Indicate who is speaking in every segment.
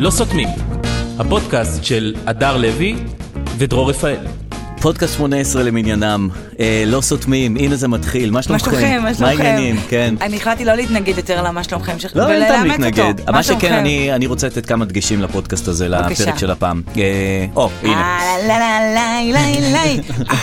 Speaker 1: לא סותמים, הפודקאסט של הדר לוי ודרור רפאל.
Speaker 2: אה. פודקאסט 18 למניינם, אה, לא סותמים, הנה זה מתחיל, מה
Speaker 3: מה
Speaker 2: שלומכם?
Speaker 3: שלומכם? מה שלומכם?
Speaker 2: אוקיי. מה העניינים? כן.
Speaker 3: אני החלטתי לא להתנגד יותר למה שלומכם שלך,
Speaker 2: לא, אין טעם
Speaker 3: ולאמץ
Speaker 2: להתנגד.
Speaker 3: אותו.
Speaker 2: מה שכן,
Speaker 3: שלומכם?
Speaker 2: אני, אני רוצה לתת כמה דגשים לפודקאסט הזה,
Speaker 3: בבקשה.
Speaker 2: לפרק של הפעם. אה, או, הנה.
Speaker 3: אה, לא, לא, לא, לא, לא.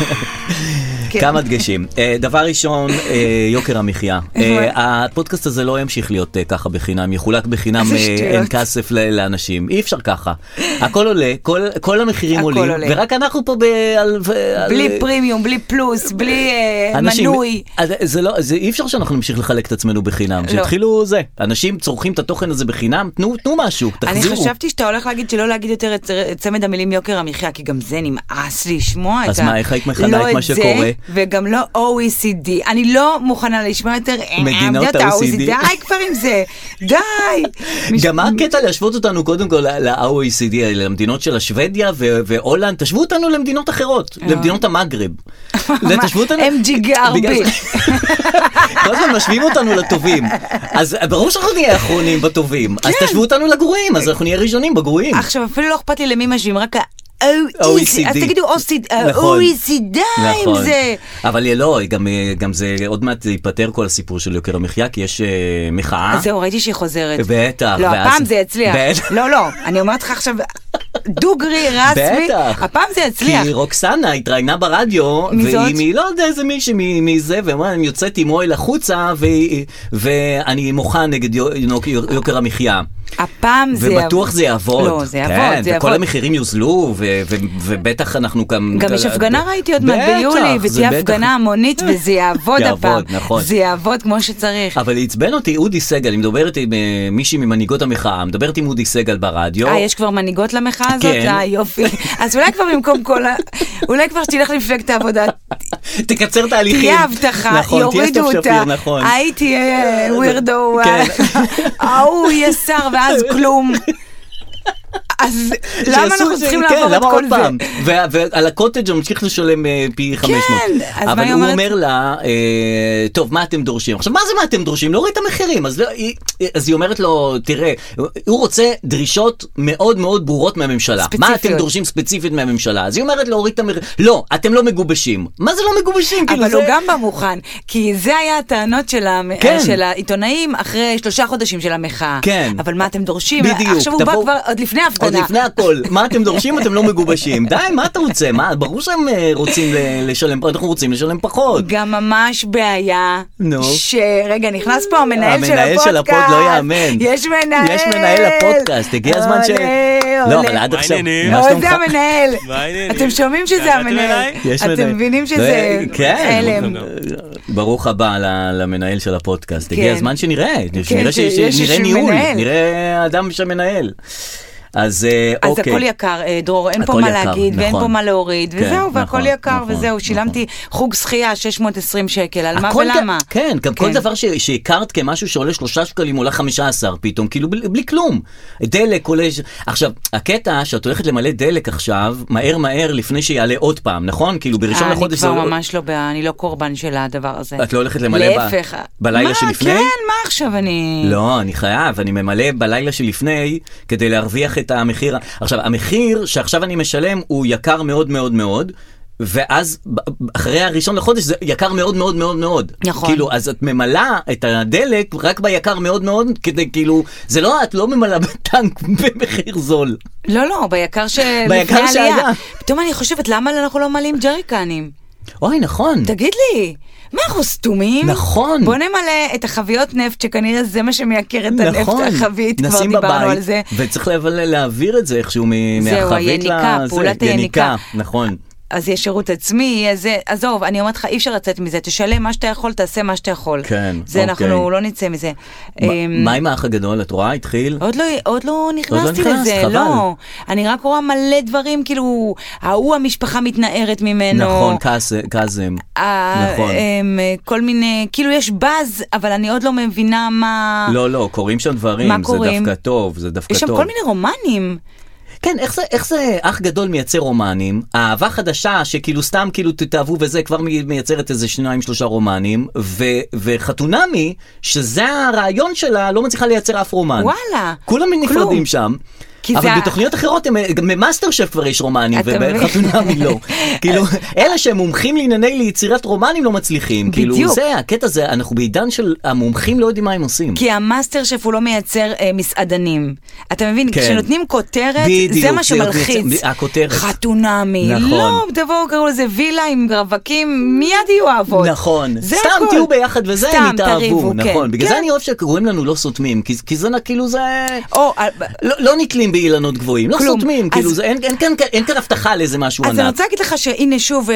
Speaker 3: כן.
Speaker 2: כמה דגשים. אה, דבר ראשון, אה, יוקר המחיה. אה, הפודקאסט הזה לא ימשיך להיות אה, ככה בחינם, יחולק בחינם,
Speaker 3: איזה
Speaker 2: אה,
Speaker 3: שטויות.
Speaker 2: אין כסף ל- לאנשים. אי אפשר ככה. הכל עולה, כל- כל המחירים
Speaker 3: הכל
Speaker 2: עולים,
Speaker 3: עולה.
Speaker 2: ורק אנחנו פה ב... על- על-
Speaker 3: בלי פרימיום, בלי פלוס, בלי אה,
Speaker 2: אנשים-
Speaker 3: מנוי. לא.
Speaker 2: אז זה לא, זה אי אפשר שאנחנו נמשיך לחלק את עצמנו בחינם, שיתחילו זה, אנשים צורכים את התוכן הזה בחינם, תנו תנו משהו,
Speaker 3: אני
Speaker 2: תחזירו.
Speaker 3: חשבתי שאתה הולך להגיד שלא להגיד יותר את את צמד המילים יוקר המחיה, כי גם זה נמאס לי לשמוע את ה...
Speaker 2: אז מה, איך היית מכנה את מה
Speaker 3: לא
Speaker 2: שקורה?
Speaker 3: את זה, וגם לא OECD. אני לא מוכנה לשמוע יותר... אה,
Speaker 2: מדינות E
Speaker 3: המדינות
Speaker 2: ה-OECD.
Speaker 3: די כבר עם זה, די. מש-
Speaker 2: גם מה הקטע להשוות אותנו קודם כל ל- ל-OECD, למדינות של השוודיה ו- והולנד, תשוו אותנו למדינות אחרות, למדינות המגרב. זה, תשוו אותנו-
Speaker 3: אה. הם ג'יגרבי.
Speaker 2: בגלל- כל הזמן משווים אותנו לטובים. אז ברור שאנחנו נהיה אחרונים בטובים, אז תשוו אותנו לגרועים, אז אנחנו נהיה ראשונים בגרועים.
Speaker 3: כן. עכשיו אפילו לא אכפת לי למי משווים, רק ה-OECD.
Speaker 2: OECD.
Speaker 3: אז תגידו OECD,
Speaker 2: E נכון.
Speaker 3: ה-OECD E עם זה.
Speaker 2: אבל לא, גם, גם זה עוד מעט ייפתר כל הסיפור של יוקר המחיה, כי יש אה, מחאה.
Speaker 3: אז זהו, ראיתי שהיא חוזרת.
Speaker 2: בטח,
Speaker 3: לא,
Speaker 2: ואז-
Speaker 3: הפעם זה יצליח.
Speaker 2: בטח.
Speaker 3: לא, לא, אני אומרת לך עכשיו, דוגרי, רסמי,
Speaker 2: בטח.
Speaker 3: הפעם זה יצליח.
Speaker 2: כי רוקסנה התראיינה ברדיו,
Speaker 3: מי זאת?
Speaker 2: והיא מ- לא יודע איזה מישהי מ- מזה, ואמרה, אני יוצאת עם אוהל החוצה, והיא- ואני מוחה נגד יו- יוק- יוקר המחיה.
Speaker 3: הפעם זה...
Speaker 2: ובטוח זה יעבוד.
Speaker 3: לא, זה יעבוד,
Speaker 2: כן, וכל
Speaker 3: זה יעבוד.
Speaker 2: המחירים יוזלו, ו- ו- ובטח אנחנו גם...
Speaker 3: גם יש הפגנה ראיתי עוד מעט
Speaker 2: בטח,
Speaker 3: ביולי,
Speaker 2: זה
Speaker 3: ותהיה
Speaker 2: בטח.
Speaker 3: הפגנה המונית וזה יעבוד
Speaker 2: יעבוד,
Speaker 3: הפעם.
Speaker 2: נכון.
Speaker 3: זה יעבוד כמו שצריך.
Speaker 2: אבל עצבן אותי אודי סגל, אני מדברת עם אה, מישהי ממנהיגות המחאה, מדברת עם אודי סגל ברדיו.
Speaker 3: אה, יש כבר מנהיגות למחאה הזאת?
Speaker 2: לא. כן.
Speaker 3: אה, יופי. אז אולי כבר במקום כל ה... אולי כבר שתלך למפלגת העבודה,
Speaker 2: תקצר תהליכים.
Speaker 3: תהיה הבטחה,
Speaker 2: נכון, תהיה סתיו
Speaker 3: יורידו אותה,
Speaker 2: שפיר, נכון.
Speaker 3: ההיא תהיה ווירדו, אה,
Speaker 2: כן.
Speaker 3: ההוא יהיה שר ואז כלום. אז למה
Speaker 2: שיעשו
Speaker 3: אנחנו
Speaker 2: את זה,
Speaker 3: צריכים
Speaker 2: כן,
Speaker 3: לעבור את
Speaker 2: למה
Speaker 3: כל
Speaker 2: עוד
Speaker 3: זה?
Speaker 2: פעם?
Speaker 3: כן,
Speaker 2: ו- ועל הקוטג' הוא ממשיך לשלם אה, פי 500.
Speaker 3: אז מה
Speaker 2: אבל
Speaker 3: היא
Speaker 2: הוא
Speaker 3: אומרת?
Speaker 2: אומר לה, אה, טוב, מה אתם דורשים? עכשיו, מה זה מה אתם דורשים? להוריד את המחירים. אז לא- היא- אז היא אומרת לו, תראה, הוא רוצה דרישות מאוד מאוד ברורות מהממשלה. מה
Speaker 3: ספציפיות.
Speaker 2: אתם דורשים ספציפית מהממשלה? אז היא אומרת להוריד את המחירים. לא, אתם לא מגובשים. מה זה לא מגובשים? כאילו,
Speaker 3: אבל
Speaker 2: זה-
Speaker 3: הוא גם בא מוכן, כי זה היה הטענות של המ- אה,
Speaker 2: כן.
Speaker 3: של העיתונאים אחרי שלושה חודשים של המחאה.
Speaker 2: כן.
Speaker 3: אבל מה אתם דורשים?
Speaker 2: בדיוק,
Speaker 3: עכשיו הוא בא
Speaker 2: תבואו-
Speaker 3: כבר עוד לפני
Speaker 2: עוד
Speaker 3: ההפגנה.
Speaker 2: לפני הכל, מה אתם דורשים? אתם לא מגובשים. די, מה אתה רוצה? מה, ברור שהם אה, רוצים ל- לשלם, אנחנו רוצים לשלם פחות.
Speaker 3: גם ממש בעיה,
Speaker 2: נו.
Speaker 3: ש... רגע, נכנס פה המנהל של הפודקאסט.
Speaker 2: המנהל של הפוד לא יאמן.
Speaker 3: יש מנהל.
Speaker 2: יש מנהל לפודקאסט, הגיע הזמן ש...
Speaker 3: עולה,
Speaker 2: לא,
Speaker 3: עולה.
Speaker 2: אבל עד
Speaker 4: מה
Speaker 2: עכשיו... לא
Speaker 4: העניינים?
Speaker 2: מה
Speaker 3: או,
Speaker 2: שלומך?
Speaker 3: זה המנהל.
Speaker 4: מה העניינים?
Speaker 3: אתם שומעים שזה
Speaker 4: ירדתם
Speaker 3: המנהל.
Speaker 4: אליי?
Speaker 2: יש
Speaker 3: אתם
Speaker 2: מנהל.
Speaker 3: מבינים שזה
Speaker 2: לא, כן.
Speaker 3: הלם.
Speaker 2: ברוך הבא ל- למנהל של הפודקאסט,
Speaker 3: כן.
Speaker 2: הגיע הזמן שנראה, שנראה ש-
Speaker 3: שיש איזשהו
Speaker 2: שנראה ניהול,
Speaker 3: מנהל.
Speaker 2: נראה אדם שמנהל. אז אה,
Speaker 3: אז
Speaker 2: אוקיי.
Speaker 3: הכל יקר, אה, דרור, אין פה
Speaker 2: הכל
Speaker 3: מה
Speaker 2: יקר,
Speaker 3: להגיד, ואין
Speaker 2: נכון.
Speaker 3: פה מה להוריד,
Speaker 2: כן,
Speaker 3: וזהו, והכל
Speaker 2: נכון,
Speaker 3: יקר,
Speaker 2: נכון,
Speaker 3: וזהו,
Speaker 2: נכון.
Speaker 3: שילמתי חוג שחייה 620 שקל, על מה
Speaker 2: הכל
Speaker 3: ולמה?
Speaker 2: גם- כן, גם כל דבר ש- שהכרת כמשהו שעולה שלושה שקלים עולה חמישה עשר פתאום, כאילו בלי, בלי כלום. דלק עולה... ש- עכשיו, הקטע שאת הולכת למלא דלק עכשיו, מהר מהר לפני שיעלה עוד פעם, נכון? כאילו בראשון
Speaker 3: אני
Speaker 2: לחודש זה...
Speaker 3: כבר
Speaker 2: עולה-
Speaker 3: ממש לא, ב- אני לא קורבן של הדבר הזה.
Speaker 2: את לא הולכת למלא ב-
Speaker 3: להפך.
Speaker 2: בלילה
Speaker 3: מה,
Speaker 2: שלפני?
Speaker 3: כן, מה עכשיו אני...
Speaker 2: לא, אני חייב, אני ממלא בלילה שלפני כדי להרוויח את המחיר. עכשיו, המחיר שעכשיו אני משלם הוא יקר מאוד מאוד מאוד. ואז ב- ב- אחרי הראשון לחודש זה יקר מאוד מאוד מאוד מאוד.
Speaker 3: נכון.
Speaker 2: כאילו, אז את ממלאה את הדלק רק ביקר מאוד מאוד, כדי כאילו, זה לא, את לא ממלאה בטנק במחיר זול.
Speaker 3: לא, לא, ביקר שלפני
Speaker 2: ביקר
Speaker 3: העלייה.
Speaker 2: שהיה.
Speaker 3: פתאום אני חושבת, למה אנחנו לא מלאים ג'ריקנים?
Speaker 2: אוי, נכון.
Speaker 3: תגיד לי, מה אנחנו סתומים?
Speaker 2: נכון.
Speaker 3: בוא נמלא את החביות נפט, שכנראה זה מה שמייקר את הנפט
Speaker 2: נכון.
Speaker 3: החבית, כבר
Speaker 2: נשים
Speaker 3: דיברנו
Speaker 2: בבית,
Speaker 3: על זה.
Speaker 2: וצריך אבל להעביר את זה איכשהו מ-
Speaker 3: זהו,
Speaker 2: מהחבית
Speaker 3: היניקה,
Speaker 2: לזה,
Speaker 3: פעולת היניקה.
Speaker 2: נכון.
Speaker 3: אז יש שירות עצמי, יהיה זה, עזוב, אני אומרת לך, אי אפשר לצאת מזה, תשלם מה שאתה יכול, תעשה מה שאתה יכול.
Speaker 2: כן,
Speaker 3: זה אנחנו
Speaker 2: אוקיי.
Speaker 3: לא נצא מזה.
Speaker 2: מה-
Speaker 3: אמ,
Speaker 2: מה עם האח הגדול? את רואה? התחיל?
Speaker 3: עוד לא, עוד לא נכנסתי
Speaker 2: נכנסת,
Speaker 3: לזה,
Speaker 2: חבל.
Speaker 3: לא. אני רק רואה מלא דברים, כאילו, ההוא המשפחה מתנערת ממנו.
Speaker 2: נכון, קאס- קאזם.
Speaker 3: אה. ה-
Speaker 2: נכון.
Speaker 3: אמ, כל מיני, כאילו יש באז, אבל אני עוד לא מבינה מה...
Speaker 2: לא, לא, קורים שם דברים,
Speaker 3: מה
Speaker 2: זה
Speaker 3: קורים?
Speaker 2: דווקא טוב, זה דווקא
Speaker 3: יש שם
Speaker 2: טוב.
Speaker 3: כל מיני רומנים.
Speaker 2: כן, איך זה, איך זה אח גדול מייצר רומנים, אהבה חדשה שכאילו סתם כאילו תתאהבו וזה, כבר מי- מייצרת איזה שניים שלושה רומנים, ו, וחתונמי, שזה הרעיון שלה, לא מצליחה לייצר אף רומן.
Speaker 3: וואלה,
Speaker 2: כולם
Speaker 3: כלום.
Speaker 2: נפרדים שם.
Speaker 3: כי
Speaker 2: אבל
Speaker 3: זה ה-
Speaker 2: בתוכניות אחרות, הם- גם במאסטר שף כבר יש רומנים,
Speaker 3: אתה מבין?
Speaker 2: ובחתונמי לא. כאילו, אלה שהם מומחים לענייני ליצירת רומנים לא מצליחים. כאילו,
Speaker 3: בדיוק.
Speaker 2: זה, הקטע זה, אנחנו בעידן של המומחים לא יודעים מה הם עושים.
Speaker 3: כי המאסטר שף הוא לא מייצר אה, מסעדנים. אתה מבין?
Speaker 2: כן.
Speaker 3: כשנותנים כותרת,
Speaker 2: בדיוק,
Speaker 3: זה מה שמלחיץ.
Speaker 2: בדיוק, הכותרת.
Speaker 3: חתונמי.
Speaker 2: נכון.
Speaker 3: לא, תבואו, קראו לזה וילה עם רווקים, מיד יהיו אהבות.
Speaker 2: נכון.
Speaker 3: זה
Speaker 2: סתם
Speaker 3: הכל.
Speaker 2: תהיו ביחד וזה,
Speaker 3: סתם,
Speaker 2: הם יתאהבו.
Speaker 3: תריבו, כן.
Speaker 2: נכון. בגלל
Speaker 3: כן.
Speaker 2: זה אני אוהב שקוראים לנו לא סותמים, כי- כי זה נ- כאילו זה...
Speaker 3: או, אה,
Speaker 2: לא, לא נתלים באילנות גבוהים, לא
Speaker 3: כלום.
Speaker 2: סותמים,
Speaker 3: אז-
Speaker 2: כאילו זה, אין, אין, כאן, אין כאן הבטחה לאיזה משהו
Speaker 3: אז אני
Speaker 2: ענק.
Speaker 3: רוצה להגיד לך שהנה שוב אה,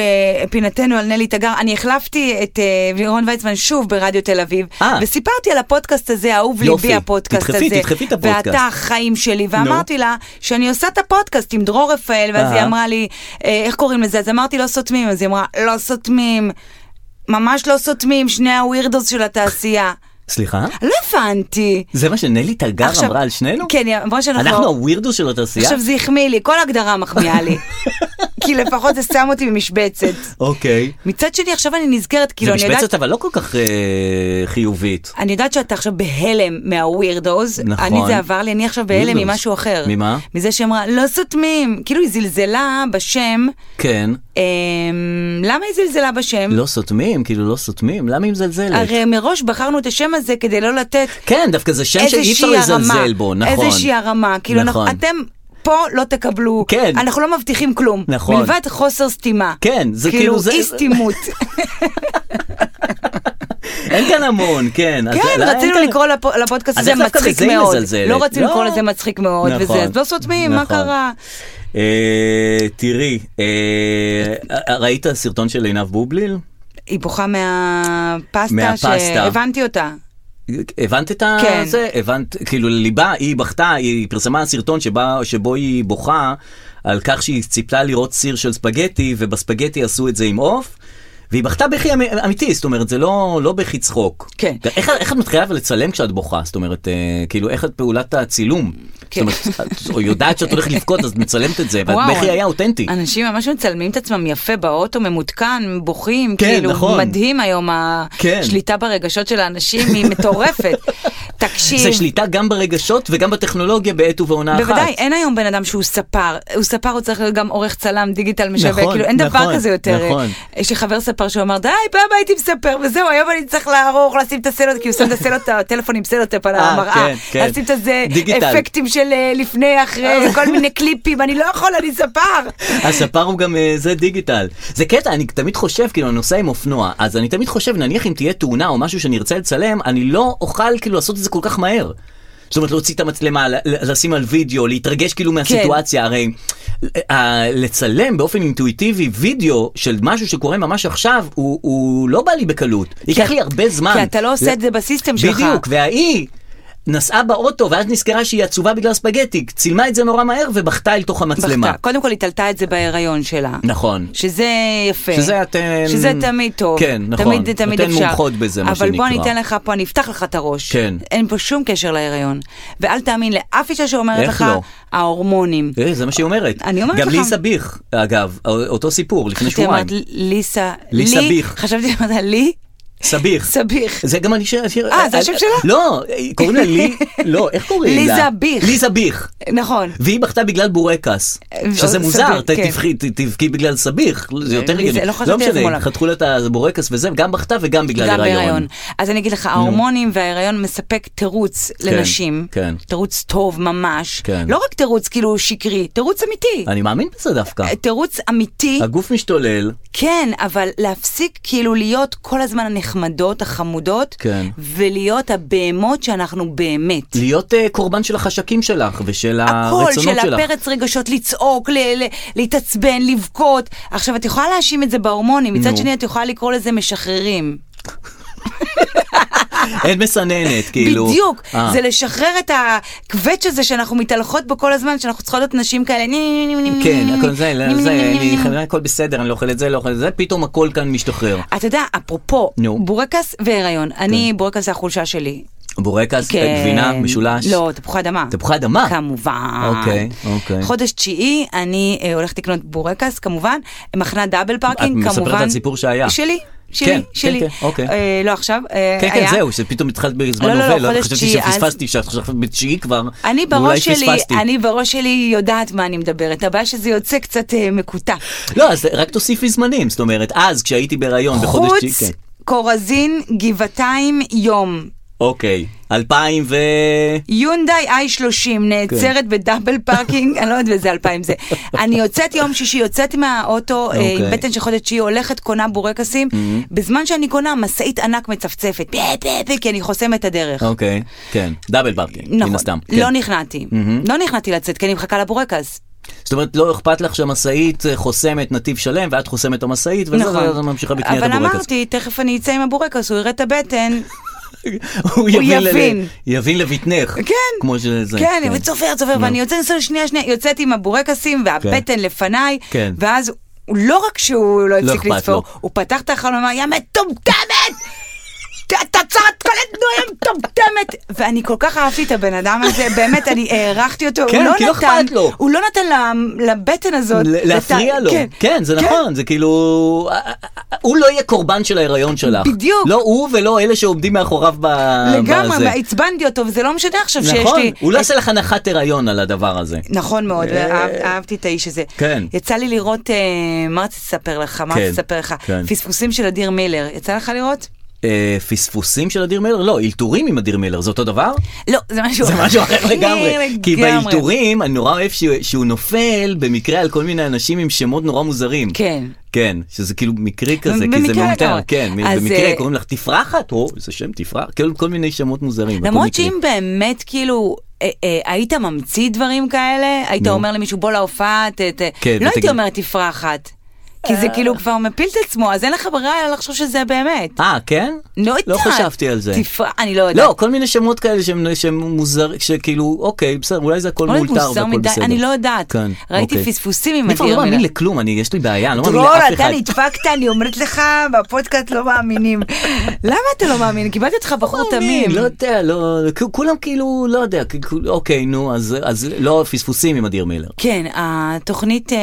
Speaker 3: פינתנו על נלי תגר, אני החלפתי את אה, לירון ויצמן שוב ברדיו תל אביב,
Speaker 2: אה.
Speaker 3: וסיפרתי על הפודקאסט הזה, אהוב
Speaker 2: יופי.
Speaker 3: ליבי הפודקאסט הזה,
Speaker 2: תדחפי, תדחפי את הפודקאסט.
Speaker 3: ואתה החיים שלי, ואמרתי לה שאני עושה את הפודקאסט עם דרור רפאל, ואז
Speaker 2: אה.
Speaker 3: היא אמרה לי, אה, איך קוראים לזה? אז אמרתי לא סותמים, אז היא אמרה, לא סותמים, ממש לא סותמים, שני הווירדוס של התעשייה.
Speaker 2: סליחה?
Speaker 3: לא הבנתי.
Speaker 2: זה מה שנלי תגר
Speaker 3: עכשיו-
Speaker 2: אמרה על שנינו?
Speaker 3: כן, היא אמרה שאנחנו...
Speaker 2: אנחנו הווירדוס של התעשייה?
Speaker 3: עכשיו זה החמיא לי, כל הגדרה מחמיאה לי. כי לפחות זה שם אותי במשבצת.
Speaker 2: אוקיי.
Speaker 3: מצד שני עכשיו אני נזכרת, כאילו
Speaker 2: זו
Speaker 3: אני יודעת,
Speaker 2: משבצת אבל לא כל כך אה, חיובית.
Speaker 3: אני יודעת שאתה עכשיו בהלם מהווירדוז,
Speaker 2: נכון.
Speaker 3: אני זה עבר לי, אני עכשיו בהלם
Speaker 2: weirdos.
Speaker 3: ממשהו אחר.
Speaker 2: ממה?
Speaker 3: מזה שהיא אמרה, לא סותמים, כאילו היא זלזלה בשם,
Speaker 2: כן.
Speaker 3: אמ, למה היא זלזלה בשם?
Speaker 2: לא סותמים, כאילו לא סותמים, למה היא מזלזלת?
Speaker 3: הרי מראש בחרנו את השם הזה כדי לא לתת
Speaker 2: כן, דווקא זה שם שאי אפשר
Speaker 3: איזושהי הרמה,
Speaker 2: לזלזל בו, נכון.
Speaker 3: איזושהי הרמה, כאילו אנחנו-
Speaker 2: נכון.
Speaker 3: אתם פה לא תקבלו,
Speaker 2: כן.
Speaker 3: אנחנו לא מבטיחים כלום,
Speaker 2: נכון.
Speaker 3: מלבד חוסר סתימה,
Speaker 2: כן, זה כאילו
Speaker 3: כאילו
Speaker 2: זה-
Speaker 3: אי סתימות.
Speaker 2: אין כאן המון, כן. אז
Speaker 3: כן,
Speaker 2: לא, אין
Speaker 3: רצינו
Speaker 2: כאן-
Speaker 3: לקרוא לפו- לפודקאסט
Speaker 2: אז
Speaker 3: הזה
Speaker 2: איך דווקא
Speaker 3: מצחיק
Speaker 2: בזה היא
Speaker 3: מאוד.
Speaker 2: מזלזלת?
Speaker 3: לא רצינו
Speaker 2: לא.
Speaker 3: לקרוא לזה מצחיק מאוד
Speaker 2: נכון.
Speaker 3: וזה, אז לא סותמים, מה
Speaker 2: נכון.
Speaker 3: קרה?
Speaker 2: אה, תראי, אה, ראית סרטון של עינב בובליל?
Speaker 3: היא בוכה מהפסטה
Speaker 2: מהפסטה.
Speaker 3: שהבנתי אותה.
Speaker 2: הבנת את ה...
Speaker 3: כן.
Speaker 2: זה? הבנת, כאילו לליבה, היא בכתה, היא פרסמה סרטון שבה, שבו היא בוכה על כך שהיא ציפתה לראות סיר של ספגטי, ובספגטי עשו את זה עם עוף. והיא בכתה בכי אמ- אמיתי, זאת אומרת, זה לא, לא בכי צחוק.
Speaker 3: כן.
Speaker 2: איך, איך את מתחילה אבל לצלם כשאת בוכה? זאת אומרת, אה, כאילו, איך את פעולת הצילום?
Speaker 3: כן.
Speaker 2: זאת אומרת, את יודעת שאת הולכת לבכות, אז את מצלמת את זה,
Speaker 3: וואו,
Speaker 2: והבכי היה אותנטי.
Speaker 3: אנשים ממש מצלמים את עצמם יפה באוטו, ממותקן, בוכים,
Speaker 2: כן,
Speaker 3: כאילו,
Speaker 2: נכון.
Speaker 3: מדהים היום,
Speaker 2: כן.
Speaker 3: השליטה ברגשות של האנשים היא מטורפת. תקשיב.
Speaker 2: זה שליטה גם ברגשות וגם בטכנולוגיה בעת ובעונה אחת.
Speaker 3: בוודאי, אין היום בן אדם שהוא ספר. הוא ספר, הוא צריך להיות גם עורך צלם, דיגיטל משווק,
Speaker 2: נכון,
Speaker 3: כאילו אין
Speaker 2: נכון,
Speaker 3: דבר כזה יותר.
Speaker 2: נכון.
Speaker 3: יש לי חבר ספר שהוא אמר, די, פעם הייתי מספר, וזהו, היום אני צריך לערוך, לשים את הסלוט, כי הוא שם את הסלוט, הטלפון עם סלוטאפ על
Speaker 2: אה,
Speaker 3: המראה.
Speaker 2: כן, כן.
Speaker 3: לשים את הזה,
Speaker 2: דיגיטל.
Speaker 3: אפקטים של אה, לפני, אחרי, כל מיני קליפים, אני לא יכול, אני ספר.
Speaker 2: הספר הוא גם אה, זה דיגיטל. זה קטע, אני תמיד חושב, כאילו, אני נוסע עם אופנוע, אז אני תמיד חושב, נניח אם תהיה תאונה או משהו שאני ארצה לצלם, אני לא אוכל כאילו לעשות את זה כל כך מהר. זאת אומרת, להוציא את המצלמה, ל- ל- לשים על וידאו, להתרגש
Speaker 3: כן.
Speaker 2: כאילו מהסיטואציה, הרי אה, לצלם באופן אינטואיטיבי וידאו של משהו שקורה ממש עכשיו, הוא- הוא לא בא לי בקלות. ייקח לי הרבה זמן.
Speaker 3: כי אתה לא עושה את זה בסיסטם שלך.
Speaker 2: בדיוק, וההיא נסעה באוטו, ואז נזכרה שהיא עצובה בגלל ספגטי, צילמה את זה נורא מהר ובכתה אל תוך המצלמה.
Speaker 3: בכתה. קודם כל, היא תלתה את זה בהיריון שלה.
Speaker 2: נכון.
Speaker 3: שזה יפה.
Speaker 2: שזה אתן-
Speaker 3: שזה תמיד טוב.
Speaker 2: כן, נכון.
Speaker 3: תמיד, תמיד
Speaker 2: אתן
Speaker 3: אפשר.
Speaker 2: מומחות בזה, מה
Speaker 3: אבל בוא
Speaker 2: שנקרא.
Speaker 3: אני אתן לך פה, אני אפתח לך את הראש.
Speaker 2: כן.
Speaker 3: אין פה שום קשר להיריון. ואל תאמין לאף אישה שאומרת
Speaker 2: איך
Speaker 3: לך,
Speaker 2: לא?
Speaker 3: ההורמונים.
Speaker 2: אה, זה מה שהיא אומרת.
Speaker 3: אני אומרת
Speaker 2: גם
Speaker 3: לך.
Speaker 2: ליסה ביך, אגב, א- אותו סיפור, לפני
Speaker 3: חשבתי אמרת
Speaker 2: שבועיים.
Speaker 3: ליסה,
Speaker 2: לי סביך.
Speaker 3: חשבתי אמרת לי
Speaker 2: סביך.
Speaker 3: סביך.
Speaker 2: זה גם אני ש... שיר-
Speaker 3: אה, זה השם שלה?
Speaker 2: לא, אה, קוראים לה לי... לא, איך קוראים לה?
Speaker 3: ליזה ביך.
Speaker 2: ליזה ביך.
Speaker 3: נכון.
Speaker 2: והיא בכתה בגלל בורקס,
Speaker 3: אה,
Speaker 2: שזה
Speaker 3: אה,
Speaker 2: מוזר,
Speaker 3: סביר,
Speaker 2: ת-
Speaker 3: כן.
Speaker 2: תבכי- ת- תבכי בגלל סביך, זה יותר
Speaker 3: ליזה,
Speaker 2: הגיוני.
Speaker 3: לא חשבתי על זה
Speaker 2: משנה,
Speaker 3: מעולם.
Speaker 2: חתכו לה את הבורקס וזה, גם בכתה וגם בגלל
Speaker 3: גם
Speaker 2: הריון.
Speaker 3: בהיריון. אז אני אגיד לך, ההורמונים וההיריון מספק תירוץ לנשים.
Speaker 2: כן.
Speaker 3: תירוץ טוב ממש.
Speaker 2: כן.
Speaker 3: לא רק תירוץ כאילו שקרי, תירוץ אמיתי.
Speaker 2: אני מאמין בזה דווקא.
Speaker 3: אה, תירוץ אמיתי.
Speaker 2: הגוף משתולל,
Speaker 3: כן, אבל להפסיק כאילו להיות כל הזמן הנחמדות, החמודות,
Speaker 2: כן.
Speaker 3: ולהיות הבהמות שאנחנו באמת.
Speaker 2: להיות אה, קורבן של החשקים שלך ושל
Speaker 3: הכל,
Speaker 2: הרצונות
Speaker 3: של
Speaker 2: שלך.
Speaker 3: הפרץ רגשות, לצעוק, ל- ל- להתעצבן, לבכות. עכשיו, את יכולה להאשים את זה בהורמונים, מצד
Speaker 2: נו.
Speaker 3: שני את יכולה לקרוא לזה משחררים.
Speaker 2: אין מסננת, כאילו.
Speaker 3: בדיוק,
Speaker 2: אה.
Speaker 3: זה לשחרר את הקווץ' הזה שאנחנו מתהלכות בו כל הזמן, שאנחנו צריכות להיות נשים כאלה. ני, ני, ני, ני,
Speaker 2: כן,
Speaker 3: ני,
Speaker 2: הכל
Speaker 3: ני,
Speaker 2: זה,
Speaker 3: ני,
Speaker 2: לא,
Speaker 3: ני,
Speaker 2: זה,
Speaker 3: ני, ני,
Speaker 2: אני
Speaker 3: ני.
Speaker 2: חברה, הכל בסדר, אני לא אוכל את זה, לא אוכל את זה, פתאום הכל כאן משתחרר.
Speaker 3: אתה יודע, אפרופו
Speaker 2: נו. כן.
Speaker 3: בורקס והיריון, אני, בורקס זה החולשה שלי.
Speaker 2: בורקס,
Speaker 3: כן.
Speaker 2: גבינה, משולש.
Speaker 3: לא, תפוחי אדמה.
Speaker 2: תפוחי אדמה.
Speaker 3: כמובן.
Speaker 2: אוקיי, אוקיי.
Speaker 3: חודש תשיעי, אני אה, הולכת לקנות בורקס, כמובן, מחנה דאבל פארקינג,
Speaker 2: את מספרת
Speaker 3: כמובן.
Speaker 2: על סיפור שהיה.
Speaker 3: שלי, שלי,
Speaker 2: כן,
Speaker 3: שלי.
Speaker 2: כן, כן, אוקיי.
Speaker 3: אה, לא עכשיו, אה,
Speaker 2: כן,
Speaker 3: היה.
Speaker 2: כן, זהו, שפתאום התחלת בזמן
Speaker 3: לא, לא, לא,
Speaker 2: הווה,
Speaker 3: חודש
Speaker 2: חשבתי
Speaker 3: תשיעי, אז-
Speaker 2: שפספסתי, שאת חושבת בתשיעי כבר,
Speaker 3: אני
Speaker 2: ואולי
Speaker 3: בראש שלי,
Speaker 2: פספסתי.
Speaker 3: אני בראש שלי יודעת מה אני מדברת, הבעיה שזה יוצא קצת אה, מקוטע.
Speaker 2: לא, אז רק תוסיפי זמנים, זאת אומרת, אז כשהייתי בהיריון בחודש תשיעי,
Speaker 3: חוץ,
Speaker 2: כן.
Speaker 3: כורזין, גבעתיים, יום.
Speaker 2: אוקיי, אלפיים ו...
Speaker 3: יונדאי i30 נעצרת
Speaker 2: כן.
Speaker 3: בדאבל פארקינג, אני לא יודעת באיזה 2000 זה. אני יוצאת יום שישי, יוצאת מהאוטו אה, עם
Speaker 2: אוקיי. Mm-hmm.
Speaker 3: בטן של חודש שישי, הולכת, קונה בורקסים, בזמן שאני קונה, משאית ענק מצפצפת, פה, פה, פה, כי אני חוסמת את הדרך.
Speaker 2: אוקיי, כן, דאבל פארטי, מן הסתם. כן. Mm-hmm.
Speaker 3: לא נכנעתי, לא נכנעתי לצאת, כי אני מחכה לבורקס.
Speaker 2: זאת אומרת, לא אכפת לך שהמשאית אה, חוסמת נתיב שלם, ואת חוסמת את המשאית, וזה
Speaker 3: נכון.
Speaker 2: ואז את ממשיכה בקניית
Speaker 3: אבל
Speaker 2: הבורקס.
Speaker 3: אמרתי, תכף אני אצא עם הבורקס, הוא יראה את הבטן,
Speaker 2: הוא ל-
Speaker 3: יבין.
Speaker 2: יבין לביטנך.
Speaker 3: כן.
Speaker 2: כמו שזה.
Speaker 3: כן, וצופר, צופר, ואני יוצאת, יוצאת, שנייה, שנייה, יוצאת עם הבורקסים והבטן לפניי,
Speaker 2: כן.
Speaker 3: ואז הוא- לא רק שהוא לא הפסיק
Speaker 2: אכפת
Speaker 3: לצפור,
Speaker 2: לו.
Speaker 3: הוא פתח את החלום ואמר, יא מטומטמת! ת- תצרת כל התנועה יא מטומטמת! ואני כל כך אהבתי את הבן אדם הזה, באמת, אני הערכתי אותו,
Speaker 2: כן,
Speaker 3: הוא לא
Speaker 2: כי לא
Speaker 3: נתן,
Speaker 2: אכפת לו.
Speaker 3: הוא לא נתן ל- לבטן הזאת,
Speaker 2: ל- להפריע
Speaker 3: לת-
Speaker 2: לו, כן, זה נכון, זה כאילו, אה, אה, אה, הוא לא יהיה קורבן של ההיריון שלך.
Speaker 3: בדיוק.
Speaker 2: לא הוא ולא אלה שעומדים מאחוריו ב- בזה.
Speaker 3: לגמרי, ועצבנתי אותו, וזה לא משנה עכשיו שיש לי...
Speaker 2: נכון, הוא לא
Speaker 3: את
Speaker 2: עושה לך הנחת הריון על הדבר הזה.
Speaker 3: נכון מאוד, ואהב- אהבתי את האיש הזה.
Speaker 2: אה. כן.
Speaker 3: יצא לי לראות, אה, מה רציתי לספר לך? מה
Speaker 2: כן,
Speaker 3: רציתי לספר לך?
Speaker 2: כן.
Speaker 3: פספוסים של אדיר מילר, יצא לך לראות?
Speaker 2: אה, פספוסים של אדיר מילר? לא, אלתורים עם אדיר מילר, זה אותו דבר?
Speaker 3: לא, זה משהו
Speaker 2: זה משהו אחר לגמרי. כי
Speaker 3: לגמרי.
Speaker 2: באלתורים, אני נורא אוהב שהוא- שהוא נופל במקרה על כל מיני אנשים עם שמות נורא מוזרים.
Speaker 3: כן.
Speaker 2: כן, שזה כאילו מקרי כזה, כי זה
Speaker 3: במקרה
Speaker 2: מאולתר.
Speaker 3: לגמרי.
Speaker 2: כן, מ-
Speaker 3: אז,
Speaker 2: במקרה
Speaker 3: אה,
Speaker 2: קוראים לך תפרחת, או איזה שם תפרחת, כאילו כל מיני שמות מוזרים. הכל
Speaker 3: למרות
Speaker 2: מקרי.
Speaker 3: שאם באמת כאילו... אה, אה, היית ממציא דברים כאלה? היית אומר למישהו בוא להופעה, ת- ת-"
Speaker 2: כן,
Speaker 3: לא
Speaker 2: ותגיד-
Speaker 3: הייתי אומרת תפרחת. כי זה כאילו כבר מפיל את עצמו, אז אין לך ברירה אלא לחשוב שזה באמת.
Speaker 2: אה, כן?
Speaker 3: לא יודעת.
Speaker 2: לא חשבתי על זה.
Speaker 3: תפרח, אני לא יודעת.
Speaker 2: לא, כל מיני שמות כאלה שהם- שהם מוזרים, שכאילו, אוקיי, בסדר, אולי זה הכל
Speaker 3: אולי
Speaker 2: מאולתר
Speaker 3: מוזר
Speaker 2: והכל
Speaker 3: מדי,
Speaker 2: בסדר.
Speaker 3: אני לא יודעת.
Speaker 2: כן,
Speaker 3: ראיתי
Speaker 2: אוקיי.
Speaker 3: פספוסים עם
Speaker 2: אני כבר
Speaker 3: אדיר
Speaker 2: לא מאמין
Speaker 3: מילר.
Speaker 2: לכלום, אני, יש לי בעיה, אני לא מאמין
Speaker 3: דרור,
Speaker 2: לאף
Speaker 3: אתה
Speaker 2: אחד.
Speaker 3: נדפקת, אני אומרת לך, בפודקאסט לא מאמינים. למה אתה לא מאמין? קיבלתי אותך בחור תמים.
Speaker 2: לא יודע, לא, כ- כולם כאילו, לא יודע, כאילו, אוקיי, נו, אז אז לא פספוסים עם אדיר מילר.
Speaker 3: כן, התוכנית אה,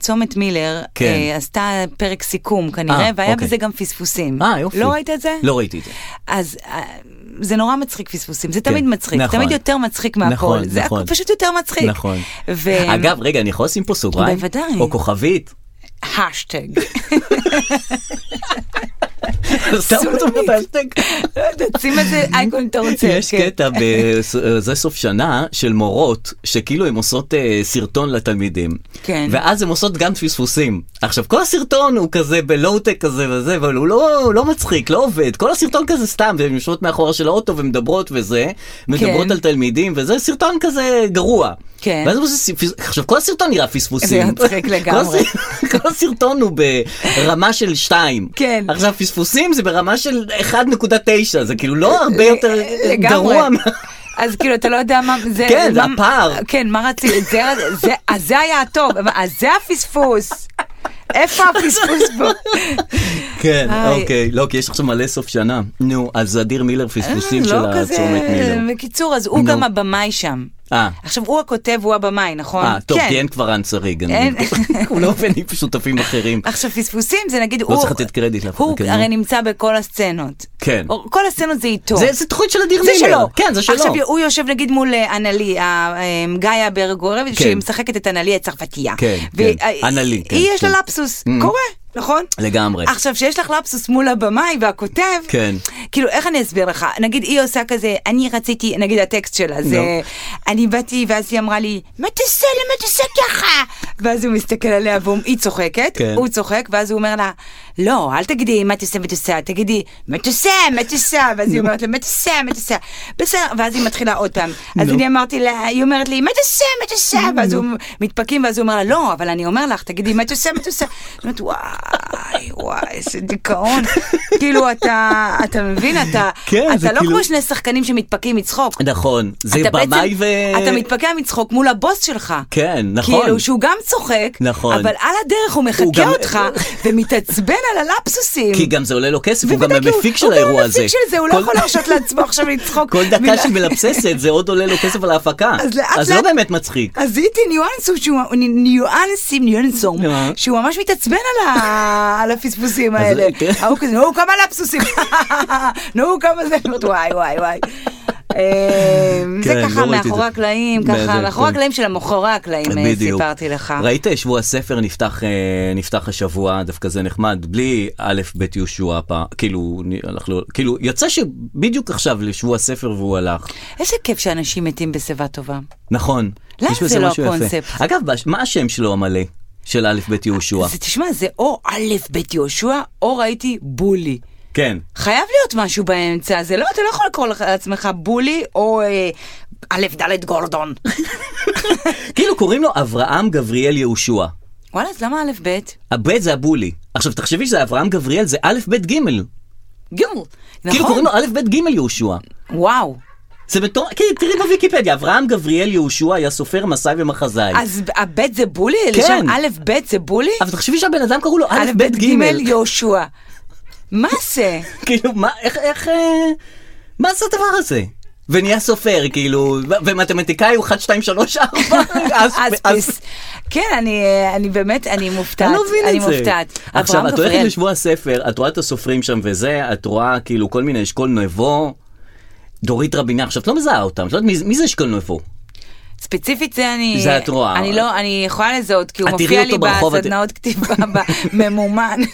Speaker 3: צומת מילר
Speaker 2: כן.
Speaker 3: אה, עשתה פרק סיכום כנראה,
Speaker 2: אה,
Speaker 3: והיה
Speaker 2: אוקיי.
Speaker 3: בזה גם פספוסים.
Speaker 2: אה, יופי.
Speaker 3: לא ראית את זה?
Speaker 2: לא ראיתי את זה.
Speaker 3: אז אה, זה נורא מצחיק פספוסים, זה תמיד מצחיק,
Speaker 2: נכון.
Speaker 3: תמיד יותר מצחיק מהכל.
Speaker 2: נכון,
Speaker 3: זה
Speaker 2: נכון.
Speaker 3: פשוט יותר מצחיק.
Speaker 2: נכון.
Speaker 3: ו-
Speaker 2: אגב, רגע, אני יכול לשים פה סוגריים?
Speaker 3: אמ, בוודאי.
Speaker 2: או כוכבית?
Speaker 3: השטג.
Speaker 2: שמו אותו בהשטג.
Speaker 3: לא יודעת, שים איזה אייקון אתה רוצה.
Speaker 2: יש
Speaker 3: כן.
Speaker 2: קטע, ב- זה סוף שנה, של מורות, שכאילו הן עושות אה, סרטון לתלמידים.
Speaker 3: כן.
Speaker 2: ואז הן עושות גם פספוסים. עכשיו, כל הסרטון הוא כזה בלואו-טק כזה וזה, אבל הוא לא, הוא לא מצחיק, לא עובד. כל הסרטון כזה סתם, והן יושבות מאחורה של האוטו ומדברות וזה, מדברות
Speaker 3: כן.
Speaker 2: על תלמידים וזה, סרטון כזה גרוע.
Speaker 3: כן.
Speaker 2: ואז הם עושים פס- עכשיו, כל הסרטון נראה פספוסים.
Speaker 3: זה מצחיק
Speaker 2: כל
Speaker 3: לגמרי.
Speaker 2: הסרט- כל הסרטון הוא ברמה של 2.
Speaker 3: כן.
Speaker 2: עכשיו, פספוסים זה ברמה של 1.9, זה כאילו
Speaker 3: אה,
Speaker 2: לא הרבה יותר
Speaker 3: לגמרי.
Speaker 2: גרוע. מה-
Speaker 3: אז כאילו אתה לא יודע מה זה,
Speaker 2: כן, זה
Speaker 3: מה-
Speaker 2: הפער.
Speaker 3: כן מה רצית, זה- זה- אז זה היה הטוב, אז זה הפספוס, איפה הפספוס פה?
Speaker 2: כן,
Speaker 3: היי.
Speaker 2: אוקיי, לא, כי יש עכשיו מלא סוף שנה. נו, אז אדיר מילר פספוסים של
Speaker 3: לא כזה,
Speaker 2: הצומת מילר.
Speaker 3: בקיצור אז הוא
Speaker 2: נו.
Speaker 3: גם הבמאי שם,
Speaker 2: אה.
Speaker 3: עכשיו הוא הכותב הוא הבמאי נכון?
Speaker 2: אה, טוב,
Speaker 3: כן.
Speaker 2: כי אין כבר אנסריג.
Speaker 3: אין. אה,
Speaker 2: הוא לא עובד עם שותפים אחרים.
Speaker 3: עכשיו פספוסים זה נגיד
Speaker 2: לא
Speaker 3: הוא,
Speaker 2: צריך לתת קרדיט לאף אחד,
Speaker 3: הוא
Speaker 2: כן,
Speaker 3: הרי
Speaker 2: נו.
Speaker 3: נמצא בכל הסצנות,
Speaker 2: כן.
Speaker 3: או- כל הסצנות זה איתו,
Speaker 2: זה- זה תוכנית של אדיר
Speaker 3: זה
Speaker 2: מילר.
Speaker 3: שלו.
Speaker 2: כן, זה שלו.
Speaker 3: עכשיו הוא יושב נגיד מול אה, אנלי, ה- אה, גאיה ברגורב,
Speaker 2: כן.
Speaker 3: שהיא משחקת את אנלי הצרפתייה.
Speaker 2: כן,
Speaker 3: והיא-
Speaker 2: כן.
Speaker 3: אה,
Speaker 2: אנלי, כן,
Speaker 3: היא יש
Speaker 2: כן.
Speaker 3: לה לפסוס, קורה, נכון?
Speaker 2: לגמרי.
Speaker 3: עכשיו, שיש לך לפסוס מול הבמאי והכותב,
Speaker 2: כן.
Speaker 3: כאילו, איך אני אסביר לך? נגיד, היא עושה כזה, אני רציתי, נגיד הטקסט שלה, זה,
Speaker 2: נו.
Speaker 3: אני באתי, ואז היא אמרה לי, מה תעשה, למה תעשה ככה? ואז הוא מסתכל עליה, והיא צוחקת,
Speaker 2: כן.
Speaker 3: הוא צוחק, ואז הוא אומר לה, לא, אל תגידי מה תעשה, מה תעשה, תגידי, מה תעשה, מה תעשה, ואז היא אומרת לה, מה תעשה, מה תעשה, בסדר, ואז היא מתחילה עוד פעם. אז אני אמרתי לה, היא אומרת לי, מה תעשה, מה תעשה, ואז הוא מתפקים, ואז הוא אומר לה, לא, אבל אני אומר לך, תגידי, מה תעשה, מה תעשה. אני אומרת, וואי, וואי, איזה דיכאון. כאילו, אתה, אתה מבין, אתה,
Speaker 2: כן, זה
Speaker 3: אתה לא
Speaker 2: כאילו-
Speaker 3: כמו שני שחקנים שמתפקים מצחוק.
Speaker 2: נכון, זה
Speaker 3: אתה בעצם-
Speaker 2: במאי ו...
Speaker 3: אתה מתפקע מצחוק מול הבוס שלך.
Speaker 2: כן, נכון.
Speaker 3: כאילו, שהוא גם צוחק,
Speaker 2: נכון.
Speaker 3: אבל על הדרך הוא מחקה
Speaker 2: הוא גם-
Speaker 3: אותך ומתעצבן על הלפסוסים.
Speaker 2: כי גם זה עולה לו כסף, הוא גם
Speaker 3: בוודאי, כי הוא-
Speaker 2: המפיק של האירוע הזה.
Speaker 3: הוא גם המפיק של זה, הוא לא
Speaker 2: כל-
Speaker 3: יכול להרשות לעצמו עכשיו לצחוק.
Speaker 2: כל דקה
Speaker 3: מילה.
Speaker 2: שהיא מלבססת זה עוד עולה לו כסף על ההפקה.
Speaker 3: אז לאט
Speaker 2: אז לא
Speaker 3: לאט-
Speaker 2: באמת מצחיק.
Speaker 3: אז זיהיתי ניואנס, הוא שהוא, ניואנסים, ניואנסום,
Speaker 2: נו.
Speaker 3: שהוא ממש מתעצבן על, ה, על הפספוסים
Speaker 2: אז-
Speaker 3: האלה.
Speaker 2: כן.
Speaker 3: ההוא כזה, נו כמה לפסוסים, נו כמה זה, אני אומרת, וואי וואי וואי. אמ, זה
Speaker 2: כן, לא
Speaker 3: ככה
Speaker 2: ראיתי את זה.
Speaker 3: מאחורי הקלעים, ככה
Speaker 2: בזה,
Speaker 3: מאחורי
Speaker 2: כן.
Speaker 3: הקלעים של המאחורי הקלעים אה,
Speaker 2: בדיוק.
Speaker 3: סיפרתי לך.
Speaker 2: ראית שבוע הספר נפתח, אה, נפתח השבוע, דווקא זה נחמד, בלי א' ב' יהושע פעם, כאילו, נ- אנחנו, כאילו, יצא שבדיוק עכשיו לשבוע הספר והוא הלך.
Speaker 3: איזה כיף שאנשים מתים בשיבה טובה.
Speaker 2: נכון.
Speaker 3: למה
Speaker 2: יש בזה
Speaker 3: זה לא
Speaker 2: משהו יפה.
Speaker 3: הקונספט?
Speaker 2: אגב, בש- מה השם שלו המלא? של א' ב' יהושע.
Speaker 3: זה, תשמע, זה או א' ב' יהושע, או ראיתי בולי.
Speaker 2: כן.
Speaker 3: חייב להיות משהו באמצע, זה לא, אתה לא יכול לקרוא לך- לעצמך בולי או אה, א' ד' גורדון.
Speaker 2: כאילו קוראים לו אברהם גבריאל יהושע.
Speaker 3: וואלה, אז למה א' ב'?
Speaker 2: הב' זה הבולי. עכשיו תחשבי שזה אברהם גבריאל, זה א' ב' ג'.
Speaker 3: גימל.
Speaker 2: כאילו
Speaker 3: נכון?
Speaker 2: קוראים לו א' ב' ג' יהושע.
Speaker 3: וואו.
Speaker 2: זה בתור, כאילו, תראי בוויקיפדיה, אברהם גבריאל יהושע היה סופר, מסאי ומחזאי.
Speaker 3: אז הב' זה בולי?
Speaker 2: כן.
Speaker 3: לשם א' ב' זה בולי?
Speaker 2: אבל תחשבי שהבן אדם קראו לו א', ב',
Speaker 3: ג'
Speaker 2: ג'.
Speaker 3: יהושע. מה זה?
Speaker 2: כאילו, מה, איך, איך, אה, מה זה הדבר הזה? ונהיה סופר, כאילו, ו- ומתמטיקאי הוא 1, 2, 3, 4,
Speaker 3: אספיס. כן, אני, אה, אני באמת, אני מופתעת.
Speaker 2: אני לא מבין את זה.
Speaker 3: מופתעת. אברהם
Speaker 2: עכשיו, את הולכת
Speaker 3: גבריאל.
Speaker 2: לשבוע הספר, את רואה את הסופרים שם וזה, את רואה כאילו כל מיני אשכול נבו, דורית רבינה, עכשיו את לא מזהה אותם, את לא יודעת מי, מי זה אשכול נבו.
Speaker 3: ספציפית זה אני...
Speaker 2: זה את רואה.
Speaker 3: אני לא, אני יכולה לזהות, כי הוא
Speaker 2: את תראי
Speaker 3: מופיע
Speaker 2: אותו
Speaker 3: לי
Speaker 2: ברחוב, את-
Speaker 3: בסדנאות כתיבה, בממומן.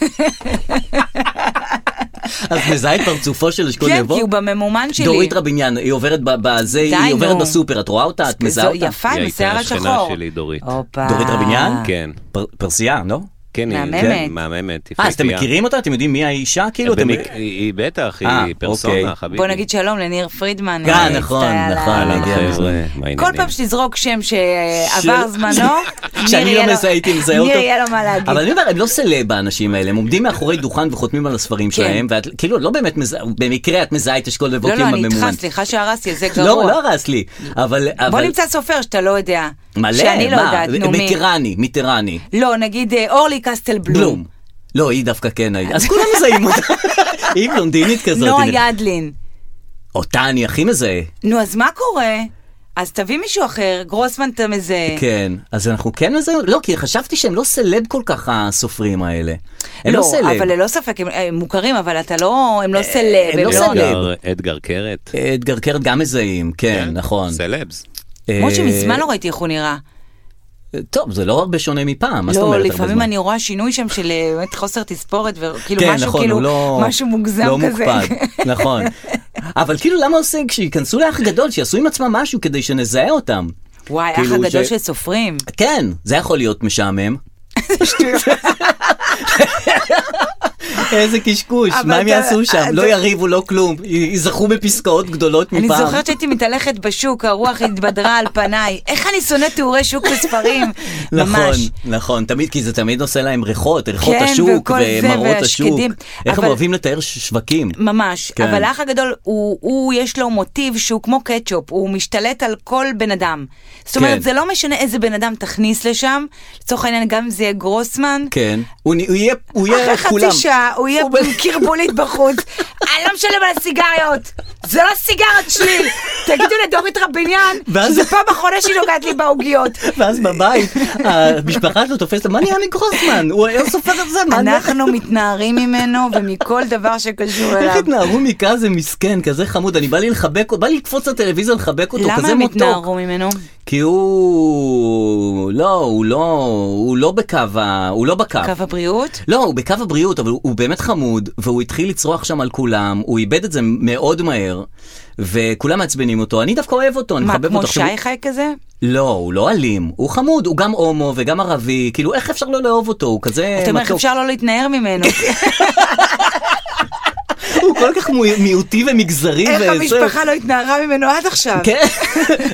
Speaker 2: את מזהה את פרצופו של אשכול
Speaker 3: כן,
Speaker 2: נבו?
Speaker 3: כי הוא בממומן שלי.
Speaker 2: דורית רביניאן, היא עוברת ב- בזה,
Speaker 3: די,
Speaker 2: היא עוברת
Speaker 3: נו.
Speaker 2: בסופר, את רואה אותה? את
Speaker 3: זו
Speaker 2: מזהה אותה?
Speaker 3: יפה,
Speaker 4: היא
Speaker 3: עם
Speaker 4: הייתה
Speaker 3: השיער
Speaker 4: השכנה
Speaker 3: השחור.
Speaker 4: שלי, דורית.
Speaker 3: הופה.
Speaker 2: דורית רביניאן?
Speaker 4: כן.
Speaker 2: פר- פרסייה, לא?
Speaker 4: כן, היא-
Speaker 3: מהממת.
Speaker 4: כן, מהממת.
Speaker 2: אה,
Speaker 4: יפהפייה.
Speaker 2: אז אתם מכירים אותה? אתם יודעים מי האישה? כאילו, אתם...
Speaker 4: באמת, היא היא בטח,
Speaker 2: אה,
Speaker 4: היא
Speaker 2: אוקיי.
Speaker 4: פרסונה, חביבי.
Speaker 3: בוא נגיד שלום לניר פרידמן.
Speaker 2: אה,
Speaker 3: אני
Speaker 2: נכון,
Speaker 3: מצטער
Speaker 2: נכון,
Speaker 3: על ה-
Speaker 4: אהלן
Speaker 2: הגיע הזמן.
Speaker 4: חבר'ה, מה העניינים?
Speaker 3: כל פעם שתזרוק שם שעבר
Speaker 2: של-
Speaker 3: אה, זמנו, ניר
Speaker 2: שאני
Speaker 3: יהיה
Speaker 2: לא
Speaker 3: לו-
Speaker 2: מזהה, הייתי מזהה אותו.
Speaker 3: ניר יהיה לו מה להגיד.
Speaker 2: אבל אני אומר, הם לא סלב האנשים האלה, הם עומדים מאחורי דוכן וחותמים על הספרים שלהם, ואת כאילו לא באמת מזהה, במקרה את מזהה את אשכול
Speaker 3: כן. לא,
Speaker 2: לבוקים
Speaker 3: לא,
Speaker 2: בממומן.
Speaker 3: אני איתך, סליחה שהרסתי, זה גרוע.
Speaker 2: לא, לא הרס לי, אבל...
Speaker 3: בוא
Speaker 2: אבל-
Speaker 3: נמצא סופר שאתה לא יודע.
Speaker 2: מלא,
Speaker 3: שאני לא
Speaker 2: מה?
Speaker 3: יודעת, נו מי.
Speaker 2: מיטרני, מיטרני.
Speaker 3: לא, נגיד אה, אורלי קסטל בלום.
Speaker 2: בלום. לא, היא דווקא כן הייתה. אז כולם מזהים אותה. היא בלונדינית כזאת.
Speaker 3: נועה
Speaker 2: הנה.
Speaker 3: ידלין.
Speaker 2: אותה אני הכי מזהה.
Speaker 3: נו, אז מה קורה? אז תביא מישהו אחר, גרוסמן אתה מזהה.
Speaker 2: כן. אז אנחנו כן מזהים? לא, כי חשבתי שהם לא סלב כל כך, הסופרים האלה. הם לא
Speaker 3: לא,
Speaker 2: סלב.
Speaker 3: אבל ללא ספק הם- הם מוכרים, אבל אתה לא, הם לא סלב.
Speaker 2: הם לא
Speaker 4: אדגר-
Speaker 2: סלב.
Speaker 4: אדגר קרת.
Speaker 2: אדגר קרת גם מזהים, כן, נכון.
Speaker 4: סלבס.
Speaker 2: אה,
Speaker 3: למרות שמזמן לא ראיתי איך הוא נראה.
Speaker 2: טוב, זה לא הרבה שונה מפעם, מה זאת
Speaker 3: לא,
Speaker 2: אומרת?
Speaker 3: לפעמים
Speaker 2: הרבה
Speaker 3: אני רואה שינוי שם של אה, באמת חוסר תספורת,
Speaker 2: זמן?
Speaker 3: וכאילו
Speaker 2: כן,
Speaker 3: משהו,
Speaker 2: נכון,
Speaker 3: כאילו,
Speaker 2: הוא לא...
Speaker 3: משהו מוגזם
Speaker 2: לא
Speaker 3: כזה.
Speaker 2: מוקפד, נכון. אבל כאילו, למה עושים, כשייכנסו לאח הגדול, שיעשו עם עצמם משהו כדי שנזהה אותם.
Speaker 3: וואי,
Speaker 2: כאילו
Speaker 3: אח הגדול
Speaker 2: ש-
Speaker 3: של סופרים.
Speaker 2: כן, זה יכול להיות משעמם. איזה קשקוש,
Speaker 3: אבל
Speaker 2: מה הם
Speaker 3: אתה-
Speaker 2: יעשו שם?
Speaker 3: אתה-
Speaker 2: לא יריבו, לא כלום. י- ייזכרו בפסקאות גדולות
Speaker 3: אני
Speaker 2: מפעם.
Speaker 3: זוכרת שהייתי מתהלכת בשוק, הרוח התבדרה על פניי. איך אני שונאת תיאורי שוק בספרים.
Speaker 2: נכון,
Speaker 3: ממש.
Speaker 2: נכון, תמיד, כי זה תמיד עושה להם ריחות, ריחות
Speaker 3: כן,
Speaker 2: השוק
Speaker 3: וכל זה,
Speaker 2: ומראות השוק.
Speaker 3: והשקדים.
Speaker 2: איך הם
Speaker 3: אבל-
Speaker 2: אוהבים לתאר ש- שווקים.
Speaker 3: ממש,
Speaker 2: כן.
Speaker 3: כן. אבל האח הגדול, הוא, הוא יש לו מוטיב שהוא כמו קטשופ, הוא משתלט על כל בן אדם. זאת אומרת,
Speaker 2: כן.
Speaker 3: זה לא משנה איזה בן אדם תכניס לשם, לצורך העניין גם אם זה יהיה גרוסמן.
Speaker 2: כן. הוא נ- הוא יהיה, הוא יהיה
Speaker 3: אחרי
Speaker 2: כולם.
Speaker 3: חצי שעה הוא יהיה עם קרבולית בחוץ, אני לא משלם על הסיגריות, זה לא סיגרת שלי, תגידו לדורית רביניאן,
Speaker 2: ואז-
Speaker 3: שזה פעם אחרונה שהיא נוגעת לי בעוגיות.
Speaker 2: ואז בבית, המשפחה שלו תופסת, מה נהיה מגרוסמן? הוא היה סופר את זה, מה לא- נהיה?
Speaker 3: אנחנו מתנערים ממנו ומכל דבר שקשור
Speaker 2: איך
Speaker 3: אליו.
Speaker 2: התנערו מכזה מסכן, כזה חמוד, אני בא לי לחבק אותו, בא לי לקפוץ לטלוויזיה לחבק אותו,
Speaker 3: למה
Speaker 2: כזה
Speaker 3: הם
Speaker 2: מתוק.
Speaker 3: התנערו ממנו?
Speaker 2: כי הוא... לא, הוא לא, הוא לא בקו ה... הוא לא בקו.
Speaker 3: קו הבריאות?
Speaker 2: לא, הוא בקו הבריאות, אבל הוא, הוא באמת חמוד, והוא התחיל לצרוח שם על כולם, הוא איבד את זה מאוד מהר, וכולם מעצבנים אותו, אני דווקא אוהב אותו, אני
Speaker 3: מה,
Speaker 2: מחבב
Speaker 3: כמו
Speaker 2: אותו. עכשיו, הוא-
Speaker 3: שי חי כזה?
Speaker 2: לא, הוא לא אלים, הוא חמוד, הוא גם הומו וגם ערבי, כאילו איך אפשר לא לאהוב אותו, הוא כזה...
Speaker 3: אתה אומר איך
Speaker 2: מתוק.
Speaker 3: אפשר לא להתנער ממנו?
Speaker 2: הוא כל כך מי- מיעוטי ומגזרי
Speaker 3: איך
Speaker 2: וזה.
Speaker 3: המשפחה לא התנערה ממנו עד עכשיו?
Speaker 2: כן,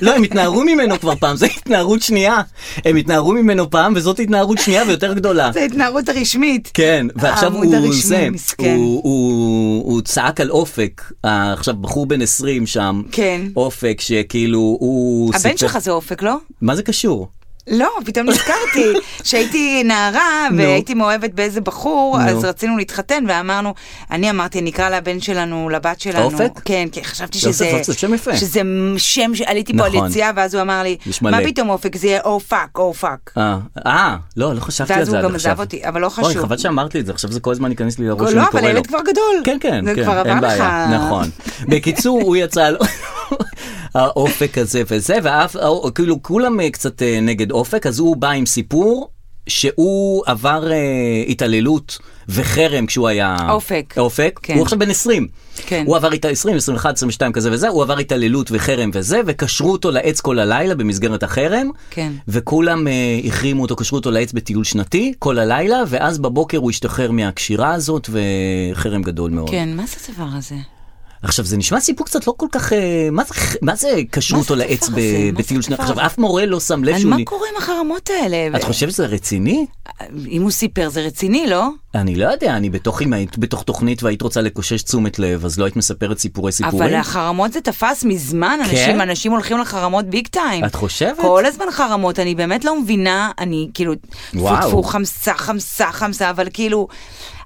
Speaker 2: לא, הם התנערו ממנו כבר פעם, זו התנערות שנייה. הם התנערו ממנו פעם, וזאת התנערות שנייה ויותר גדולה.
Speaker 3: זו ההתנערות הרשמית.
Speaker 2: כן, ועכשיו
Speaker 3: העמוד
Speaker 2: הוא
Speaker 3: הרשמי,
Speaker 2: זה,
Speaker 3: מסכן.
Speaker 2: הוא, הוא, הוא צעק על אופק, אה, עכשיו בחור בן 20 שם,
Speaker 3: כן.
Speaker 2: אופק שכאילו הוא
Speaker 3: הבן שלך זה אופק, לא?
Speaker 2: מה זה קשור?
Speaker 3: לא, פתאום נזכרתי שהייתי נערה
Speaker 2: נו.
Speaker 3: והייתי מאוהבת באיזה בחור,
Speaker 2: נו.
Speaker 3: אז רצינו להתחתן ואמרנו, אני אמרתי, נקרא לבן שלנו, לבת שלנו.
Speaker 2: אופק?
Speaker 3: כן, כי חשבתי
Speaker 2: יוסף,
Speaker 3: שזה...
Speaker 2: אופק זה שם יפה.
Speaker 3: שזה שם, ש- עליתי פה על
Speaker 2: נכון.
Speaker 3: יציאה, ואז הוא אמר לי,
Speaker 2: נשמע
Speaker 3: מה
Speaker 2: לב."
Speaker 3: פתאום אופק, זה יהיה "Oh, או פאק, או פאק.
Speaker 2: אה, אה, לא, לא חשבתי
Speaker 3: ואז
Speaker 2: על זה
Speaker 3: הוא
Speaker 2: עד
Speaker 3: גם
Speaker 2: עכשיו.
Speaker 3: עזב אותי, אבל לא
Speaker 2: אוי,
Speaker 3: חשוב.
Speaker 2: חבל שאמרת לי את זה, עכשיו זה כל הזמן ייכנס לי לראש
Speaker 3: לא,
Speaker 2: שאני
Speaker 3: אבל
Speaker 2: קורא לו.
Speaker 3: הילד כבר גדול.
Speaker 2: כן, כן,
Speaker 3: זה
Speaker 2: כן,
Speaker 3: כבר עבר
Speaker 2: אין בעיה,
Speaker 3: לך.
Speaker 2: נכון. בקיצור, הוא יצא על האופק הזה וזה, ואף, כאילו, כולם אה, קצת אה, נגד אופק, אז הוא בא עם סיפור שהוא עבר אה, התעללות וחרם כשהוא היה...
Speaker 3: אופק.
Speaker 2: אופק.
Speaker 3: כן.
Speaker 2: הוא עכשיו בן 20.
Speaker 3: כן.
Speaker 2: הוא עבר איתה 20, 21, 22 כזה וזה, הוא עבר התעללות וחרם וזה, וקשרו אותו לעץ כל הלילה במסגרת החרם.
Speaker 3: כן.
Speaker 2: וכולם אה, החרימו אותו, קשרו אותו לעץ בטיול שנתי כל הלילה, ואז בבוקר הוא השתחרר מהקשירה הזאת, וחרם גדול מאוד.
Speaker 3: כן, מה זה הדבר הזה?
Speaker 2: עכשיו, זה נשמע סיפור קצת לא כל כך... אה, מה זה, ח- מה זה קשרו
Speaker 3: מה זה
Speaker 2: אותו לעץ
Speaker 3: הדבר
Speaker 2: ב-
Speaker 3: הזה? מה זה
Speaker 2: בטיול שנתי?
Speaker 3: הדבר
Speaker 2: עכשיו,
Speaker 3: הזה?
Speaker 2: אף מורה לא שם לב
Speaker 3: על
Speaker 2: שהוא...
Speaker 3: מה
Speaker 2: נ-
Speaker 3: קורה עם החרמות האלה?
Speaker 2: את חושבת שזה רציני?
Speaker 3: אם הוא סיפר, זה רציני, לא?
Speaker 2: אני לא יודע, אני בתוך, אם היית בתוך תוכנית והיית רוצה לקושש תשומת לב, אז לא היית מספרת סיפורי סיפורים?
Speaker 3: אבל החרמות זה תפס מזמן,
Speaker 2: כן?
Speaker 3: אנשים, אנשים הולכים לחרמות ביג טיים.
Speaker 2: את חושבת?
Speaker 3: כל הזמן חרמות, אני באמת לא מבינה, אני כאילו,
Speaker 2: וואו.
Speaker 3: טפו טפו חמסה, חמסה, חמסה, אבל כאילו,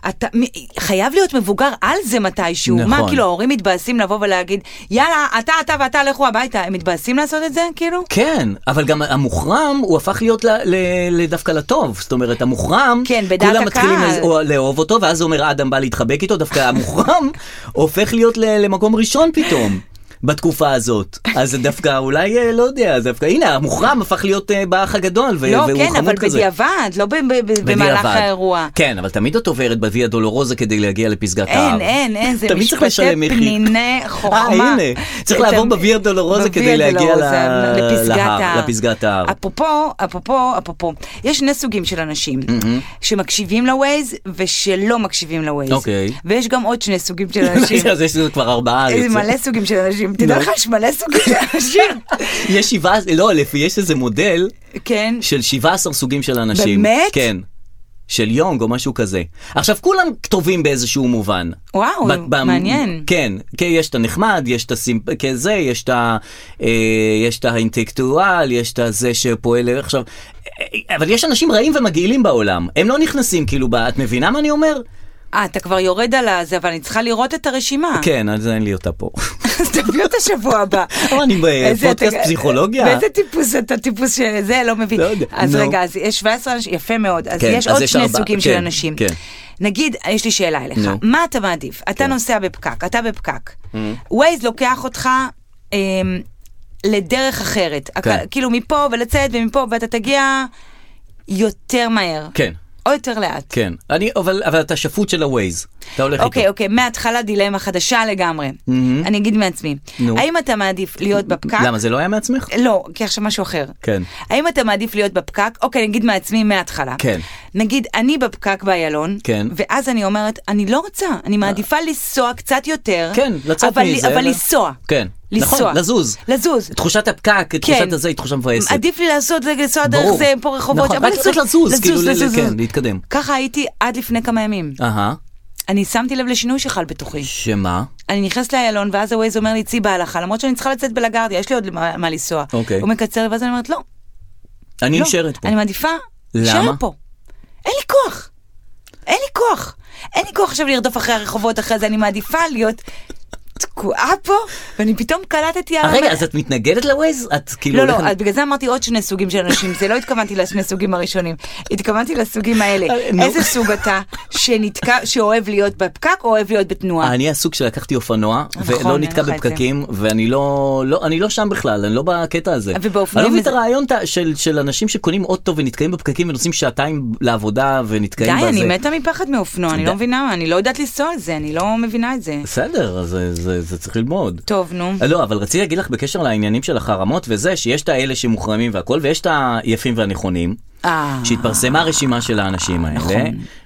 Speaker 3: אתה מ- חייב להיות מבוגר על זה מתישהו.
Speaker 2: נכון.
Speaker 3: מה, כאילו ההורים מתבאסים לבוא ולהגיד, יאללה, אתה, אתה ואתה לכו הביתה, הם מתבאסים לעשות את זה, כאילו?
Speaker 2: כן, אבל גם המוחרם הוא הפך להיות ל, ל, לדווקא לטוב. זאת אומרת, המוחרם,
Speaker 3: כן, בדעת
Speaker 2: כולם
Speaker 3: הקהל.
Speaker 2: מתחילים לאז- או, לאהוב אותו, ואז אומר אדם בא להתחבק איתו, דווקא המוחרם הופך להיות ל, למקום ראשון פתאום. בתקופה הזאת, אז זה דווקא אולי, אה, לא יודע, זה דווקא, הנה, המוחרם הפך להיות אה, באח הגדול, ו-
Speaker 3: לא,
Speaker 2: והוא
Speaker 3: כן,
Speaker 2: חמוד
Speaker 3: אבל
Speaker 2: כזה.
Speaker 3: בדיעבד, לא ב- ב- ב- במהלך
Speaker 2: בדיעבד.
Speaker 3: האירוע.
Speaker 2: כן, אבל תמיד את עוברת בוויה דולורוזה כדי להגיע לפסגת ההר.
Speaker 3: אין, אין, אין, זה
Speaker 2: תמיד צריך
Speaker 3: משפטי
Speaker 2: לשלם מחיר.
Speaker 3: פניני חוכמה.
Speaker 2: הנה, צריך
Speaker 3: זה
Speaker 2: לעבור
Speaker 3: תמיד-
Speaker 2: בוויה דולורוזה
Speaker 3: בוויה
Speaker 2: כדי להגיע
Speaker 3: דולורוזה,
Speaker 2: ל-
Speaker 3: לפסגת
Speaker 2: להר,
Speaker 3: ההר.
Speaker 2: לפסגת ההר.
Speaker 3: אפרופו, אפרופו, אפרופו, יש שני סוגים של אנשים, שמקשיבים לווייז ושלא מקשיבים לווייז.
Speaker 2: אוקיי. לא,
Speaker 3: ויש גם עוד שני סוגים של אנשים.
Speaker 2: אז יש לנו כבר ארבעה.
Speaker 3: איזה
Speaker 2: יוצא.
Speaker 3: מלא סוגים של אנשים, תדע
Speaker 2: נו.
Speaker 3: לך יש מלא סוגים של אנשים.
Speaker 2: יש שבעה, לא, לפי, יש איזה מודל
Speaker 3: כן,
Speaker 2: של 17 סוגים של אנשים.
Speaker 3: באמת?
Speaker 2: כן. של יונג או משהו כזה. עכשיו, כולם כתובים באיזשהו מובן.
Speaker 3: וואו, מעניין.
Speaker 2: כן, כי יש את הנחמד, יש את הסימפ... כזה, יש את ה... אה, יש את האינטלקטואל, יש את הזה שפועל... עכשיו... אה, אבל יש אנשים רעים ומגעילים בעולם. הם לא נכנסים, כאילו, ב... את מבינה מה אני אומר?
Speaker 3: אה, אתה כבר יורד על הזה, אבל אני צריכה לראות את הרשימה.
Speaker 2: כן, אז אין לי אותה פה.
Speaker 3: אז תביא אותה שבוע הבא.
Speaker 2: אבל אני
Speaker 3: איזה-
Speaker 2: בפודקאסט
Speaker 3: אתה-
Speaker 2: פסיכולוגיה.
Speaker 3: באיזה טיפוס אתה טיפוס שזה לא מבין.
Speaker 2: לא יודע,
Speaker 3: אז
Speaker 2: נו.
Speaker 3: רגע, אז יש 17 אנשים, יפה מאוד. אז
Speaker 2: כן,
Speaker 3: יש
Speaker 2: אז
Speaker 3: עוד
Speaker 2: יש
Speaker 3: שני
Speaker 2: ארבע,
Speaker 3: סוגים
Speaker 2: כן,
Speaker 3: של אנשים.
Speaker 2: כן.
Speaker 3: נגיד, יש לי שאלה אליך,
Speaker 2: נו. כן. Mm.
Speaker 3: מה אתה מעדיף? אתה נוסע בפקק, אתה בפקק. ווייז לוקח אותך... אמ, לדרך אחרת, הכ-
Speaker 2: כן.
Speaker 3: כאילו מפה ולצאת ומפה ואתה תגיע יותר מהר,
Speaker 2: כן,
Speaker 3: או יותר לאט.
Speaker 2: כן. אני, אבל, אבל אתה שפוט של הווייז. אתה הולך איתו.
Speaker 3: אוקיי, אוקיי, מההתחלה דילמה חדשה לגמרי. אני אגיד מעצמי,
Speaker 2: נו.
Speaker 3: האם אתה מעדיף להיות בפקק?
Speaker 2: למה, זה לא היה מעצמך?
Speaker 3: לא, כי עכשיו משהו אחר.
Speaker 2: כן.
Speaker 3: האם אתה מעדיף להיות בפקק? אוקיי, נגיד מעצמי מההתחלה.
Speaker 2: כן.
Speaker 3: נגיד, אני בפקק באיילון,
Speaker 2: כן. אה.
Speaker 3: ואז אני אומרת, אני לא רוצה, אני מעדיפה לנסוע קצת יותר.
Speaker 2: כן, לצאת
Speaker 3: אבל-
Speaker 2: מזה,
Speaker 3: אבל
Speaker 2: אלא-
Speaker 3: לנסוע.
Speaker 2: כן.
Speaker 3: לנסוע.
Speaker 2: נכון, לזוז.
Speaker 3: לזוז.
Speaker 2: תחושת הפקק, תחושת הזה היא תחושה מבאסת.
Speaker 3: כן. עדיף לי לעשות, לנסוע דרך
Speaker 2: ברור.
Speaker 3: זה, פה רחובות.
Speaker 2: נכון,
Speaker 3: אבל
Speaker 2: רק צריך לזוז, כאילו, ל-
Speaker 3: לזוז,
Speaker 2: כן,
Speaker 3: לזוז.
Speaker 2: להתקדם.
Speaker 3: ככה הייתי עד לפני כמה ימים.
Speaker 2: אהה,
Speaker 3: אני שמתי לב לשינוי שחל בתוכי.
Speaker 2: שמה?
Speaker 3: אני נכנסת לאיילון, ואז הווייז אומר לי, צאי בהלכה, למרות שאני צריכה לצאת בלגרדיה, יש לי עוד מה מה לנסוע.
Speaker 2: אוקיי.
Speaker 3: הוא מקצר, ואז אני אומרת, לא,
Speaker 2: אני
Speaker 3: לא,
Speaker 2: נשארת פה.
Speaker 3: אני מעדיפה...
Speaker 2: למה?
Speaker 3: נשארת פה. אין לי כוח. אין לי כוח. אין לי כוח עכשיו לרדוף אחרי הרחובות אחרי זה, אני מעדיפה להיות תקועה פה, ואני פתאום קלטתי על...
Speaker 2: אה, רגע,
Speaker 3: המ-
Speaker 2: אז את מתנגדת לווייז? את כאילו...
Speaker 3: לא, לא,
Speaker 2: הולכת-
Speaker 3: אז בגלל זה אמרתי עוד שני סוגים של אנשים, זה לא התכוונתי לשני סוגים הראשונים, התכוונתי לסוגים האלה.
Speaker 2: אה, נו.
Speaker 3: איזה סוג אתה שנתקע, שאוהב להיות בפקק או אוהב להיות בתנועה?
Speaker 2: אני הסוג שלקחתי אופנוע,
Speaker 3: נכון,
Speaker 2: ולא
Speaker 3: אין
Speaker 2: נתקע
Speaker 3: לך את זה.
Speaker 2: בפקקים, ואני לא, לא, אני לא שם בכלל, אני לא בקטע הזה.
Speaker 3: ובאופנועים
Speaker 2: אני לא מבין את
Speaker 3: איזה-
Speaker 2: הרעיון ת- של, של אנשים שקונים אוטו ונתקעים בפקקים ונוסעים שעתיים לעבודה ונתקעים
Speaker 3: די,
Speaker 2: בזה.
Speaker 3: אני מתה מפחד מאופנוע, אני
Speaker 2: ד-
Speaker 3: לא מבינה, אני לא יודעת לנסוע על זה, אני לא מבינה את זה.
Speaker 2: בסדר, אז זה, זה, זה צריך ללמוד.
Speaker 3: טוב, נו.
Speaker 2: לא, אבל רציתי להגיד לך בקשר לעניינים של החרמות וזה, שיש את האלה שמוחרמים והכל, ויש את היפים והנכונים.
Speaker 3: אה.
Speaker 2: שהתפרסמה הרשימה של האנשים האלה,
Speaker 3: נכון.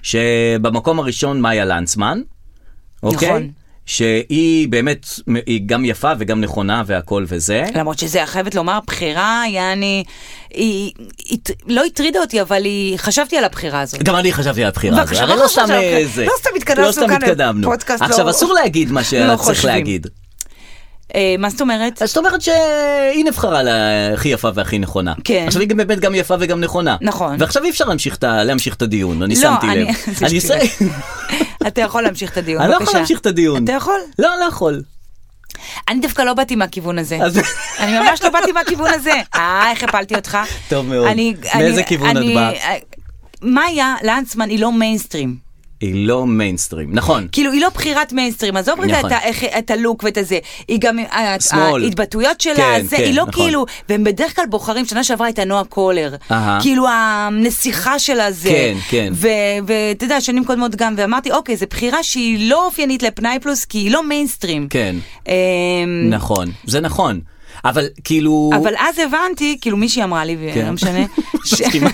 Speaker 2: שבמקום הראשון מאיה לנצמן, אוקיי?
Speaker 3: נכון.
Speaker 2: שהיא באמת, היא גם יפה וגם נכונה והכל וזה.
Speaker 3: למרות שזה, אני חייבת לומר, בחירה, יעני, היא, היא, היא לא הטרידה אותי, אבל היא, חשבתי על הבחירה הזאת.
Speaker 2: גם אני חשבתי על הבחירה הזאת,
Speaker 3: בבקשה,
Speaker 2: הרי
Speaker 3: לא
Speaker 2: לא סתם
Speaker 3: חשבתי על
Speaker 2: אה,
Speaker 3: הבחירה.
Speaker 2: זה.
Speaker 3: לא סתם התכנסנו
Speaker 2: לא סתם
Speaker 3: כאן
Speaker 2: התקדמנו.
Speaker 3: לפודקאסט,
Speaker 2: עכשיו
Speaker 3: לא-
Speaker 2: אסור להגיד מה
Speaker 3: לא
Speaker 2: שצריך
Speaker 3: חושבים.
Speaker 2: להגיד.
Speaker 3: אה, מה זאת אומרת?
Speaker 2: אז זאת אומרת שהיא נבחרה להכי יפה והכי נכונה.
Speaker 3: כן.
Speaker 2: עכשיו היא גם באמת גם יפה וגם נכונה.
Speaker 3: נכון.
Speaker 2: ועכשיו אי אפשר להמשיך את ה- להמשיך את הדיון, אני
Speaker 3: לא,
Speaker 2: שמתי לב.
Speaker 3: אני- זה
Speaker 2: אני
Speaker 3: שטויות.
Speaker 2: ש-
Speaker 3: אתה יכול להמשיך את הדיון,
Speaker 2: אני לא יכול
Speaker 3: בבקשה.
Speaker 2: להמשיך את הדיון.
Speaker 3: אתה יכול?
Speaker 2: לא, לא יכול.
Speaker 3: אני דווקא לא באתי מהכיוון הזה.
Speaker 2: אז-
Speaker 3: אני ממש לא באתי מהכיוון הזה. אה, איך הפלתי אותך.
Speaker 2: טוב מאוד.
Speaker 3: אני-
Speaker 2: מאיזה
Speaker 3: אני-
Speaker 2: כיוון את
Speaker 3: אני-
Speaker 2: באה?
Speaker 3: אה, מאיה לנצמן היא לא מיינסטרים.
Speaker 2: היא לא מיינסטרים, נכון.
Speaker 3: כאילו, היא לא בחירת מיינסטרים, עזוב רגע
Speaker 2: נכון.
Speaker 3: את ה- איך- את הלוק ואת הזה. היא גם, אה, ה-
Speaker 2: שמאל.
Speaker 3: ההתבטאויות שלה,
Speaker 2: כן,
Speaker 3: זה,
Speaker 2: כן,
Speaker 3: היא לא
Speaker 2: נכון.
Speaker 3: כאילו, והם בדרך כלל בוחרים, שנה שעברה הייתה נועה קולר.
Speaker 2: אהה.
Speaker 3: כאילו, הנסיכה שלה זה.
Speaker 2: כן, כן.
Speaker 3: ו- ואתה יודע, שנים קודמות גם, ואמרתי, אוקיי, זו בחירה שהיא לא אופיינית לפנאי פלוס, כי היא לא מיינסטרים.
Speaker 2: כן.
Speaker 3: אמ,
Speaker 2: נכון, זה נכון. אבל כאילו...
Speaker 3: אבל אז הבנתי, כאילו מישהי אמרה לי,
Speaker 2: כן.
Speaker 3: ולא משנה, ש-
Speaker 2: מסכימה.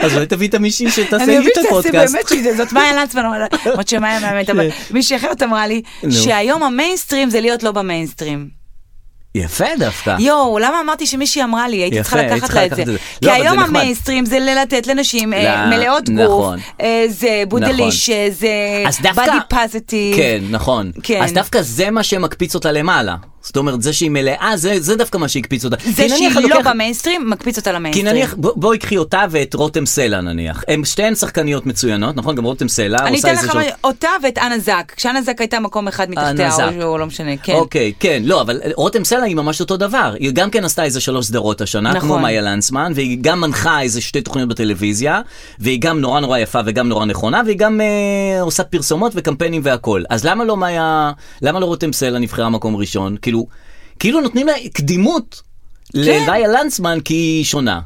Speaker 2: אז אולי תביא את המישהי שתעשה
Speaker 3: אני
Speaker 2: לי
Speaker 3: מבין
Speaker 2: את
Speaker 3: שתעשה
Speaker 2: הפודקאסט.
Speaker 3: באמת שזה, זאת מאיה לנצמן, אבל- למרות שמאיה מאמנת, אבל מישהי אחרת אמרה לי,
Speaker 2: כן. נו.
Speaker 3: שהיום המיינסטרים זה להיות לא במיינסטרים.
Speaker 2: יפה דווקא.
Speaker 3: יואו, למה אמרתי שמישהי אמרה לי, הייתי
Speaker 2: אה. יפה,
Speaker 3: צריכה
Speaker 2: היית
Speaker 3: לקחת
Speaker 2: צריכה
Speaker 3: לה את זה.
Speaker 2: לקחת את זה.
Speaker 3: כי
Speaker 2: לא, אבל זה
Speaker 3: היום
Speaker 2: נחמד.
Speaker 3: המיינסטרים זה ללתת לנשים אה,
Speaker 2: ל-
Speaker 3: מלאות גוף,
Speaker 2: נכון.
Speaker 3: אה, זה בודליש, אה, זה
Speaker 2: אז דווקא...
Speaker 3: בדי פזיטיב.
Speaker 2: כן, נכון.
Speaker 3: כן.
Speaker 2: אז דווקא זה מה שמקפיץ אותה למעלה. זאת אומרת, זה שהיא מלאה, זה, זה דווקא מה שהקפיץ אותה. כי
Speaker 3: זה
Speaker 2: נניח
Speaker 3: שהיא
Speaker 2: את
Speaker 3: לא
Speaker 2: לוקחת-
Speaker 3: במיינסטרים, מקפיץ אותה
Speaker 2: כי
Speaker 3: למיינסטרים.
Speaker 2: נניח, בוא- בואי קחי אותה ואת רותם סלע נניח. הן שתיהן שחקניות מצוינות, נכון? גם רותם סלע
Speaker 3: אני
Speaker 2: עושה
Speaker 3: אתן
Speaker 2: איזה...
Speaker 3: לך
Speaker 2: שהוא-
Speaker 3: מה- אותה ואת אנה זק, כשאנה זק הייתה מקום אחד מתחתיה,
Speaker 2: אנה זק.
Speaker 3: או- או לא משנה, כן.
Speaker 2: אוקיי, כן, לא, אבל רותם סלע היא ממש אותו דבר. היא גם כן עשתה איזה שלוש סדרות השנה,
Speaker 3: נכון.
Speaker 2: כמו מאיה לנצמן, והיא גם מנחה איזה שתי תוכניות בטלוויזיה, והיא גם נורא נורא יפה וגם נורא נכונה, והיא גם אה, עושה פרסומות וקמפיינים והכול. אז למה לא מאיה, למה לא רותם סלע נבחרה מקום ראשון? כאילו, כאילו נותנים לה קדימות למאיה לנצמן כי היא שונה.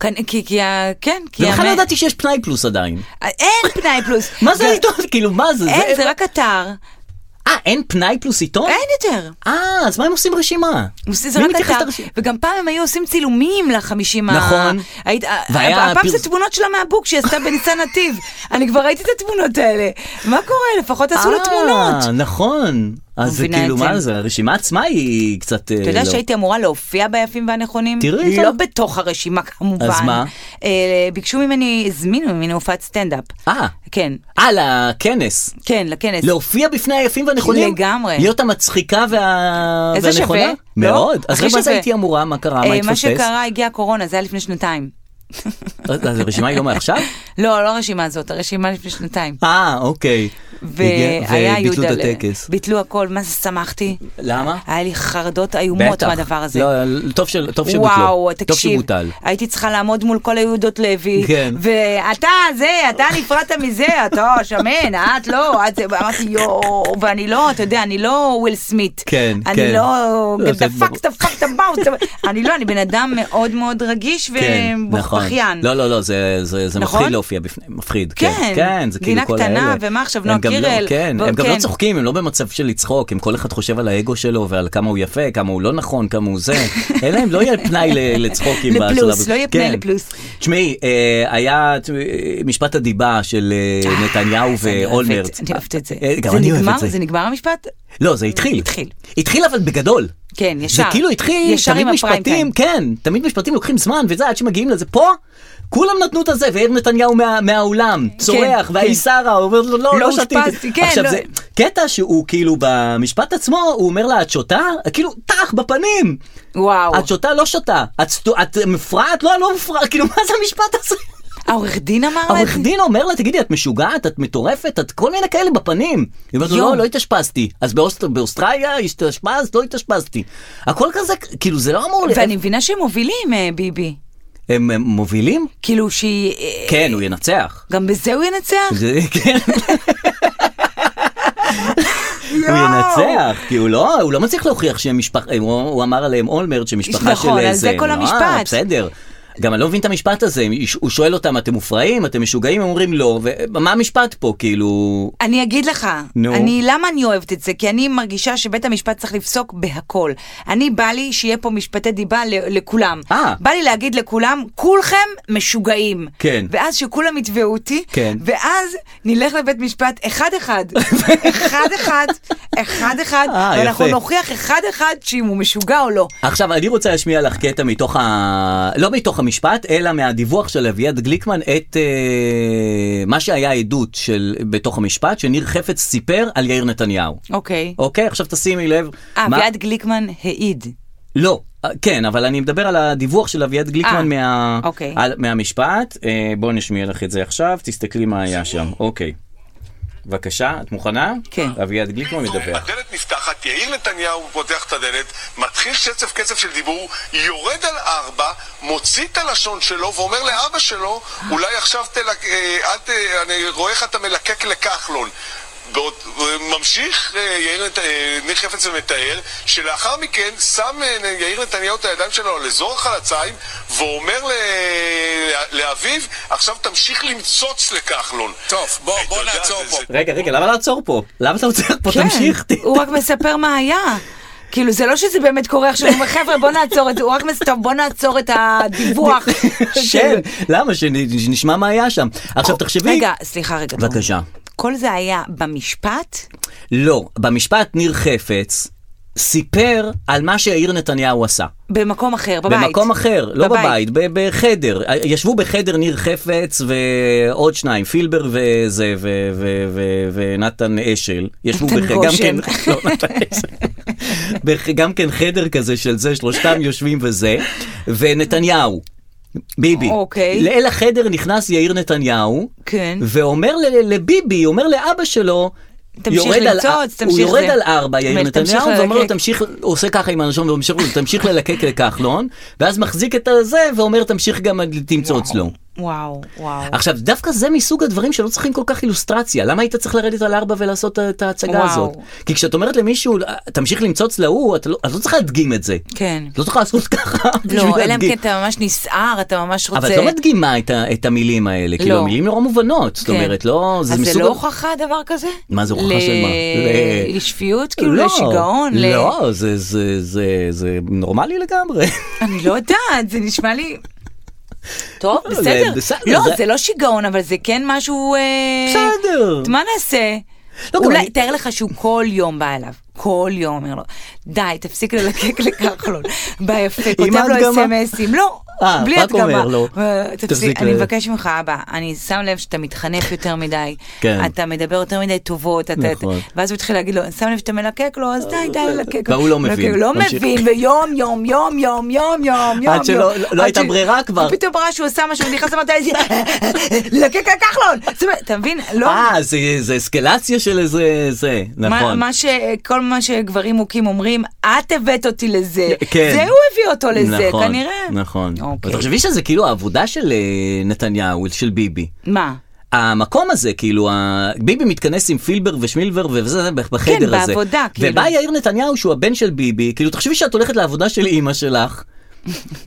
Speaker 3: כן, כי, כי, ה- כן, כי,
Speaker 2: ובכלל לא
Speaker 3: המ-
Speaker 2: ידעתי שיש פנאי פלוס עדיין.
Speaker 3: אין פנאי פלוס.
Speaker 2: מה זה העיתון? כאילו, מה זה?
Speaker 3: אין, זה רק אתר.
Speaker 2: אה, אין פנאי פלוס עיתון?
Speaker 3: אין יותר.
Speaker 2: אה, אז מה הם עושים רשימה?
Speaker 3: זה
Speaker 2: מי
Speaker 3: רק
Speaker 2: מתייחס
Speaker 3: אתר.
Speaker 2: לרשימה?
Speaker 3: וגם פעם הם היו עושים צילומים לחמישים ה...
Speaker 2: נכון.
Speaker 3: היית-
Speaker 2: והיה
Speaker 3: הפעם
Speaker 2: הפרס-
Speaker 3: זה תמונות שלה מהבוק שהיא עשתה בניסן נתיב. אני כבר ראיתי את התמונות האלה. מה קורה? לפחות עשו לה תמונות.
Speaker 2: אה, נכון. אז זה
Speaker 3: מבינה את
Speaker 2: כאילו,
Speaker 3: זה.
Speaker 2: מה זה, הרשימה עצמה היא קצת... אה,
Speaker 3: אתה יודע שהייתי אמורה להופיע ביפים והנכונים?
Speaker 2: לא. תראי,
Speaker 3: לא
Speaker 2: טוב.
Speaker 3: בתוך הרשימה כמובן.
Speaker 2: אז מה?
Speaker 3: אה, ביקשו ממני, הזמינו ממני הופעת סטנדאפ.
Speaker 2: אה, לא,
Speaker 3: כן,
Speaker 2: אה, לכנס.
Speaker 3: כן, לכנס.
Speaker 2: להופיע בפני היפים והנכונים?
Speaker 3: לגמרי.
Speaker 2: להיות המצחיקה וה...
Speaker 3: איזה
Speaker 2: והנכונה?
Speaker 3: אה, שווה?
Speaker 2: מאוד.
Speaker 3: לא?
Speaker 2: אז
Speaker 3: הכי
Speaker 2: למה זה
Speaker 3: שווה.
Speaker 2: הייתי אמורה? מה קרה?
Speaker 3: אה,
Speaker 2: מה
Speaker 3: מה
Speaker 2: התפספס?
Speaker 3: שקרה, הגיעה הקורונה, זה היה לפני שנתיים.
Speaker 2: אז הרשימה היא לא מעכשיו?
Speaker 3: לא, לא הרשימה הזאת, הרשימה לפני שנתיים.
Speaker 2: אה, אוקיי. הגיע-
Speaker 3: והיה
Speaker 2: וביטלו
Speaker 3: יהודה,
Speaker 2: את
Speaker 3: ל-
Speaker 2: הטקס.
Speaker 3: ביטלו הכל, מה זה שמחתי?
Speaker 2: למה?
Speaker 3: היה לי חרדות איומות מהדבר הזה.
Speaker 2: לא, טוב של- טוב שבוטלו.
Speaker 3: וואו,
Speaker 2: טוב
Speaker 3: תקשיב,
Speaker 2: שבוטל.
Speaker 3: הייתי צריכה לעמוד מול כל היהודות לוי,
Speaker 2: כן.
Speaker 3: ואתה זה, אתה נפרדת מזה, אתה שמן, את לא, את זה, ואמרתי יואו, ואני לא, אתה יודע, אני לא וויל סמית,
Speaker 2: כן,
Speaker 3: אני
Speaker 2: כן.
Speaker 3: לא,
Speaker 2: לא,
Speaker 3: get
Speaker 2: זה
Speaker 3: the fuck,
Speaker 2: ברור.
Speaker 3: the fuck, the mouth, אני לא, אני בן אדם מאוד מאוד רגיש
Speaker 2: כן, נכון.
Speaker 3: ובכיין.
Speaker 2: לא, לא, לא, זה, זה, זה
Speaker 3: אה, נכון?
Speaker 2: מפחיד להופיע בפני, מפחיד.
Speaker 3: כן,
Speaker 2: כן, כן, זה
Speaker 3: דינה
Speaker 2: כאילו כל
Speaker 3: קטנה,
Speaker 2: האלה.
Speaker 3: ומה עכשיו,
Speaker 2: הם
Speaker 3: נועה
Speaker 2: גם לא-
Speaker 3: קירל?
Speaker 2: כן,
Speaker 3: בוא,
Speaker 2: הם גם
Speaker 3: כן.
Speaker 2: לא צוחקים, הם לא במצב של לצחוק, הם כל אחד חושב על האגו שלו ועל כמה הוא יפה, כמה הוא לא נכון, כמה הוא זה. אלא אם לא יהיה פנאי ל- לצחוקים.
Speaker 3: לפלוס,
Speaker 2: בשלב הזה.
Speaker 3: לא יהיה פנאי
Speaker 2: כן.
Speaker 3: לפלוס.
Speaker 2: תשמעי, אה, היה ת- אה, משפט הדיבה של אה,
Speaker 3: אה,
Speaker 2: נתניהו
Speaker 3: אז אני אוהבת,
Speaker 2: ואולמרט.
Speaker 3: אני אוהבת את זה.
Speaker 2: אה, גם
Speaker 3: זה
Speaker 2: אני אוהב
Speaker 3: נגמר?
Speaker 2: את זה.
Speaker 3: זה נגמר המשפט?
Speaker 2: לא, זה התחיל.
Speaker 3: התחיל.
Speaker 2: התחיל אבל בגדול.
Speaker 3: כן, ישר.
Speaker 2: זה כאילו התחיל,
Speaker 3: ישר
Speaker 2: תמיד
Speaker 3: עם הפריים
Speaker 2: משפטים, כן, תמיד משפטים לוקחים זמן וזה, עד שמגיעים לזה. פה, כולם נטנו את הזה, והעיר נתניהו מה- מהאולם, צורח,
Speaker 3: כן.
Speaker 2: והאי שרה, אומרת לו, לא,
Speaker 3: לא
Speaker 2: לא שתיתי.
Speaker 3: אושפזתי, כן,
Speaker 2: עכשיו
Speaker 3: לא-
Speaker 2: זה קטע שהוא כאילו במשפט עצמו, הוא אומר לה, את שותה? כאילו, טח, בפנים.
Speaker 3: וואו.
Speaker 2: את שותה? לא שותה. את סטו- את מפרעת? לא, אני לא מפרעת. כאילו, מה זה המשפט הזה?
Speaker 3: העורך דין אמר לה את
Speaker 2: העורך
Speaker 3: זה?
Speaker 2: דין אומר לה, תגידי, את משוגעת? את מטורפת? את כל מיני כאלה בפנים. היא אומרת לו,
Speaker 3: יום.
Speaker 2: לא, לא התאשפזתי. אז באוסט- באוסטרליה התאשפזת? לא התאשפזתי. הכל כזה, כאילו, זה לא אמור...
Speaker 3: ואני מבינה שהם מובילים, אה, ביבי.
Speaker 2: הם הם מובילים?
Speaker 3: כאילו שהיא... אה,
Speaker 2: כן, הוא ינצח.
Speaker 3: גם בזה הוא ינצח?
Speaker 2: זה- כן.
Speaker 3: לא.
Speaker 2: הוא ינצח, כי הוא לא, הוא לא מצליח להוכיח שהם משפחה, הוא, הוא אמר עליהם אולמרט שמשפחה של
Speaker 3: נכון,
Speaker 2: איזה...
Speaker 3: על זה כל
Speaker 2: אה,
Speaker 3: המשפט.
Speaker 2: בסדר. גם אני לא מבין את המשפט הזה, הם- הוא שואל אותם, אתם מופרעים? אתם משוגעים? הם אומרים לא, ומה המשפט פה, כאילו...
Speaker 3: אני אגיד לך,
Speaker 2: נו.
Speaker 3: אני, למה אני אוהבת את זה? כי אני מרגישה שבית המשפט צריך לפסוק בהכל. אני בא לי שיהיה פה משפטי דיבה ל- לכולם.
Speaker 2: אה.
Speaker 3: בא לי להגיד לכולם, כולכם משוגעים.
Speaker 2: כן.
Speaker 3: ואז שכולם יתבעו אותי,
Speaker 2: כן.
Speaker 3: ואז נלך לבית משפט אחד-אחד. אחד-אחד, אחד אחד,
Speaker 2: אה,
Speaker 3: ואנחנו
Speaker 2: יפה.
Speaker 3: נוכיח אחד אחד שאם הוא משוגע או לא.
Speaker 2: עכשיו, אני רוצה להשמיע לך קטע מתוך ה... לא מתוך המשפט, אלא מהדיווח של אביעד גליקמן את אה, מה שהיה עדות של... בתוך המשפט, שניר חפץ סיפר על יאיר נתניהו.
Speaker 3: אוקיי.
Speaker 2: אוקיי, עכשיו תשימי לב.
Speaker 3: אה,
Speaker 2: מה-
Speaker 3: אביעד גליקמן העיד.
Speaker 2: לא, אה, כן, אבל אני מדבר על הדיווח של אביעד
Speaker 3: אה,
Speaker 2: גליקמן מה...
Speaker 3: אוקיי.
Speaker 2: על, מהמשפט. אה, בואו נשמיע לך את זה עכשיו, תסתכלי מה היה שם. אוקיי. בבקשה, את מוכנה?
Speaker 3: כן.
Speaker 2: אביעד גליקמן מדווח.
Speaker 5: הדלת נפתחת, יאיר נתניהו פותח את הדלת, מתחיל שצף קצף של דיבור, יורד על ארבע, מוציא את הלשון שלו ואומר לאבא שלו, אולי עכשיו תלק... אה, אל ת... אני רואה איך אתה מלקק לכחלון. בעוד, ממשיך אה, יאיר נת- אה, ניר חפץ ומתאר שלאחר מכן שם אה, יאיר נתניהו את הידיים שלו על אזור החלציים ואומר ל... לאביו עכשיו תמשיך למצוץ לכחלון.
Speaker 6: טוב, בוא, בוא
Speaker 5: אתה יודע,
Speaker 6: נעצור
Speaker 5: זה-
Speaker 6: פה.
Speaker 5: זה-
Speaker 2: רגע, רגע, למה לעצור פה? למה אתה עוצר
Speaker 3: כן.
Speaker 2: פה? תמשיך. ת-
Speaker 3: הוא רק מספר מה היה. כאילו זה לא שזה באמת קורה עכשיו, הוא אומר חבר'ה בוא נעצור את זה, הוא רק מספר בוא נעצור את הדיווח.
Speaker 2: כן, למה? שנ- שנשמע מה היה שם. עכשיו תחשבי...
Speaker 3: כאילו, רגע, סליחה רגע. תומר.
Speaker 2: בבקשה.
Speaker 3: כל זה היה במשפט?
Speaker 2: לא, במשפט ניר חפץ סיפר על מה שיאיר נתניהו עשה.
Speaker 3: במקום אחר, בבית.
Speaker 2: במקום אחר, לא בבית, ב- בחדר. ישבו בחדר ניר חפץ ועוד שניים, פילבר וזה, ו- ו- ו- ונתן אשל. ישבו
Speaker 3: נתן
Speaker 2: בח- גם
Speaker 3: גושן.
Speaker 2: כן- לא, נתן אשל. בח- גם כן חדר כזה של זה, שלושתם יושבים וזה, ונתניהו. ביבי.
Speaker 3: אוקיי.
Speaker 2: לאל החדר נכנס יאיר נתניהו,
Speaker 3: כן.
Speaker 2: ואומר ל- לביבי, אומר לאבא שלו,
Speaker 3: תמשיך
Speaker 2: יורד על-
Speaker 3: למצוץ,
Speaker 2: הוא
Speaker 3: תמשיך
Speaker 2: יורד
Speaker 3: זה.
Speaker 2: על ארבע, יאיר
Speaker 3: תמשיך
Speaker 2: נתניהו, ואומר לו,
Speaker 3: ללקק.
Speaker 2: תמשיך, הוא עושה ככה עם הלשון וממשיך, לו, תמשיך ללקק לכחלון, ואז מחזיק את הזה ואומר, תמשיך גם תמצוץ לו.
Speaker 3: וואו, וואו.
Speaker 2: עכשיו, דווקא זה מסוג הדברים שלא צריכים כל כך אילוסטרציה. למה היית צריך לרדת על ארבע ולעשות את ההצגה
Speaker 3: וואו.
Speaker 2: הזאת? כי כשאת אומרת למישהו, "אה, תמשיך למצוץ להוא, את לא את לא צריכה להדגים את זה.
Speaker 3: כן.
Speaker 2: את לא צריכה לעשות ככה בשביל
Speaker 3: לא, אלא אם
Speaker 2: להדגים.
Speaker 3: כן אתה ממש נסער, אתה ממש רוצה...
Speaker 2: אבל את לא מדגימה את ה- את המילים האלה, כאילו
Speaker 3: לא.
Speaker 2: המילים נורא מובנות, זאת
Speaker 3: כן.
Speaker 2: אומרת, לא, זה
Speaker 3: אז
Speaker 2: מסוג...
Speaker 3: זה לא
Speaker 2: ה-
Speaker 3: הוכחה דבר כזה?
Speaker 2: מה זה הוכחה
Speaker 3: ל-
Speaker 2: של מה? ל-
Speaker 3: לשפיות? כאילו
Speaker 2: לא,
Speaker 3: לשיגעון? ל-
Speaker 2: לא, זה- זה- זה- זה נורמלי לגמרי.
Speaker 3: אני לא יודעת, זה נשמע לי... טוב,
Speaker 2: לא,
Speaker 3: בסדר.
Speaker 2: זה- בסדר,
Speaker 3: לא,
Speaker 2: זה-
Speaker 3: זה לא שיגעון, אבל זה כן משהו... אה,
Speaker 2: בסדר.
Speaker 3: מה נעשה?
Speaker 2: לא, גם
Speaker 3: אולי,
Speaker 2: אני-
Speaker 3: תאר לך שהוא כל יום בא אליו. כל יום אומר לו, די, תפסיק ללקק לכחלון. בא יפה, כותב לו
Speaker 2: הדגמה?
Speaker 3: אס.אם.אסים. לא,
Speaker 2: אה,
Speaker 3: בלי
Speaker 2: רק
Speaker 3: הדגמה.
Speaker 2: אומר לו,
Speaker 3: אה, תפסיק,
Speaker 2: תפסיק
Speaker 3: אני
Speaker 2: ל-
Speaker 3: מבקש ממך, אבא, אני שם לב שאתה מתחנף יותר מדי.
Speaker 2: כן.
Speaker 3: אתה מדבר יותר מדי טובות. אתה-
Speaker 2: נכון.
Speaker 3: ואז הוא התחיל להגיד לו, שם לב שאתה מלקק לו, אז די, די ללקק.
Speaker 2: והוא לא
Speaker 3: מלקק.
Speaker 2: מבין.
Speaker 3: לא
Speaker 2: ממשיך.
Speaker 3: מבין, ויום, יום, יום, יום, יום, יום, יום.
Speaker 2: עד שלא-
Speaker 3: יום.
Speaker 2: לא- לא
Speaker 3: עד
Speaker 2: הייתה
Speaker 3: ש-
Speaker 2: ברירה כבר.
Speaker 3: פתאום ראה שהוא עשה משהו, נכנס למטה, איזה... לקק לכחלון! זאת אומרת, אתה מבין? לא...
Speaker 2: אה, זה- זה אסקלציה של איזה... זה,
Speaker 3: מה-
Speaker 2: נכון.
Speaker 3: מה ש... כל מה שגברים מוכים אומרים, את הבאת אותי לזה.
Speaker 2: כן.
Speaker 3: זה הוא הביא אותו לזה,
Speaker 2: נכון,
Speaker 3: כנראה.
Speaker 2: נכון.
Speaker 3: אוקיי.
Speaker 2: אז תחשבי שזה כאילו העבודה של אה, נתניהו, של ביבי.
Speaker 3: מה?
Speaker 2: המקום הזה, כאילו, ה- ביבי מתכנס עם פילבר ושמילבר וזה זה בחדר הזה.
Speaker 3: בעבודה, כאילו.
Speaker 2: ובא יאיר נתניהו, שהוא הבן של ביבי, כאילו, תחשבי שאת הולכת לעבודה של אימא שלך.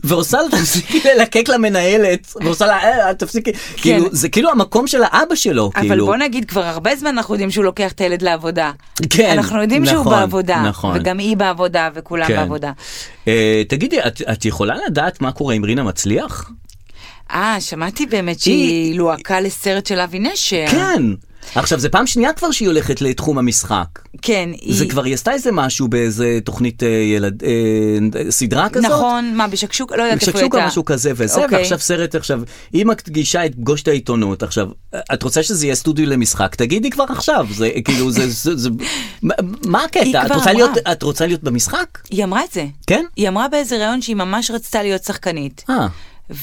Speaker 2: ועושה לה תפסיקי ללקק למנהלת, ועושה לה "אה, תפסיקי, כאילו זה כאילו המקום של האבא שלו,
Speaker 3: כן. אבל
Speaker 2: כאילו.
Speaker 3: בוא נגיד, כבר הרבה זמן אנחנו יודעים שהוא לוקח את הילד לעבודה.
Speaker 2: כן,
Speaker 3: אנחנו יודעים שהוא
Speaker 2: נכון,
Speaker 3: בעבודה.
Speaker 2: נכון.
Speaker 3: וגם היא בעבודה, וכולם
Speaker 2: כן.
Speaker 3: בעבודה.
Speaker 2: אה, תגידי, את, את יכולה לדעת מה קורה עם רינה מצליח?
Speaker 3: אה, שמעתי באמת שהיא לוהקה לסרט של אבי נשר.
Speaker 2: כן. עכשיו, זה פעם שנייה כבר שהיא הולכת לתחום המשחק.
Speaker 3: כן,
Speaker 2: זה
Speaker 3: היא...
Speaker 2: כבר היא עשתה איזה משהו באיזה תוכנית אה, ילד, אה, סדרה כזאת.
Speaker 3: נכון, מה, בשקשוק? לא יודעת איפה היא הייתה.
Speaker 2: שקשוקה משהו כזה וזה,
Speaker 3: אוקיי.
Speaker 2: ועכשיו סרט עכשיו, היא מקדישה את פגוש את העיתונות עכשיו, את רוצה שזה יהיה סטודיו למשחק, תגידי כבר עכשיו, זה כאילו זה, זה, זה מה- מה
Speaker 3: היא
Speaker 2: הקטע? את
Speaker 3: כבר
Speaker 2: רוצה,
Speaker 3: אמרה.
Speaker 2: להיות, את רוצה להיות במשחק?
Speaker 3: היא אמרה את זה.
Speaker 2: כן?
Speaker 3: היא אמרה באיזה ראיון שהיא ממש רצתה להיות שחקנית.
Speaker 2: אה,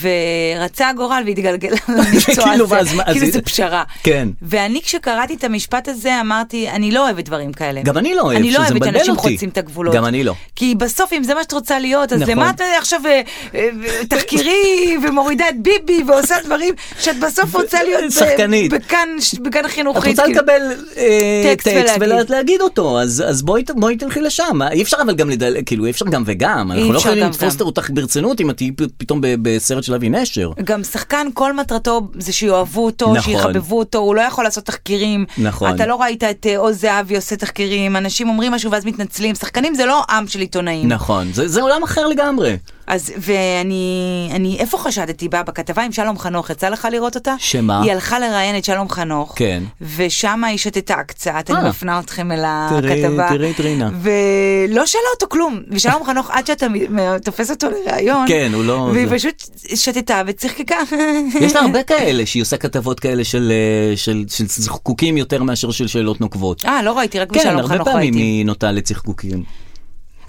Speaker 3: ורצה הגורל והתגלגלה למקצוע
Speaker 2: כאילו, ואז
Speaker 3: הזה,
Speaker 2: מה, אז
Speaker 3: כאילו
Speaker 2: היא-
Speaker 3: זה פשרה.
Speaker 2: כן.
Speaker 3: ואני כשקראתי את המשפט הזה אמרתי, אני לא אוהבת דברים כאלה.
Speaker 2: גם אני לא אוהב,
Speaker 3: אני לא
Speaker 2: שזה
Speaker 3: אוהבת
Speaker 2: מבלבל
Speaker 3: שאנשים
Speaker 2: אותי.
Speaker 3: חוצים את הגבולות.
Speaker 2: גם אני לא.
Speaker 3: כי בסוף אם זה מה שאת רוצה להיות, אז
Speaker 2: נכון.
Speaker 3: למה את עכשיו אה, אה, תחקירי ומורידה את ביבי ועושה דברים שאת בסוף רוצה להיות ב-
Speaker 2: שחקנית.
Speaker 3: בכאן בכאן
Speaker 2: את
Speaker 3: חינוכית.
Speaker 2: רוצה
Speaker 3: כאילו.
Speaker 2: לקבל אה,
Speaker 3: טקסט
Speaker 2: טקסט
Speaker 3: ולהגיד.
Speaker 2: ולהגיד אותו, אז אז בואי ת- בואי תלכי לשם, אי אפשר אבל גם לדל, כאילו אי אפשר גם וגם, אנחנו לא
Speaker 3: אפשר
Speaker 2: יכולים
Speaker 3: גם
Speaker 2: לתפוס
Speaker 3: גם.
Speaker 2: אותך ברצינות אם את תהיי פ- פתאום ב- בסרט בסרט של אבי נשר.
Speaker 3: גם שחקן, כל מטרתו זה שיאהבו אותו,
Speaker 2: נכון.
Speaker 3: נכון. שיחבבו אותו, הוא לא יכול לעשות תחקירים.
Speaker 2: נכון.
Speaker 3: אתה לא ראית את אה, עוז זהבי עושה תחקירים, אנשים אומרים משהו ואז מתנצלים. שחקנים זה לא עם של עיתונאים.
Speaker 2: נכון, זה, זה עולם אחר לגמרי.
Speaker 3: אז, ואני, אני, איפה חשדתי בה? בכתבה עם שלום חנוך, יצא לך לראות אותה?
Speaker 2: שמה?
Speaker 3: היא הלכה לראיין את שלום חנוך.
Speaker 2: כן.
Speaker 3: ושם היא שתתה קצת, אני
Speaker 2: אה.
Speaker 3: מפנה אתכם אל
Speaker 2: תראי-
Speaker 3: הכתבה.
Speaker 2: תראי את רינה.
Speaker 3: ולא שאלה אותו כלום. ושלום חנוך, עד שאתה מ- תופס אותו לראיון.
Speaker 2: כן, הוא לא-
Speaker 3: והיא
Speaker 2: זה-
Speaker 3: פשוט שתתה וצחקקה.
Speaker 2: יש לה הרבה כאלה שהיא עושה כתבות כאלה של, אה, של, של זחקוקים יותר מאשר של שאלות נוקבות.
Speaker 3: אה, לא ראיתי, רק
Speaker 2: כן,
Speaker 3: בשלום
Speaker 2: הרבה
Speaker 3: חנוך
Speaker 2: פעמים
Speaker 3: ראיתי.
Speaker 2: היא נוטה לצחקוקים.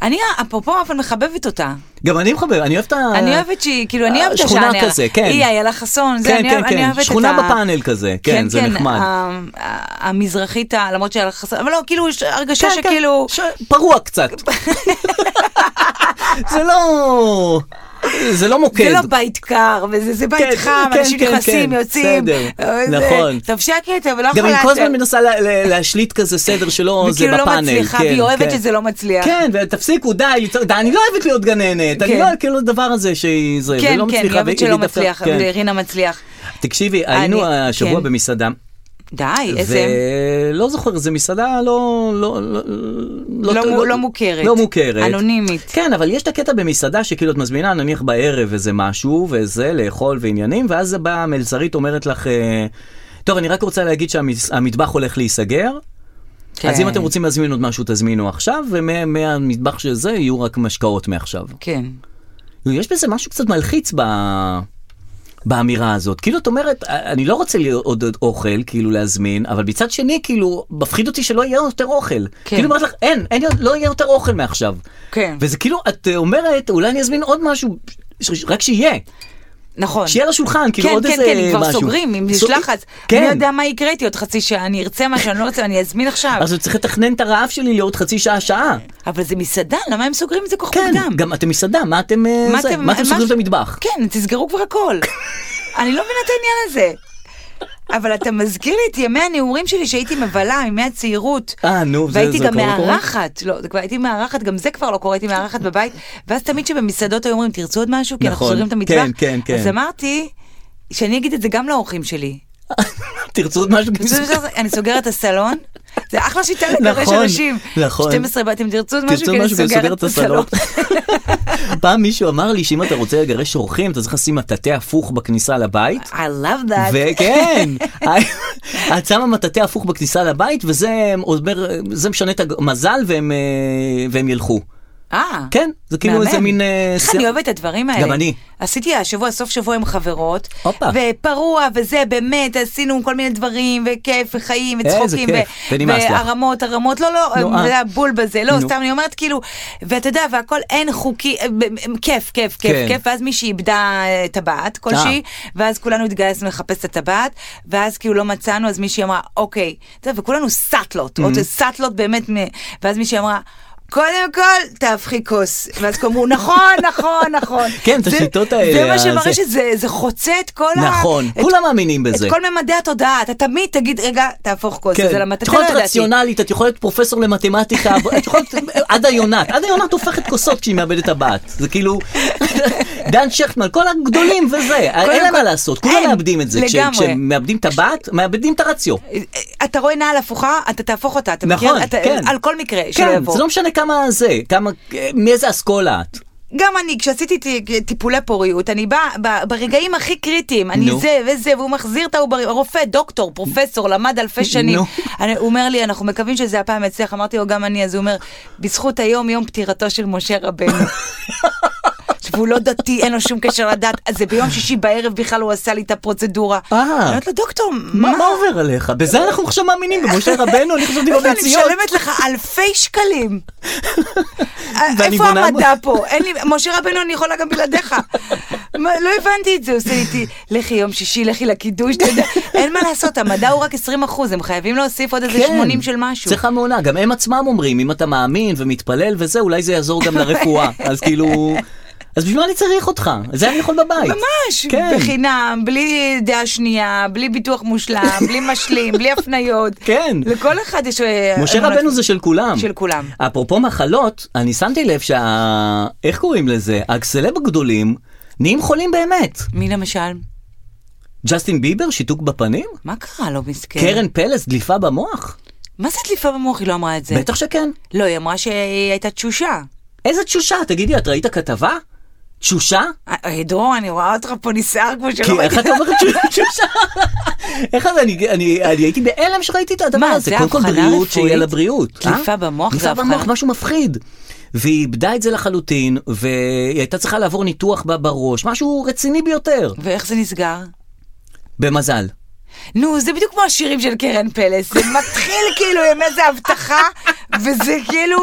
Speaker 3: אני, אפרופו, אבל מחבבת אותה.
Speaker 2: גם אני מחבב, אני אוהב את ה...
Speaker 3: אני אוהבת שהיא, כאילו, אני אוהבת את
Speaker 2: אה, שכונה
Speaker 3: השענע.
Speaker 2: כזה, כן.
Speaker 3: היא, איילה חסון, זה,
Speaker 2: כן,
Speaker 3: אני
Speaker 2: כן,
Speaker 3: אוהב-
Speaker 2: כן.
Speaker 3: אני אוהבת את ה...
Speaker 2: שכונה בפאנל כזה, כן, זה נחמד.
Speaker 3: ה- ה- המזרחית, ה- למרות שאיילה חסון, אבל לא, כאילו, יש הרגשה שכאילו...
Speaker 2: כן, ש- פרוע קצת. זה לא... זה לא מוקד.
Speaker 3: זה לא בית קר, וזה זה בית
Speaker 2: כן,
Speaker 3: חם,
Speaker 2: כן,
Speaker 3: אנשים
Speaker 2: כן,
Speaker 3: נכנסים,
Speaker 2: כן,
Speaker 3: יוצאים.
Speaker 2: בסדר,
Speaker 3: אה, זה-
Speaker 2: נכון.
Speaker 3: טוב, שקט, אבל לא
Speaker 2: גם
Speaker 3: יכולה...
Speaker 2: היא כל הזמן מנסה לה- לה- להשליט כזה סדר שלא זה
Speaker 3: וכאילו
Speaker 2: בפאנל.
Speaker 3: לא מצליחה,
Speaker 2: כן,
Speaker 3: והיא
Speaker 2: כן.
Speaker 3: אוהבת שזה לא מצליח.
Speaker 2: כן, ותפסיקו, די, ליצור- די, אני לא אוהבת להיות גננת, אני
Speaker 3: כן.
Speaker 2: לא, כאילו הדבר הזה שהיא, זה,
Speaker 3: כן,
Speaker 2: ולא מצליחה.
Speaker 3: כן, היא אוהבת
Speaker 2: והיא
Speaker 3: שלא
Speaker 2: דווקא-
Speaker 3: מצליח,
Speaker 2: כן.
Speaker 3: ורינה מצליח.
Speaker 2: תקשיבי, היינו
Speaker 3: אני-
Speaker 2: השבוע
Speaker 3: כן.
Speaker 2: במסעדה,
Speaker 3: די, איזה...
Speaker 2: ולא זוכר, זו מסעדה לא... לא, לא,
Speaker 3: לא
Speaker 2: טוב,
Speaker 3: מו- לא מוכרת.
Speaker 2: לא מוכרת.
Speaker 3: אנונימית.
Speaker 2: כן, אבל יש את הקטע במסעדה שכאילו את מזמינה נניח בערב איזה משהו, וזה, לאכול ועניינים, ואז באה המלצרית אומרת לך, אה, טוב, אני רק רוצה להגיד שהמטבח הולך להיסגר. כן. אז אם אתם רוצים להזמין עוד משהו, תזמינו עכשיו, ומהמטבח של זה יהיו רק משקאות מעכשיו.
Speaker 3: כן.
Speaker 2: יש בזה משהו קצת מלחיץ ב... באמירה הזאת. כאילו, את אומרת, אני לא רוצה לי עוד, עוד אוכל, כאילו, להזמין, אבל מצד שני, כאילו, מפחיד אותי שלא יהיה יותר אוכל.
Speaker 3: כן.
Speaker 2: כאילו, אומרת לך, אין, אין, לא יהיה יותר אוכל מעכשיו.
Speaker 3: כן.
Speaker 2: וזה כאילו, את אה, אומרת, אולי אני אזמין עוד משהו, ש- ש- רק שיהיה.
Speaker 3: נכון.
Speaker 2: שיהיה על השולחן, כאילו,
Speaker 3: כן,
Speaker 2: עוד
Speaker 3: כן,
Speaker 2: איזה
Speaker 3: כן,
Speaker 2: משהו.
Speaker 3: הם כבר סוגרים, אם יש
Speaker 2: סוג-
Speaker 3: לחץ.
Speaker 2: כן.
Speaker 3: אני לא יודע מה יקרה איתי עוד חצי שעה, אני ארצה משהו, אני לא רוצה, אני אזמין עכשיו.
Speaker 2: אז אני צריך לתכנן את הרעב שלי לעוד חצי שעה-שעה.
Speaker 3: אבל זה מסעדה, למה הם סוגרים את זה כל כך
Speaker 2: כן,
Speaker 3: מוקדם?
Speaker 2: גם אתם מסעדה, מה אתם אה, זה? מה אתם סוגרים את המטבח?
Speaker 3: כן, תסגרו כבר הכל. אני לא מבינה את העניין הזה. אבל אתה מזכיר לי את ימי הנעורים שלי שהייתי מבלה, מימי הצעירות.
Speaker 2: אה, נו, זה-
Speaker 3: והייתי
Speaker 2: זה
Speaker 3: גם
Speaker 2: כבר לא קורה?
Speaker 3: מארחת, לא, זה כבר הייתי מארחת, גם זה כבר לא קורה, הייתי מארחת בבית. ואז תמיד שבמסעדות היו אומרים, תרצו עוד משהו? כי אנחנו
Speaker 2: נכון,
Speaker 3: סוגרים את
Speaker 2: כן,
Speaker 3: המטבח.
Speaker 2: כן, כן.
Speaker 3: אז אמרתי, שאני אגיד את זה גם לאורחים שלי.
Speaker 2: תרצו עוד משהו?
Speaker 3: תרצו עוד משהו? אני סוגרת את הסלון, זה אחלה שיטה לגרש
Speaker 2: נכון,
Speaker 3: אנשים.
Speaker 2: נכון.
Speaker 3: 12 בתים, תרצו עוד משהו?
Speaker 2: תרצו
Speaker 3: כי אני
Speaker 2: משהו ולסדר את הסלון. פעם מישהו אמר לי שאם אתה רוצה לגרש אורחים אתה צריך לשים מטאטא הפוך בכניסה לבית.
Speaker 3: I love that.
Speaker 2: וכן, את שמה מטאטא הפוך בכניסה לבית וזה אומר, זה משנה את המזל והם, אה, והם ילכו.
Speaker 3: אה.
Speaker 2: כן, זה כאילו
Speaker 3: מהמם.
Speaker 2: איזה מין... אה,
Speaker 3: איך
Speaker 2: שיח-
Speaker 3: אני אוהבת את הדברים האלה.
Speaker 2: גם אני.
Speaker 3: עשיתי השבוע, סוף שבוע עם חברות.
Speaker 2: הופה.
Speaker 3: ופרוע וזה, באמת, עשינו כל מיני דברים, וכיף, וחיים,
Speaker 2: איזה
Speaker 3: וצחוקים,
Speaker 2: כיף.
Speaker 3: ו-
Speaker 2: ונמאס לך.
Speaker 3: והרמות, הרמות, לא,
Speaker 2: נו,
Speaker 3: לא,
Speaker 2: אה.
Speaker 3: זה הבול בזה, לא,
Speaker 2: נו.
Speaker 3: סתם אני אומרת, כאילו, ואתה יודע, והכל אין חוקי, אה, ב- ב- כיף, כיף,
Speaker 2: כן.
Speaker 3: כיף, כיף, ואז מישהי איבדה אה, טבעת כלשהי,
Speaker 2: אה.
Speaker 3: ואז כולנו התגייסנו לחפש את הטבעת, ואז כאילו לא מצאנו, אז מישהי אמרה, אוקיי, אתה יודע, וכולנו
Speaker 2: Mm-hmm.
Speaker 3: סאטלות, עוד סאטלות באמת, מ- ואז מישהי אמרה, קודם כל, תהפכי כוס. ואז כאילו אמרו, נכון, נכון, נכון.
Speaker 2: כן, את
Speaker 3: זה-
Speaker 2: השיטות האלה, אה,
Speaker 3: זה מה
Speaker 2: זה-
Speaker 3: שמראה שזה זה חוצה את כל ה...
Speaker 2: נכון,
Speaker 3: את-
Speaker 2: כולם מאמינים בזה.
Speaker 3: את כל ממדי התודעה, אתה תמיד תגיד, רגע, תהפוך כוס,
Speaker 2: כן.
Speaker 3: זה למטה, לא
Speaker 2: את יכולה להיות רציונלית, את יכולה להיות פרופסור למתמטיקה, את יכולה להיות עדה יונת, עדה יונת הופכת כוסות כשהיא מאבדת טבעת. זה כאילו, דן שכטמן, כל הגדולים וזה, אין להם
Speaker 3: כל-
Speaker 2: מה לעשות, כולם
Speaker 3: אין,
Speaker 2: מאבדים את זה. כש-
Speaker 3: לגמרי.
Speaker 2: כשמאבדים טבעת, מאבדים את הרציו.
Speaker 3: אה, אתה רואה נעל הפוכה, אתה תהפוך אותה, אתה מכיר?
Speaker 2: נכון,
Speaker 3: אתה-
Speaker 2: כן.
Speaker 3: על כל מקרה שלא
Speaker 2: כן,
Speaker 3: יבוא.
Speaker 2: זה לא משנה כמה זה, כמה, מאיזה אסכולה את.
Speaker 3: גם אני, כשעשיתי ט- טיפולי פוריות, אני באה ב- ברגעים הכי קריטיים, אני
Speaker 2: נו.
Speaker 3: זה וזה, והוא מחזיר את העוברים, הרופא, דוקטור, פרופסור, למד אלפי שנים.
Speaker 2: נו.
Speaker 3: אני- הוא אומר לי, אנחנו מקווים שזה הפעם יצליח, אמרתי לו, גם אני, אז הוא אומר, בזכות היום, יום פטירתו של משה רבנו. והוא לא דתי, אין לו שום קשר לדת, אז זה ביום שישי בערב בכלל הוא עשה לי את הפרוצדורה.
Speaker 2: אה.
Speaker 3: אני אומרת לו, דוקטור,
Speaker 2: מה מה עובר עליך? בזה אנחנו עכשיו מאמינים, במשה רבנו, אני לא חשבתי
Speaker 3: איפה אני
Speaker 2: בביציות.
Speaker 3: משלמת לך אלפי שקלים. אה,
Speaker 2: ואני
Speaker 3: איפה
Speaker 2: בונה-
Speaker 3: המדע פה? אין לי, משה רבנו, אני יכולה גם בלעדיך. מה, לא הבנתי את זה, הוא עושה לי איתי, לכי יום שישי, לכי לקידוש, אתה יודע. אין מה לעשות, המדע הוא רק 20 אחוז, הם חייבים להוסיף עוד איזה
Speaker 2: כן.
Speaker 3: 80 של משהו.
Speaker 2: צריך המעונה, גם הם עצמם אומרים, אם אתה מאמין ומתפלל וזה, אולי זה יעזור גם לרפואה. אז כאילו... אז בשביל מה אני צריך אותך? זה אני יכול בבית.
Speaker 3: ממש,
Speaker 2: כן.
Speaker 3: בחינם, בלי דעה שנייה, בלי ביטוח מושלם, בלי משלים, בלי הפניות.
Speaker 2: כן.
Speaker 3: לכל אחד יש... אה,
Speaker 2: משה
Speaker 3: אמונות-
Speaker 2: רבנו זה של כולם.
Speaker 3: של כולם.
Speaker 2: אפרופו מחלות, אני שמתי לב שה... איך קוראים לזה? הסלב הגדולים, נהיים חולים באמת.
Speaker 3: מי למשל?
Speaker 2: ג'סטין ביבר, שיתוק בפנים?
Speaker 3: מה קרה לו מסכן?
Speaker 2: קרן פלס, דליפה במוח?
Speaker 3: מה זה דליפה במוח? היא לא אמרה את זה.
Speaker 2: בטח שכן.
Speaker 3: לא, היא אמרה שהיא הייתה תשושה.
Speaker 2: איזה תשושה? תגידי, את ראית כתבה? תשושה?
Speaker 3: אה, דרור, אני רואה אותך פה נסער כמו שלא
Speaker 2: כי
Speaker 3: לא ראיתי.
Speaker 2: איך אתה אומר תשושה? איך זה? אני- אני אני הייתי בהלם שראיתי את הדבר
Speaker 3: מה,
Speaker 2: הזה.
Speaker 3: זה
Speaker 2: קודם כל
Speaker 3: הבחנה
Speaker 2: בריאות,
Speaker 3: רפואית?
Speaker 2: שיהיה לה בריאות.
Speaker 3: דליפה
Speaker 2: אה?
Speaker 3: במוח זה
Speaker 2: דליפה
Speaker 3: הבחנה?
Speaker 2: במוח, משהו מפחיד. והיא איבדה את זה לחלוטין, והיא הייתה צריכה לעבור ניתוח ב- בראש, משהו רציני ביותר.
Speaker 3: ואיך זה נסגר?
Speaker 2: במזל.
Speaker 3: נו, זה בדיוק כמו השירים של קרן פלס, זה מתחיל כאילו עם איזה הבטחה, וזה כאילו...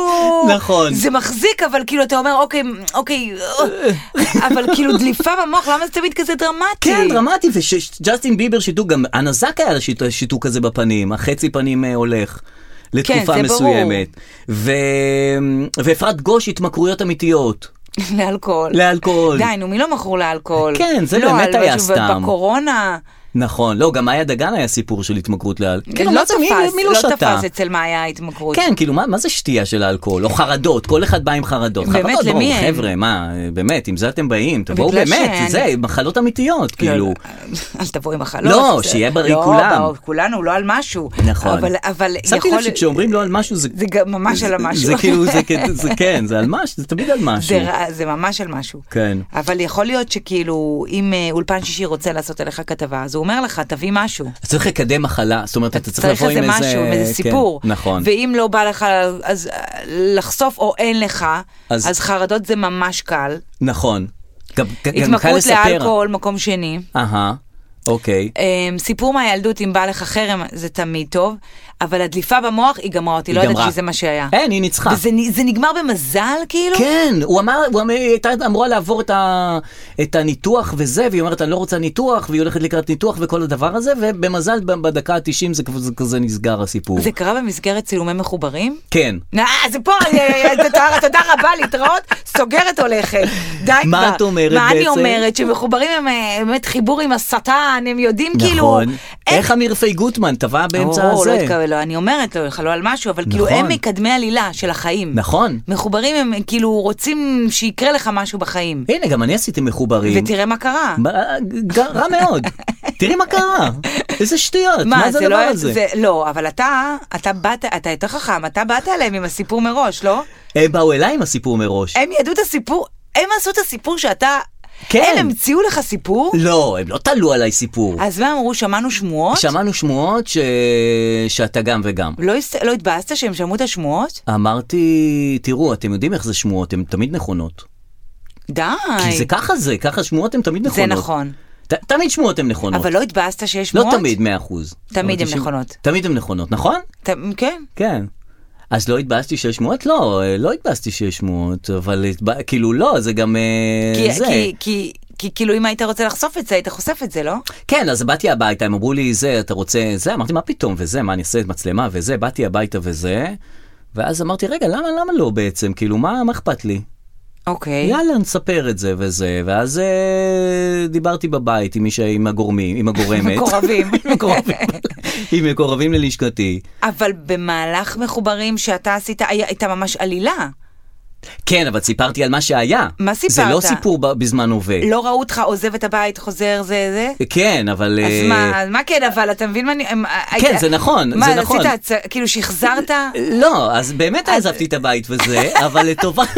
Speaker 2: נכון.
Speaker 3: זה מחזיק, אבל כאילו אתה אומר, אוקיי, אוקיי, אה", אבל כאילו דליפה במוח, למה זה תמיד כזה דרמטי?
Speaker 2: כן, דרמטי, וג'סטין ביבר שיתוק, גם הנזק היה לשיט- השיתוק הזה בפנים, החצי פנים אה, הולך. לתקופה
Speaker 3: כן, זה ברור.
Speaker 2: מסוימת. ו... ואפרת גוש התמכרויות אמיתיות.
Speaker 3: לאלכוהול.
Speaker 2: לאלכוהול.
Speaker 3: די, נו, מי לא מכור לאלכוהול?
Speaker 2: כן, זה באמת
Speaker 3: לא,
Speaker 2: היה
Speaker 3: אבל
Speaker 2: סתם.
Speaker 3: בקורונה,
Speaker 2: נכון, לא, גם מאיה דגן היה סיפור של התמכרות לאלכוהול. כאילו,
Speaker 3: לא
Speaker 2: מה זה, מי-
Speaker 3: תפס,
Speaker 2: מי
Speaker 3: לא
Speaker 2: שתה?
Speaker 3: תפס אצל מאיה ההתמכרות.
Speaker 2: כן, כאילו, מה, מה זה שתייה של אלכוהול? או חרדות, כל אחד בא עם חרדות.
Speaker 3: באמת,
Speaker 2: חרדות,
Speaker 3: למי
Speaker 2: בואו,
Speaker 3: הם?
Speaker 2: חבר'ה, מה, באמת, עם זה אתם באים, תבואו
Speaker 3: בגלל
Speaker 2: באמת,
Speaker 3: שאני-
Speaker 2: זה, מחלות אמיתיות, כאילו.
Speaker 3: לא, אל תבוא עם החלום.
Speaker 2: לא,
Speaker 3: זה-
Speaker 2: שיהיה בריא
Speaker 3: לא,
Speaker 2: כולם.
Speaker 3: ברור, כולנו, לא על משהו.
Speaker 2: נכון.
Speaker 3: אבל, אבל
Speaker 2: שמתי
Speaker 3: יכול...
Speaker 2: לב שכשאומרים לא על משהו, זה...
Speaker 3: זה גם ממש על
Speaker 2: זה-
Speaker 3: המשהו.
Speaker 2: זה כאילו, זה כ- זה כן, זה על משהו, זה תמיד על משהו.
Speaker 3: זה, רע- זה ממש על משהו.
Speaker 2: כן.
Speaker 3: אבל יכול להיות שכאילו, אם אה, אולפן שישי רוצה לעשות עליך כתבה, אז הוא אומר לך, תביא משהו.
Speaker 2: אז צריך לקדם מחלה, זאת אומרת, אתה צריך
Speaker 3: צריך
Speaker 2: לבוא עם
Speaker 3: איזה
Speaker 2: איזה...
Speaker 3: משהו, עם איזה
Speaker 2: כן,
Speaker 3: סיפור.
Speaker 2: נכון.
Speaker 3: ואם לא בא לך אז אה, לחשוף או אין לך,
Speaker 2: אז-
Speaker 3: אז, חרדות זה ממש קל.
Speaker 2: נכון. גם גם- גם קל
Speaker 3: התמכרות
Speaker 2: לספר.
Speaker 3: לאלכוהול, מקום שני.
Speaker 2: אהה, אוקיי.
Speaker 3: אמ, סיפור מהילדות, אם בא לך חרם, זה תמיד טוב, אבל הדליפה במוח היא גמרה אותי, לא
Speaker 2: היא
Speaker 3: ידעתי
Speaker 2: גמרה.
Speaker 3: שזה מה שהיה.
Speaker 2: אין, היא ניצחה.
Speaker 3: וזה נ- זה נגמר במזל, כאילו?
Speaker 2: כן, הוא אמר, הוא אמר, היא הייתה אמורה לעבור את, ה, את הניתוח וזה, והיא אומרת, אני לא רוצה ניתוח, והיא הולכת לקראת ניתוח וכל הדבר הזה, ובמזל ב- בדקה ה-90 זה כזה- כזה נסגר הסיפור.
Speaker 3: זה קרה במסגרת צילומי מחוברים?
Speaker 2: כן.
Speaker 3: נא, זה פה, אני- אני- תודה- תודה רבה, להתראות, סוגרת הולכת. די כבר.
Speaker 2: מה את אומרת
Speaker 3: מה אני
Speaker 2: בעצם?
Speaker 3: אומרת? שמחוברים הם אה, באמת חיבור עם השטן, הם יודעים כאילו...
Speaker 2: נכון. איך המרפי גוטמן טבע באמצע
Speaker 3: או, לא
Speaker 2: הזה?
Speaker 3: התקבל, לא, אני אומרת לו, לא על משהו, אבל כאילו
Speaker 2: נכון.
Speaker 3: הם מקדמי עלילה של החיים.
Speaker 2: נכון.
Speaker 3: מחוברים הם כאילו רוצים שיקרה לך משהו בחיים.
Speaker 2: הנה, גם אני עשיתי מחוברים.
Speaker 3: ותראה מה קרה.
Speaker 2: מה- ג- רע מאוד. תראי מה קרה. איזה שטויות, מה זה הדבר
Speaker 3: לא,
Speaker 2: הזה?
Speaker 3: זה, לא, אבל אתה, אתה באת, אתה יותר חכם, אתה באת אליהם עם הסיפור מראש, לא?
Speaker 2: הם באו אליי עם הסיפור מראש.
Speaker 3: הם ידעו את הסיפור, הם עשו את הסיפור שאתה...
Speaker 2: כן.
Speaker 3: הם המציאו לך סיפור?
Speaker 2: לא, הם לא תלו עליי סיפור.
Speaker 3: אז מה אמרו, שמענו שמועות?
Speaker 2: שמענו שמועות ש... שאתה גם וגם.
Speaker 3: לא, הס... לא התבאסת שהם שמעו את השמועות?
Speaker 2: אמרתי, תראו, אתם יודעים איך זה שמועות, הן תמיד נכונות.
Speaker 3: די.
Speaker 2: כי זה ככה זה, ככה שמועות הן תמיד
Speaker 3: זה
Speaker 2: נכונות.
Speaker 3: נכון.
Speaker 2: ת, תמיד שמועות הן נכונות.
Speaker 3: אבל לא התבאסת שיש
Speaker 2: לא
Speaker 3: שמועות?
Speaker 2: תמיד, 100 אחוז.
Speaker 3: תמיד הן נכונות.
Speaker 2: תמיד הן נכונות, נכון?
Speaker 3: ת... כן.
Speaker 2: כן. אז לא התבאסתי שיש שמועות? לא, אה, לא התבאסתי שיש שמועות, אבל התב- כאילו לא, זה גם אה,
Speaker 3: כי,
Speaker 2: זה.
Speaker 3: כי, כי, כי כאילו אם היית רוצה לחשוף את זה, היית חושף את זה, לא?
Speaker 2: כן, אז באתי הביתה, הם אמרו לי, זה, אתה רוצה, זה, אמרתי, מה פתאום, וזה, מה, אני אעשה את מצלמה, וזה, באתי הביתה וזה, ואז אמרתי, רגע, למה, למה לא בעצם, כאילו, מה, מה אכפת לי?
Speaker 3: אוקיי.
Speaker 2: יאללה, נספר את זה וזה, ואז אה, דיברתי בבית עם, מי ש... עם הגורמים, עם הגורמת.
Speaker 3: מקורבים.
Speaker 2: עם מקורבים. עם מקורבים ללשכתי.
Speaker 3: אבל במהלך מחוברים שאתה עשית, היה- הייתה ממש עלילה.
Speaker 2: כן, אבל סיפרתי על מה שהיה.
Speaker 3: מה
Speaker 2: זה לא
Speaker 3: סיפרת?
Speaker 2: סיפור ב- בזמן הווה.
Speaker 3: לא ראו אותך עוזב את הבית, חוזר, זה, זה.
Speaker 2: כן, אבל...
Speaker 3: אז
Speaker 2: אה,
Speaker 3: מה, אז מה כן, אבל אתה מבין מה אני... הם-
Speaker 2: כן,
Speaker 3: היית-
Speaker 2: זה נכון,
Speaker 3: מה,
Speaker 2: זה נכון.
Speaker 3: מה, רצית, הצ- כאילו שחזרת?
Speaker 2: לא, אז באמת עזבתי את הבית וזה, אבל לטובת,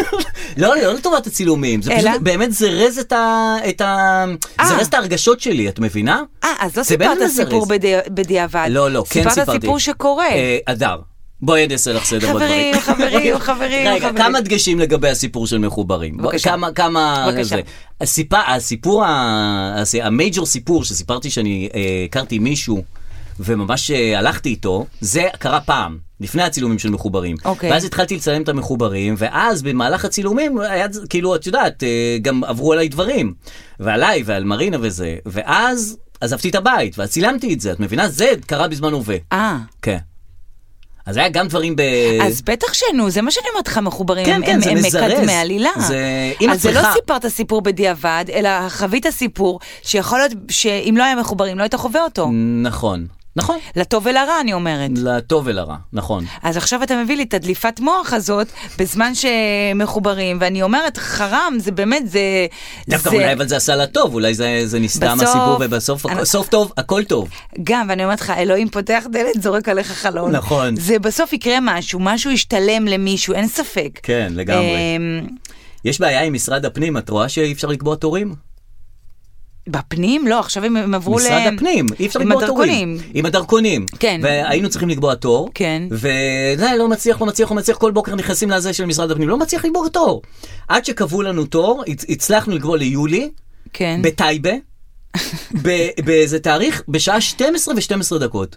Speaker 2: לא, לא לטובת הצילומים, זה
Speaker 3: אלא?
Speaker 2: פשוט באמת זרז את ה... את ה...
Speaker 3: אה.
Speaker 2: זרז את ההרגשות שלי, את מבינה?
Speaker 3: אה, אז לא
Speaker 2: זה באמת
Speaker 3: סיפרת
Speaker 2: מזרז.
Speaker 3: סיפור בדי- בדיעבד.
Speaker 2: לא, לא, כן סיפרתי.
Speaker 3: אה, סיפרת סיפור שקורה.
Speaker 2: אה, אדר, בואי אני אעשה לך סדר
Speaker 3: חברים,
Speaker 2: בדברים.
Speaker 3: חברים, חברים,
Speaker 2: רגע,
Speaker 3: חברים.
Speaker 2: כמה דגשים לגבי הסיפור של מחוברים. בוא,
Speaker 3: בבקשה.
Speaker 2: כמה, כמה...
Speaker 3: בבקשה.
Speaker 2: זה. הסיפ... הסיפור, ה- הס- המייג'ור סיפור שסיפרתי שאני אה, הכרתי מישהו וממש אה, הלכתי איתו, זה קרה פעם. לפני הצילומים של מחוברים.
Speaker 3: אוקיי.
Speaker 2: ואז התחלתי לצלם את המחוברים, ואז במהלך הצילומים היה, זה- כאילו, את יודעת, אה, גם עברו עליי דברים. ועליי ועל מרינה וזה. ואז עזבתי את הבית, ואז צילמתי את זה, את מבינה? זה קרה בזמן הווה.
Speaker 3: אה.
Speaker 2: כן. אז היה גם דברים ב...
Speaker 3: אז בטח שנו, זה מה שאני אומרת לך, מחוברים,
Speaker 2: אה. כן,
Speaker 3: הם,
Speaker 2: כן,
Speaker 3: הם,
Speaker 2: זה
Speaker 3: הם
Speaker 2: מזרז.
Speaker 3: מקדמי עלילה.
Speaker 2: זה- אם
Speaker 3: אז
Speaker 2: את
Speaker 3: זה לא
Speaker 2: צריכה-
Speaker 3: סיפרת סיפור בדיעבד, אלא חווית סיפור שיכול להיות שאם לא היה מחוברים, לא היית חווה אותו.
Speaker 2: נכון. נכון.
Speaker 3: לטוב ולרע, אני אומרת.
Speaker 2: לטוב ולרע, נכון.
Speaker 3: אז עכשיו אתה מביא לי את הדליפת מוח הזאת בזמן שמחוברים, ואני אומרת, חרם, זה באמת, זה...
Speaker 2: דווקא
Speaker 3: זה-
Speaker 2: אולי אבל זה עשה לה טוב, אולי זה זה נסתם
Speaker 3: בסוף-
Speaker 2: הסיפור, ובסוף,
Speaker 3: אני-
Speaker 2: סוף טוב, הכל טוב.
Speaker 3: גם, ואני אומרת לך, אלוהים פותח דלת, זורק עליך חלון.
Speaker 2: נכון.
Speaker 3: זה בסוף יקרה משהו, משהו ישתלם למישהו, אין ספק.
Speaker 2: כן, לגמרי.
Speaker 3: אמ,
Speaker 2: יש בעיה עם משרד הפנים, את רואה שאי אפשר לקבוע תורים?
Speaker 3: בפנים? לא, עכשיו הם הם עברו ל...
Speaker 2: משרד הפנים, אי אפשר
Speaker 3: עם
Speaker 2: לקבוע תורים.
Speaker 3: הדרכונים.
Speaker 2: עם הדרכונים.
Speaker 3: כן.
Speaker 2: והיינו צריכים לקבוע תור.
Speaker 3: כן.
Speaker 2: וזה לא מצליח, לא מצליח, לא מצליח, כל בוקר נכנסים לזה של משרד הפנים, לא מצליח לקבוע תור. עד שקבעו לנו תור, הצ- הצלחנו לקבוע ליולי,
Speaker 3: כן.
Speaker 2: בטייבה, ב- באיזה תאריך, בשעה 12 ו-12 דקות.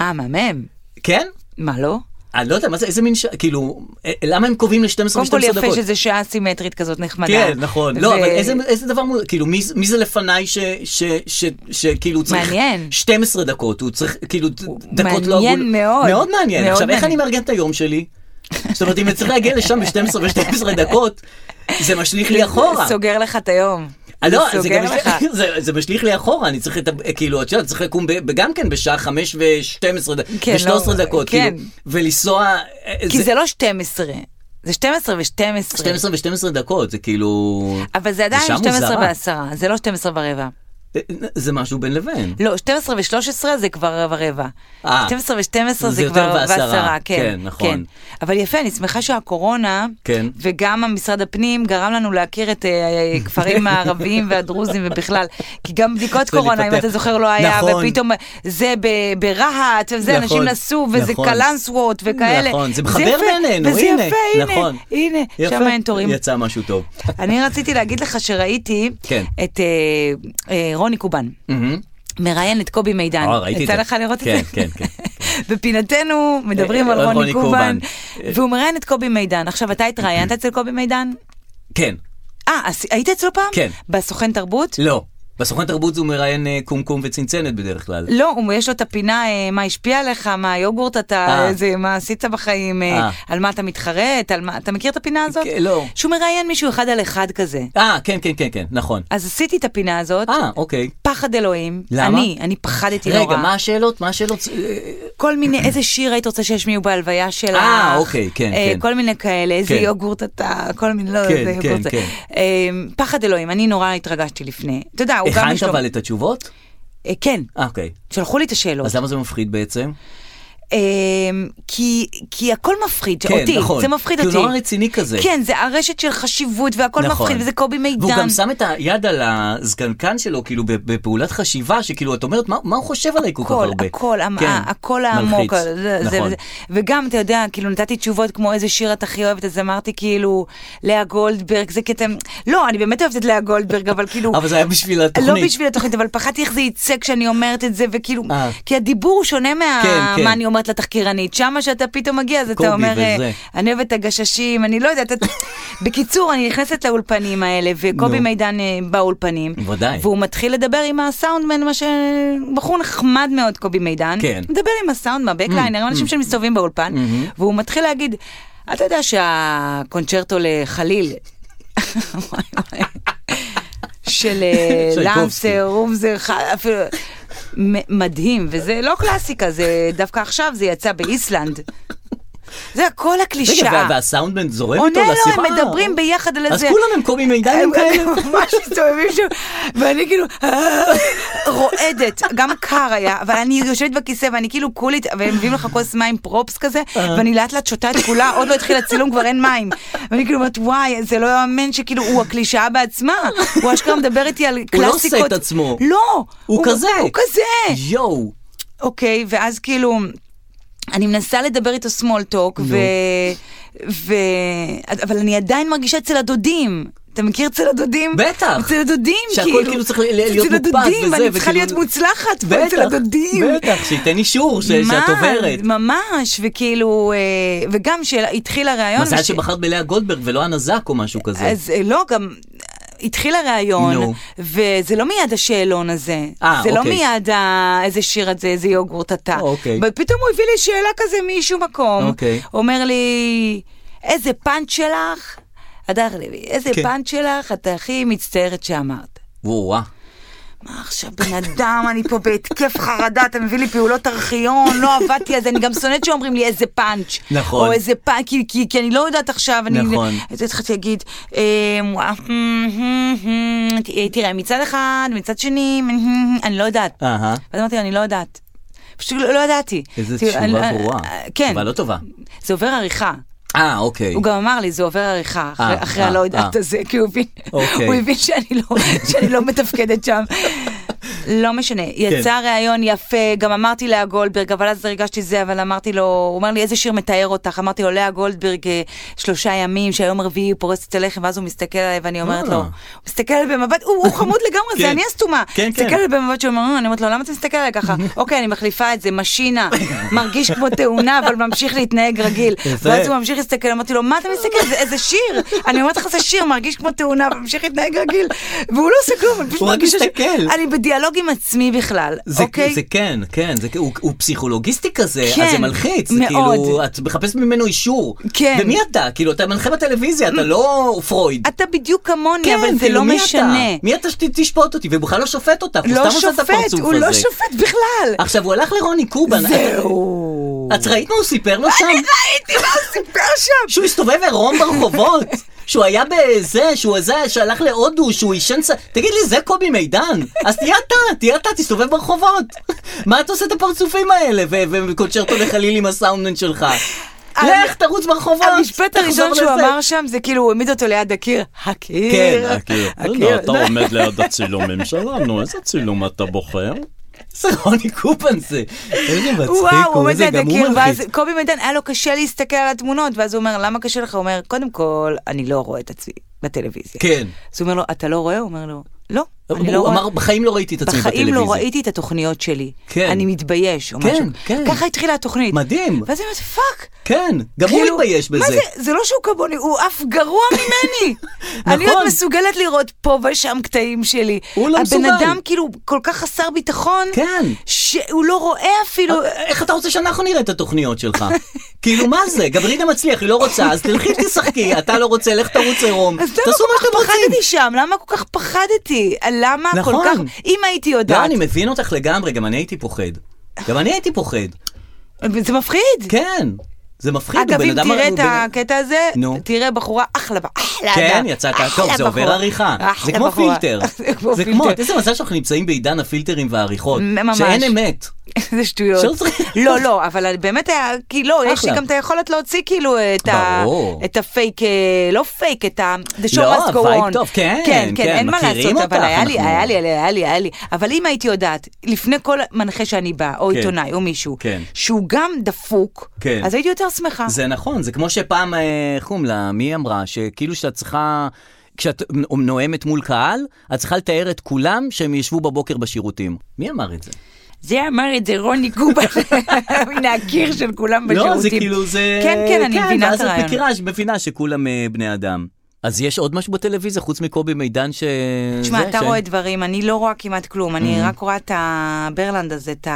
Speaker 3: אה, מהמם.
Speaker 2: כן?
Speaker 3: מה לא?
Speaker 2: אני לא יודע, מה זה, איזה מין, ש... כאילו, אה, למה הם קובעים ל-12 ו-12
Speaker 3: קודם
Speaker 2: דקות?
Speaker 3: כל יפה שזה שעה סימטרית כזאת נחמדה.
Speaker 2: כן, נכון. לא,
Speaker 3: ו-
Speaker 2: אבל איזה, איזה דבר, מוז- כאילו, מי, זה- מי זה לפניי ש- ש- ש- שכאילו הוא צריך
Speaker 3: מעניין.
Speaker 2: 12 דקות, הוא צריך, כאילו, ד-
Speaker 3: הוא-
Speaker 2: דקות לא
Speaker 3: מעניין מאוד.
Speaker 2: מאוד מעניין.
Speaker 3: מאוד
Speaker 2: עכשיו, איך
Speaker 3: מעניין.
Speaker 2: אני מארגן את היום שלי? זאת אומרת, אם אני צריך להגיע לשם ב-12 ו-12 דקות, זה משליך לי אחורה.
Speaker 3: סוגר לך את היום.
Speaker 2: אה, לא, זה
Speaker 3: סוגר
Speaker 2: גם משליך-
Speaker 3: לך.
Speaker 2: זה- זה משליך לי אחורה, אני צריך את ה... כאילו, את יודעת, צריך לקום ב- ב- גם כן בשעה 5 ו-12
Speaker 3: כן,
Speaker 2: ו-13
Speaker 3: לא,
Speaker 2: דקות,
Speaker 3: כן.
Speaker 2: כאילו, ולנסוע... אה,
Speaker 3: כי זה לא 12, זה 12 ו-12.
Speaker 2: 12 ו-12 דקות, זה כאילו...
Speaker 3: אבל זה עדיין
Speaker 2: גישה
Speaker 3: 12
Speaker 2: מוזרה.
Speaker 3: ו-10, זה לא 12 ורבע.
Speaker 2: זה משהו בין לבין.
Speaker 3: לא, 12 ו-13 זה כבר רבע רבע.
Speaker 2: אה.
Speaker 3: 12 ו-12
Speaker 2: זה
Speaker 3: זה
Speaker 2: יותר
Speaker 3: כבר
Speaker 2: בעשרה,
Speaker 3: בעשרה, כן.
Speaker 2: כן, נכון.
Speaker 3: אבל יפה, אני שמחה שהקורונה,
Speaker 2: כן.
Speaker 3: וגם המשרד הפנים, גרם לנו להכיר את אה, הכפרים הערביים והדרוזים ובכלל. כי גם בדיקות
Speaker 2: זה
Speaker 3: קורונה, אם
Speaker 2: לפתח.
Speaker 3: אתה זוכר, לא היה,
Speaker 2: נכון.
Speaker 3: ופתאום זה ב- ברהט, וזה,
Speaker 2: נכון,
Speaker 3: אנשים נסעו, וזה
Speaker 2: נכון.
Speaker 3: קלנסוות וכאלה.
Speaker 2: נכון, זה מחבר
Speaker 3: יפה,
Speaker 2: בינינו,
Speaker 3: וזה
Speaker 2: הנה,
Speaker 3: יפה, הנה,
Speaker 2: נכון.
Speaker 3: הנה,
Speaker 2: יפה,
Speaker 3: שם אין תורים.
Speaker 2: יצא משהו טוב.
Speaker 3: אני רציתי להגיד לך שראיתי
Speaker 2: כן.
Speaker 3: את אה, אה, רוני קובן.
Speaker 2: מהמם.
Speaker 3: מראיין את קובי מידן.
Speaker 2: אה, ראיתי את
Speaker 3: יצא
Speaker 2: זה.
Speaker 3: לך לראות
Speaker 2: כן,
Speaker 3: את זה?
Speaker 2: כן, כן.
Speaker 3: בפינתנו מדברים
Speaker 2: אה,
Speaker 3: על
Speaker 2: אה,
Speaker 3: רוני
Speaker 2: רוני
Speaker 3: קובן,
Speaker 2: קובן.
Speaker 3: והוא מראיין את קובי מידן. עכשיו, אתה התראיינת אצל קובי מידן?
Speaker 2: כן,
Speaker 3: אה, אז היית אצלו פעם?
Speaker 2: כן.
Speaker 3: בסוכן תרבות?
Speaker 2: לא. בסוכן תרבות הוא מראיין אה, קומקום וצנצנת בדרך כלל.
Speaker 3: לא, הוא- יש לו את הפינה, אה, מה השפיע עליך, מה היוגורט אתה,
Speaker 2: אה.
Speaker 3: איזה, מה עשית בחיים, אה,
Speaker 2: אה.
Speaker 3: על מה אתה מתחרט, על מה, אתה מכיר את הפינה הזאת?
Speaker 2: כן, לא.
Speaker 3: שהוא מראיין מישהו אחד על אחד כזה.
Speaker 2: אה, כן, כן, כן, כן, נכון.
Speaker 3: אז עשיתי את הפינה הזאת.
Speaker 2: אה, אוקיי.
Speaker 3: פחד אלוהים.
Speaker 2: למה?
Speaker 3: אני, אני פחדתי נורא.
Speaker 2: רגע, מה השאלות? מה השאלות?
Speaker 3: כל מיני, איזה שיר היית רוצה שישמיעו בהלוויה שלך?
Speaker 2: אה, אוקיי, כן,
Speaker 3: אה,
Speaker 2: כן.
Speaker 3: כל מיני כאלה, איזה
Speaker 2: כן.
Speaker 3: יוגורט אתה, כל מיני, לא,
Speaker 2: כן,
Speaker 3: איזה
Speaker 2: כן,
Speaker 3: יוגורט. זה.
Speaker 2: כן.
Speaker 3: אה, פחד אלוהים, אני נורא התרגשתי לפני. אתה יודע, הוא גם
Speaker 2: הכנת
Speaker 3: יש לו...
Speaker 2: אבל את התשובות?
Speaker 3: אה, כן,
Speaker 2: אה, אוקיי.
Speaker 3: שלחו לי את השאלות.
Speaker 2: אז למה זה מפחיד בעצם?
Speaker 3: אה, כי, כי הכל מפחיד
Speaker 2: כן,
Speaker 3: אותי,
Speaker 2: נכון.
Speaker 3: זה מפחיד
Speaker 2: כי
Speaker 3: אותי.
Speaker 2: הוא נורא רציני כזה.
Speaker 3: כן, זה הרשת של חשיבות והכל
Speaker 2: נכון.
Speaker 3: מפחיד, וזה קובי מידן.
Speaker 2: והוא גם שם את היד על הזקנקן שלו, כאילו, בפעולת חשיבה, שכאילו, את אומרת, מה מה הוא חושב עליי כל כך
Speaker 3: הכל,
Speaker 2: הרבה?
Speaker 3: הכל, המ-
Speaker 2: כן,
Speaker 3: הכל
Speaker 2: מלחיץ.
Speaker 3: העמוק, זה- זה-
Speaker 2: נכון.
Speaker 3: זה- וגם אתה יודע, כאילו נתתי תשובות כמו איזה שיר את הכי אוהבת, אז אמרתי כאילו, לאה גולדברג זה קטע, לא, אני באמת אוהבת את לאה גולדברג, אבל כאילו,
Speaker 2: אבל זה היה בשביל התוכנית.
Speaker 3: לא בשביל התוכנית, אבל פחדתי איך זה יצא כשאני אומרת את זה, וכאילו,
Speaker 2: אה.
Speaker 3: כי הדיבור הוא שונה מה
Speaker 2: כן, כן.
Speaker 3: מה אני אומרת לתחקירנית, שמה שאתה פתאום מגיע, אז
Speaker 2: קובי
Speaker 3: אתה אומר, אה,
Speaker 2: וזה.
Speaker 3: אני אוהבת את הגששים, אני לא יודעת, את- בקיצור, אני נכנסת לאולפנים האלה, וקובי
Speaker 2: נו.
Speaker 3: מידן אה, באולפנים,
Speaker 2: ודאי.
Speaker 3: והוא מתחיל לדבר עם הסאונדמן, מה ש... בחור נחמד מאוד, קובי מידן,
Speaker 2: כן. Mm-hmm.
Speaker 3: מדבר עם הסאונד, מהבקליינר, עם אנשים שמסתובבים באולפן, והוא מתחיל להגיד, אתה יודע שהקונצ'רטו לחליל, של אה,
Speaker 2: צ'ייקובסקי.
Speaker 3: לנסר, רומזר, ח- אפילו... מ- מדהים, וזה לא קלאסיקה, זה דווקא עכשיו, זה יצא באיסלנד. זה הכל
Speaker 2: רגע,
Speaker 3: הקלישאה.
Speaker 2: וה- והסאונדמן זורם איתו
Speaker 3: עונה
Speaker 2: לשיחה.
Speaker 3: לו, הם מדברים ביחד על
Speaker 2: אז
Speaker 3: איזה... אה,
Speaker 2: כולם הם קוראים מידיים כאלה?
Speaker 3: ממש מסתובבים שם, ואני כאילו "אה", רועדת, גם קר היה, אבל אני יושבת בכיסא ואני כאילו כולי, והם מביאים לך כוס מים פרופס כזה,
Speaker 2: אה.
Speaker 3: ואני לאט לאט שותה את כולה, עוד לא התחיל הצילום, כבר אין מים. ואני כאילו אומרת, וואי, זה לא יאמן שכאילו, הוא הקלישאה בעצמה, הוא אשכרה מדבר איתי על
Speaker 2: הוא
Speaker 3: קלאסיקות.
Speaker 2: לא עושה את עצמו.
Speaker 3: לא.
Speaker 2: הוא כזה.
Speaker 3: הוא כזה.
Speaker 2: יואו.
Speaker 3: אוקיי, ואז כאילו, אני מנסה לדבר איתו small talk, ו... ו... אבל אני עדיין מרגישה אצל הדודים. אתה מכיר אצל הדודים?
Speaker 2: בטח.
Speaker 3: אצל הדודים,
Speaker 2: שהכל
Speaker 3: כאילו.
Speaker 2: כאילו צריך ל- ל- להיות
Speaker 3: אצל
Speaker 2: מוקפד
Speaker 3: הדודים,
Speaker 2: וזה,
Speaker 3: אני צריכה
Speaker 2: וכאילו-
Speaker 3: להיות מוצלחת פה אצל
Speaker 2: בטח,
Speaker 3: הדודים.
Speaker 2: בטח, שייתן אישור ש-
Speaker 3: ממש,
Speaker 2: שאת עוברת.
Speaker 3: ממש, וכאילו, אה, וגם שהתחיל הרעיון.
Speaker 2: מזל
Speaker 3: וש-
Speaker 2: שבחרת בלאה גולדברג ולא הנזק או משהו כזה.
Speaker 3: אז אה, לא, גם התחיל הראיון,
Speaker 2: נו.
Speaker 3: וזה לא מיד השאלון הזה.
Speaker 2: אה,
Speaker 3: זה לא
Speaker 2: אוקיי.
Speaker 3: מיד ה- איזה שיר את זה, איזה יוגורט אתה.
Speaker 2: אוקיי.
Speaker 3: ופתאום הוא הביא לי שאלה כזה מאיזשהו מקום.
Speaker 2: אוקיי.
Speaker 3: אומר לי, איזה פאנץ' שלך? הדר לוי, איזה
Speaker 2: כן.
Speaker 3: פאנץ' שלך, אתה הכי מצטערת שאמרת.
Speaker 2: וואו,
Speaker 3: מה עכשיו, בן אדם, אני פה בהתקף חרדה, אתה מביא לי פעולות ארכיון, לא עבדתי על זה, אני גם שונאת שאומרים לי איזה פאנץ'.
Speaker 2: נכון.
Speaker 3: או איזה פאנץ', כי, כי, כי אני לא יודעת עכשיו, אני...
Speaker 2: נכון.
Speaker 3: אז התחלתי להגיד, אה, וואו, ת- אה, תראה, מצד אחד, מצד שני, אני לא יודעת.
Speaker 2: אהה.
Speaker 3: ואז אמרתי, אני לא יודעת. פשוט לא לא ידעתי.
Speaker 2: איזה
Speaker 3: תראו,
Speaker 2: תשובה
Speaker 3: אני-
Speaker 2: ברורה.
Speaker 3: אה, כן,
Speaker 2: אבל לא טובה.
Speaker 3: זה עובר עריכה.
Speaker 2: אה, אוקיי.
Speaker 3: הוא גם אמר לי, זה עובר עריכה, אחרי-
Speaker 2: אה,
Speaker 3: אחרי
Speaker 2: אה,
Speaker 3: הלא יודעת
Speaker 2: אה.
Speaker 3: הזה, כי הוא הבין,
Speaker 2: אוקיי.
Speaker 3: הוא הבין שאני לא- שאני לא מתפקדת שם. לא משנה,
Speaker 2: כן.
Speaker 3: יצא ראיון יפה, גם אמרתי לאה גולדברג, אבל אז הרגשתי זה, אבל אמרתי לו, הוא אמר לי, איזה שיר מתאר אותך? אמרתי לו, לאה גולדברג, אה, שלושה ימים, שהיום רביעי הוא פורס את הלחם, ואז הוא מסתכל עליי ואני אומרת
Speaker 2: אה.
Speaker 3: לו, הוא מסתכל עליי במבט, הוא הוא חמוד לגמרי,
Speaker 2: כן.
Speaker 3: זה אני הסתומה.
Speaker 2: כן, כן.
Speaker 3: מסתכל עליי במבט שהוא אומר, "אה", אני אומרת לו, למה אתה מסתכל עליי ככה? אוקיי, אני מחליפה את זה, משינה, מרגיש כמו תאונה, אבל ממשיך להתנהג רגיל.
Speaker 2: יפה.
Speaker 3: ואז הוא ממשיך להסתכל, אמרתי לו, מה אתה מסתכל? זה איזה שיר. אני אומרת לך, זה שיר, מרגיש כמו תאונה, וממשיך להתנהג רגיל. והוא לא עושה כלום, אני פשוט
Speaker 2: הוא רק
Speaker 3: מרגיש...
Speaker 2: מסתכל.
Speaker 3: אני בדיאלוג עם עצמי בכלל,
Speaker 2: זה,
Speaker 3: אוקיי?
Speaker 2: זה כן, כן, זה, כ- הוא, הוא פסיכולוגיסטי כזה,
Speaker 3: כן,
Speaker 2: אז זה מלחיץ, זה
Speaker 3: מאוד.
Speaker 2: כאילו, את מחפשת ממנו אישור.
Speaker 3: כן.
Speaker 2: ומי אתה? כאילו, אתה מנחה בטלוויזיה, אתה לא פרויד.
Speaker 3: אתה בדיוק כמוני,
Speaker 2: כן,
Speaker 3: אבל זה
Speaker 2: כאילו,
Speaker 3: לא
Speaker 2: מי
Speaker 3: משנה.
Speaker 2: אתה? מי אתה שתשפוט אותי? והוא בכלל לא שופט אותך, הוא
Speaker 3: לא
Speaker 2: סתם עושה את
Speaker 3: שופט,
Speaker 2: הפרצוף
Speaker 3: הוא
Speaker 2: הזה. אה.
Speaker 3: לא שופט בכלל.
Speaker 2: עכשיו, הוא הלך לרוני קובן.
Speaker 3: זהו.
Speaker 2: את ראית מה הוא סיפר לו שם?
Speaker 3: ראיתי מה הוא סיפר שם.
Speaker 2: שהוא הסתובב עירום ברחובות, שהוא היה בזה, שהוא זה, שהלך להודו, שהוא עישן ס... תגיד לי, זה קובי מידן? אז תהיה אתה, תהיה אתה, תסתובב ברחובות. מה אתה עושה את הפרצופים האלה? ו- וקונצ'רטו לחליל עם הסאונדמן שלך. לך, תרוץ ברחובות.
Speaker 3: המשפט
Speaker 2: תחזור
Speaker 3: הראשון שהוא
Speaker 2: לזה.
Speaker 3: אמר שם זה כאילו הוא העמיד אותו ליד הקיר, הקיר,
Speaker 2: כן, הקיר.
Speaker 3: הקיר,
Speaker 2: אוקיי.
Speaker 1: עומד ליד הצילומים שלנו, איזה צילום אתה בוחר?
Speaker 2: זה רוני קופן זה. איזה מצחיק
Speaker 3: וואו, הוא עומד
Speaker 2: איזה-
Speaker 3: ליד
Speaker 2: גם הוא
Speaker 3: הקיר, ואז
Speaker 2: מלחיץ.
Speaker 3: קובי מידן, היה לו קשה להסתכל על התמונות, ואז הוא אומר, למה קשה לך? הוא אומר, קודם כל, אני לא רואה את עצמי בטלוויזיה.
Speaker 2: כן.
Speaker 3: אז הוא אומר לו, אתה לא רואה? הוא אומר לו, לא, אני לא
Speaker 2: הוא
Speaker 3: רואה.
Speaker 2: אמר, בחיים לא ראיתי את עצמי בטלוויזיה.
Speaker 3: בחיים לא ראיתי את התוכניות שלי.
Speaker 2: כן.
Speaker 3: אני מתבייש, או
Speaker 2: כן,
Speaker 3: משהו.
Speaker 2: כן.
Speaker 3: ככה התחילה התוכנית.
Speaker 2: מדהים.
Speaker 3: ואז אני אומרת, פאק.
Speaker 2: כן, גם הוא
Speaker 3: כאילו,
Speaker 2: מתבייש בזה.
Speaker 3: מה זה? זה לא שהוא כמוני, הוא אף גרוע ממני. אני
Speaker 2: נכון.
Speaker 3: עוד מסוגלת לראות פה ושם קטעים שלי.
Speaker 2: הוא לא מסוגל.
Speaker 3: הבן אדם כאילו כל כך חסר ביטחון,
Speaker 2: כן.
Speaker 3: שהוא לא רואה אפילו.
Speaker 2: אה, איך אתה רוצה שאנחנו נראה את התוכניות שלך? כאילו, מה זה? גברידה מצליח, היא לא רוצה, אז תלכי תשחקי, אתה לא רוצה, לך תרוץ עירום.
Speaker 3: אז
Speaker 2: תעשו
Speaker 3: למה
Speaker 2: מה שאתם
Speaker 3: כל כך
Speaker 2: רוצים.
Speaker 3: פחדתי שם? למה כל כך פחדתי? למה כל
Speaker 2: נכון.
Speaker 3: כך... אם הייתי
Speaker 2: לא,
Speaker 3: יודעת.
Speaker 2: אני מבין אותך לגמרי, גם אני הייתי פוחד. גם אני הייתי פוחד.
Speaker 3: זה מפחיד.
Speaker 2: כן, זה מפחיד. הוא
Speaker 3: אגב,
Speaker 2: בן
Speaker 3: אם
Speaker 2: אדם-
Speaker 3: תראה
Speaker 2: הוא
Speaker 3: את כן,
Speaker 2: בן-
Speaker 3: הקטע הזה,
Speaker 2: נו.
Speaker 3: תראה בחורה אחלה, ב- אחלה.
Speaker 2: כן,
Speaker 3: אדם,
Speaker 2: יצאת,
Speaker 3: אחלה
Speaker 2: טוב, זה עובר
Speaker 3: בחורה.
Speaker 2: עריכה. זה
Speaker 3: אחלה
Speaker 2: כמו
Speaker 3: בחורה.
Speaker 2: פילטר. זה
Speaker 3: זה
Speaker 2: כמו,
Speaker 3: פילטר.
Speaker 2: איזה מזל שאנחנו נמצאים בעידן הפילטרים והעריכות.
Speaker 3: ממש.
Speaker 2: שאין אמת.
Speaker 3: זה שטויות.
Speaker 2: שלא צריך-
Speaker 3: לא, לא, אבל באמת היה, כי לא, יש לי
Speaker 2: אחלה.
Speaker 3: גם את היכולת להוציא כאילו את ה-
Speaker 2: ברור.
Speaker 3: את הפייק, אה, לא פייק, את ה... The show
Speaker 2: לא,
Speaker 3: must go
Speaker 2: הווייב
Speaker 3: on.
Speaker 2: טוב, כן, כן,
Speaker 3: אין מה
Speaker 2: מכירים
Speaker 3: לעשות, אבל
Speaker 2: אותך,
Speaker 3: היה לי,
Speaker 2: אנחנו-
Speaker 3: היה לי, היה לי, היה לי. אבל אם הייתי יודעת, לפני כל מנחה שאני באה, או
Speaker 2: כן.
Speaker 3: עיתונאי, או מישהו,
Speaker 2: כן.
Speaker 3: שהוא גם דפוק,
Speaker 2: כן.
Speaker 3: אז הייתי יותר שמחה.
Speaker 2: זה נכון, זה כמו שפעם, אה, איך קוראים לה, מי אמרה, שכאילו שאת צריכה, כשאת נואמת מול קהל, את צריכה לתאר את כולם שהם ישבו בבוקר בשירותים. מי אמר את זה?
Speaker 3: זה אמר את זה רוני קובה, מן הקיר של כולם בשירותים.
Speaker 2: לא, זה כאילו זה...
Speaker 3: כן, כן, אני מבינה את
Speaker 2: ואז את
Speaker 3: הרעיון.
Speaker 2: מכירה, מבינה שכולם אה, בני אדם. אז יש עוד משהו בטלוויזיה חוץ מקובי מידן ש...
Speaker 3: תשמע,
Speaker 2: זה, כן. Mm-hmm.
Speaker 3: אתה
Speaker 2: ש-
Speaker 3: רואה דברים, אני לא רואה כמעט כלום, אני רק רואה את הברלנד הזה, את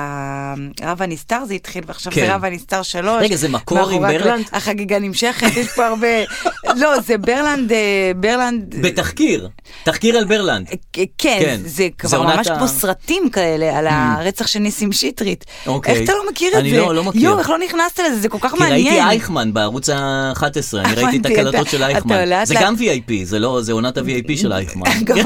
Speaker 3: הרב הנסתר, זה התחיל, ועכשיו
Speaker 2: כן.
Speaker 3: זה רב הנסתר שלוש.
Speaker 2: רגע, זה מקור עם
Speaker 3: מאחורי הקלעים.
Speaker 2: ברלנד?
Speaker 3: החגיגה נמשכת, יש פה הרבה... לא, זה ברלנד, אה, ברלנד...
Speaker 2: בתחקיר, תחקיר על ברלנד.
Speaker 3: אה, כן,
Speaker 2: כן,
Speaker 3: זה
Speaker 2: זה
Speaker 3: כבר
Speaker 2: עונת
Speaker 3: ממש
Speaker 2: ה- Mm.
Speaker 3: כמו סרטים כאלה על הרצח של ניסים שטרית.
Speaker 2: אוקיי.
Speaker 3: איך אתה לא מכיר את זה?
Speaker 2: אני לא- לא מכיר.
Speaker 3: יואו, איך לא נכנסת לזה? זה כל כך
Speaker 2: כי
Speaker 3: מעניין.
Speaker 2: ראיתי אייכמן בערוץ ה-11, אני ראיתי את
Speaker 3: הבנתי,
Speaker 2: הקלטות
Speaker 3: אתה- לא- אה,
Speaker 2: של
Speaker 3: אתה
Speaker 2: אייכמן.
Speaker 3: לאט
Speaker 2: זה
Speaker 3: לאט-
Speaker 2: גם VIP, זה לא, זה עונת ה-VIP של אייכמן.
Speaker 3: גם-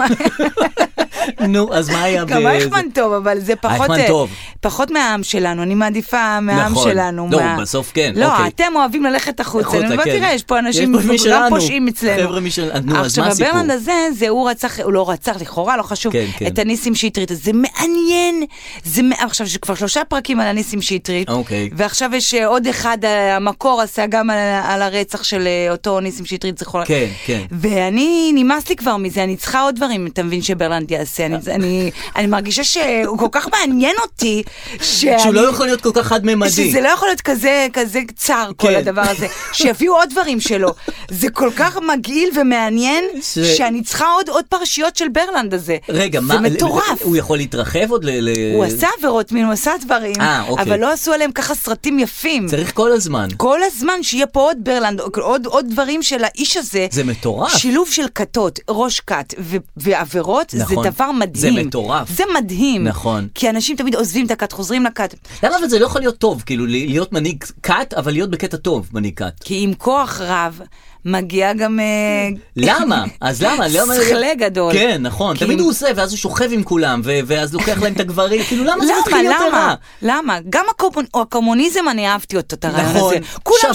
Speaker 2: נו, אז מה היה ב...
Speaker 3: אה, גם אייכמן טוב, אבל זה פחות...
Speaker 2: אייכמן
Speaker 3: אה,
Speaker 2: טוב.
Speaker 3: פחות מהעם שלנו, אני מעדיפה מהעם
Speaker 2: נכון.
Speaker 3: שלנו.
Speaker 2: לא,
Speaker 3: מה-
Speaker 2: בסוף כן, אוקיי.
Speaker 3: לא, אתם אוהבים ללכת החוצה.
Speaker 2: החוצה,
Speaker 3: אני אומרת,
Speaker 2: כן.
Speaker 3: תראה, יש פה אנשים
Speaker 2: יש פה מי
Speaker 3: גם
Speaker 2: שלנו,
Speaker 3: פושעים אצלנו.
Speaker 2: חבר'ה מי של- נו, אז מה
Speaker 3: עכשיו,
Speaker 2: הסיפור?
Speaker 3: הברלנד הזה, זה הוא רצח, הוא לא רצח, לכאורה, לא חשוב,
Speaker 2: כן, כן.
Speaker 3: את הניסים שטרית. אז זה מעניין. זה מע- עכשיו, יש כבר שלושה פרקים על הניסים שטרית.
Speaker 2: אוקיי.
Speaker 3: ועכשיו יש אה, עוד אחד, אה, המקור עשה גם על- על הרצח של אה, אותו ניסים שטרית, זכרו
Speaker 2: כן, כן.
Speaker 3: ואני, נמאס לי כבר מזה, אני צריכה עוד דברים, אתה מבין, שברלנד יעשה. אני, אני, אני מרגישה שהוא כל כך מעניין אותי, שאני,
Speaker 2: שהוא לא יכול להיות כל כך חד-ממדי.
Speaker 3: אה, שזה לא יכול להיות כזה, כזה צר, כן. כל
Speaker 2: כן.
Speaker 3: הדבר הזה. שיביאו עוד דברים שלו. זה כל כך מגעיל ומעניין,
Speaker 2: ש-
Speaker 3: ש... שאני צריכה עוד, עוד פרשיות של ברלנד הזה.
Speaker 2: רגע,
Speaker 3: זה
Speaker 2: מה...
Speaker 3: מטורף.
Speaker 2: הוא יכול להתרחב עוד ל... ל-
Speaker 3: הוא עשה עבירות מין, הוא עשה דברים,
Speaker 2: אה, אוקיי.
Speaker 3: אבל לא עשו עליהם ככה סרטים יפים.
Speaker 2: צריך כל הזמן.
Speaker 3: כל הזמן שיהיה פה עוד ברלנד, עוד, עוד דברים של האיש הזה.
Speaker 2: זה מטורף.
Speaker 3: שילוב של כתות, ראש כת ו- ועבירות,
Speaker 2: נכון.
Speaker 3: זה דבר דבר מדהים.
Speaker 2: מטורף.
Speaker 3: זה מדהים.
Speaker 2: נכון.
Speaker 3: כי אנשים תמיד עוזבים את הכת, חוזרים לכת.
Speaker 2: למה אבל זה לא יכול להיות טוב, כאילו ל- להיות מנהיג כת, אבל להיות בקטע טוב מנהיג כת.
Speaker 3: כי עם כוח רב, מגיע גם... אה,
Speaker 2: למה? אז למה? למה-
Speaker 3: שכלה גדול. כאילו-
Speaker 2: כן, נכון.
Speaker 3: כי
Speaker 2: תמיד
Speaker 3: עם-
Speaker 2: הוא עושה, ואז הוא שוכב עם כולם, ו- ואז לוקח להם את הגברים, כאילו למה זה מתחיל
Speaker 3: למה?
Speaker 2: להיות
Speaker 3: למה?
Speaker 2: רע?
Speaker 3: למה? גם הקומונ- או הקומוניזם, אני אהבתי אותו, את הרעיון
Speaker 2: נכון,
Speaker 3: הזה. כולם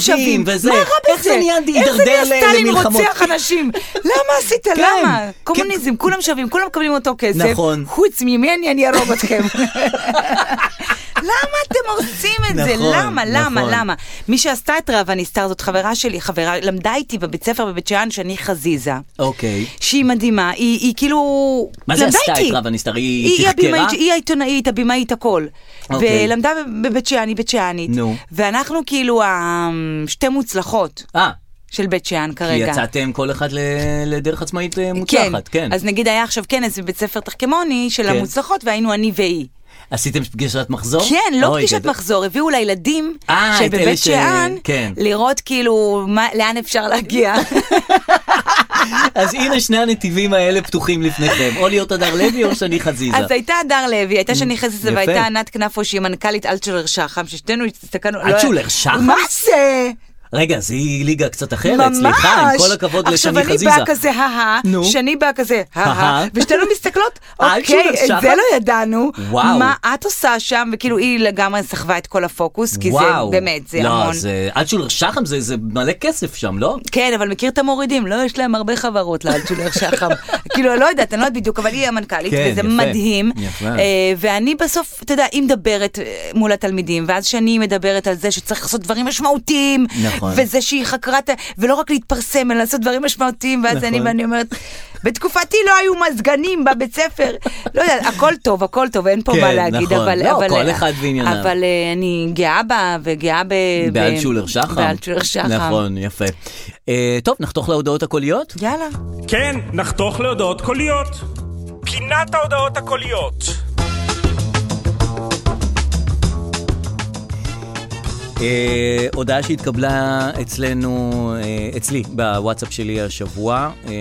Speaker 2: שווים
Speaker 3: שווים.
Speaker 2: וזה.
Speaker 3: מה רע בזה?
Speaker 2: איך זה נהיה
Speaker 3: איך
Speaker 2: הידרדר
Speaker 3: זה נהיה סטלין
Speaker 2: למלחמות? כן.
Speaker 3: רוצח אנשים? למה עשית? למה? קומוניזם, כולם שווים, כולם מקבלים אותו כסף.
Speaker 2: נכון.
Speaker 3: חוץ ממני, אני ארוג אתכם. למה אתם עושים את זה?
Speaker 2: נכון,
Speaker 3: למה? למה?
Speaker 2: נכון.
Speaker 3: למה? מי שעשתה את רב הנסתר זאת חברה שלי, חברה, למדה איתי בבית ספר בבית שאן שאני חזיזה.
Speaker 2: אוקיי.
Speaker 3: שהיא מדהימה, היא, היא כאילו...
Speaker 2: מה זה
Speaker 3: למדה
Speaker 2: עשתה את
Speaker 3: איתי.
Speaker 2: רב הנסתר? היא
Speaker 3: היא
Speaker 2: תחקרה?
Speaker 3: הבמאית, היא העיתונאית, הבמאית, הכל.
Speaker 2: אוקיי.
Speaker 3: ולמדה בב- בבית שאן, היא בית שאנית.
Speaker 2: נו.
Speaker 3: ואנחנו כאילו השתי מוצלחות
Speaker 2: אה,
Speaker 3: של בית שאן
Speaker 2: כי
Speaker 3: כרגע.
Speaker 2: יצאתם כל אחד ל- לדרך עצמאית אה, מוצלחת, כן.
Speaker 3: אז נגיד היה עכשיו כנס בבית ספר תחכמוני של
Speaker 2: כן.
Speaker 3: המוצלחות, והיינו אני והיא.
Speaker 2: עשיתם פגישת מחזור?
Speaker 3: כן, לא
Speaker 2: אוי,
Speaker 3: פגישת
Speaker 2: גדול.
Speaker 3: מחזור, הביאו לילדים
Speaker 2: אה, את אלה
Speaker 3: שבבית
Speaker 2: ש-
Speaker 3: שאן,
Speaker 2: כן.
Speaker 3: לראות כאילו מה- לאן אפשר להגיע.
Speaker 2: אז הנה שני הנתיבים האלה פתוחים לפניכם, או להיות הדר לוי או שני חזיזה.
Speaker 3: אז הייתה הדר לוי, הייתה שני חזיזה
Speaker 2: יפה.
Speaker 3: והייתה ענת כנפו שהיא מנכ"לית אלטשולר שחם, ששתינו הסתכלנו... לא-
Speaker 2: אלטשולר שחם?
Speaker 3: מה זה?
Speaker 2: רגע, זה ליגה קצת אחרת,
Speaker 3: ממש.
Speaker 2: סליחה, עם כל הכבוד לשני
Speaker 3: עכשיו
Speaker 2: חזיזה.
Speaker 3: אני באה כזה הא-הא,
Speaker 2: נו.
Speaker 3: שני באה כזה
Speaker 2: הא-הא.
Speaker 3: הא-הא, ושתינו מסתכלות,
Speaker 2: אלטשולר
Speaker 3: אוקיי,
Speaker 2: שחם?
Speaker 3: את זה לא ידענו.
Speaker 2: וואו.
Speaker 3: מה את עושה שם, וכאילו היא לגמרי סחבה את כל הפוקוס, כי זה
Speaker 2: וואו.
Speaker 3: באמת, זה
Speaker 2: לא,
Speaker 3: המון.
Speaker 2: זה... אלטשולר שחם זה זה מלא כסף שם, לא?
Speaker 3: כן, אבל מכיר את המורידים, לא, יש להם הרבה חברות לאלטשולר שחם. כאילו, אני לא יודעת, אני לא יודעת בדיוק, אבל היא המנכ"לית,
Speaker 2: כן,
Speaker 3: וזה
Speaker 2: יפה,
Speaker 3: מדהים.
Speaker 2: יפה.
Speaker 3: אה, ואני בסוף, אתה יודע, היא מדברת אה, מול התלמידים, ואז שאני מדברת על זה שצריך לעשות דברים משמעותיים,
Speaker 2: נכון.
Speaker 3: וזה שהיא חקרה, את ה- ולא רק להתפרסם, אלא לעשות דברים משמעותיים, ואז
Speaker 2: נכון.
Speaker 3: אני ואני אומרת... בתקופתי לא היו מזגנים בבית ספר, לא יודעת, הכל טוב, הכל טוב, אין פה
Speaker 2: כן,
Speaker 3: מה להגיד,
Speaker 2: נכון.
Speaker 3: אבל...
Speaker 2: לא,
Speaker 3: אבל-
Speaker 2: כל אחד וענייניו.
Speaker 3: אבל אה, אני גאה בה, וגאה ב... ב-
Speaker 2: באלטשולר שחם.
Speaker 3: באלטשולר שחם.
Speaker 2: נכון, יפה. אה, טוב, נחתוך להודעות הקוליות?
Speaker 3: יאללה.
Speaker 6: כן, נחתוך להודעות קוליות. פינת ההודעות הקוליות.
Speaker 2: אה, הודעה שהתקבלה אצלנו, אה, אצלי, בוואטסאפ שלי השבוע. אה,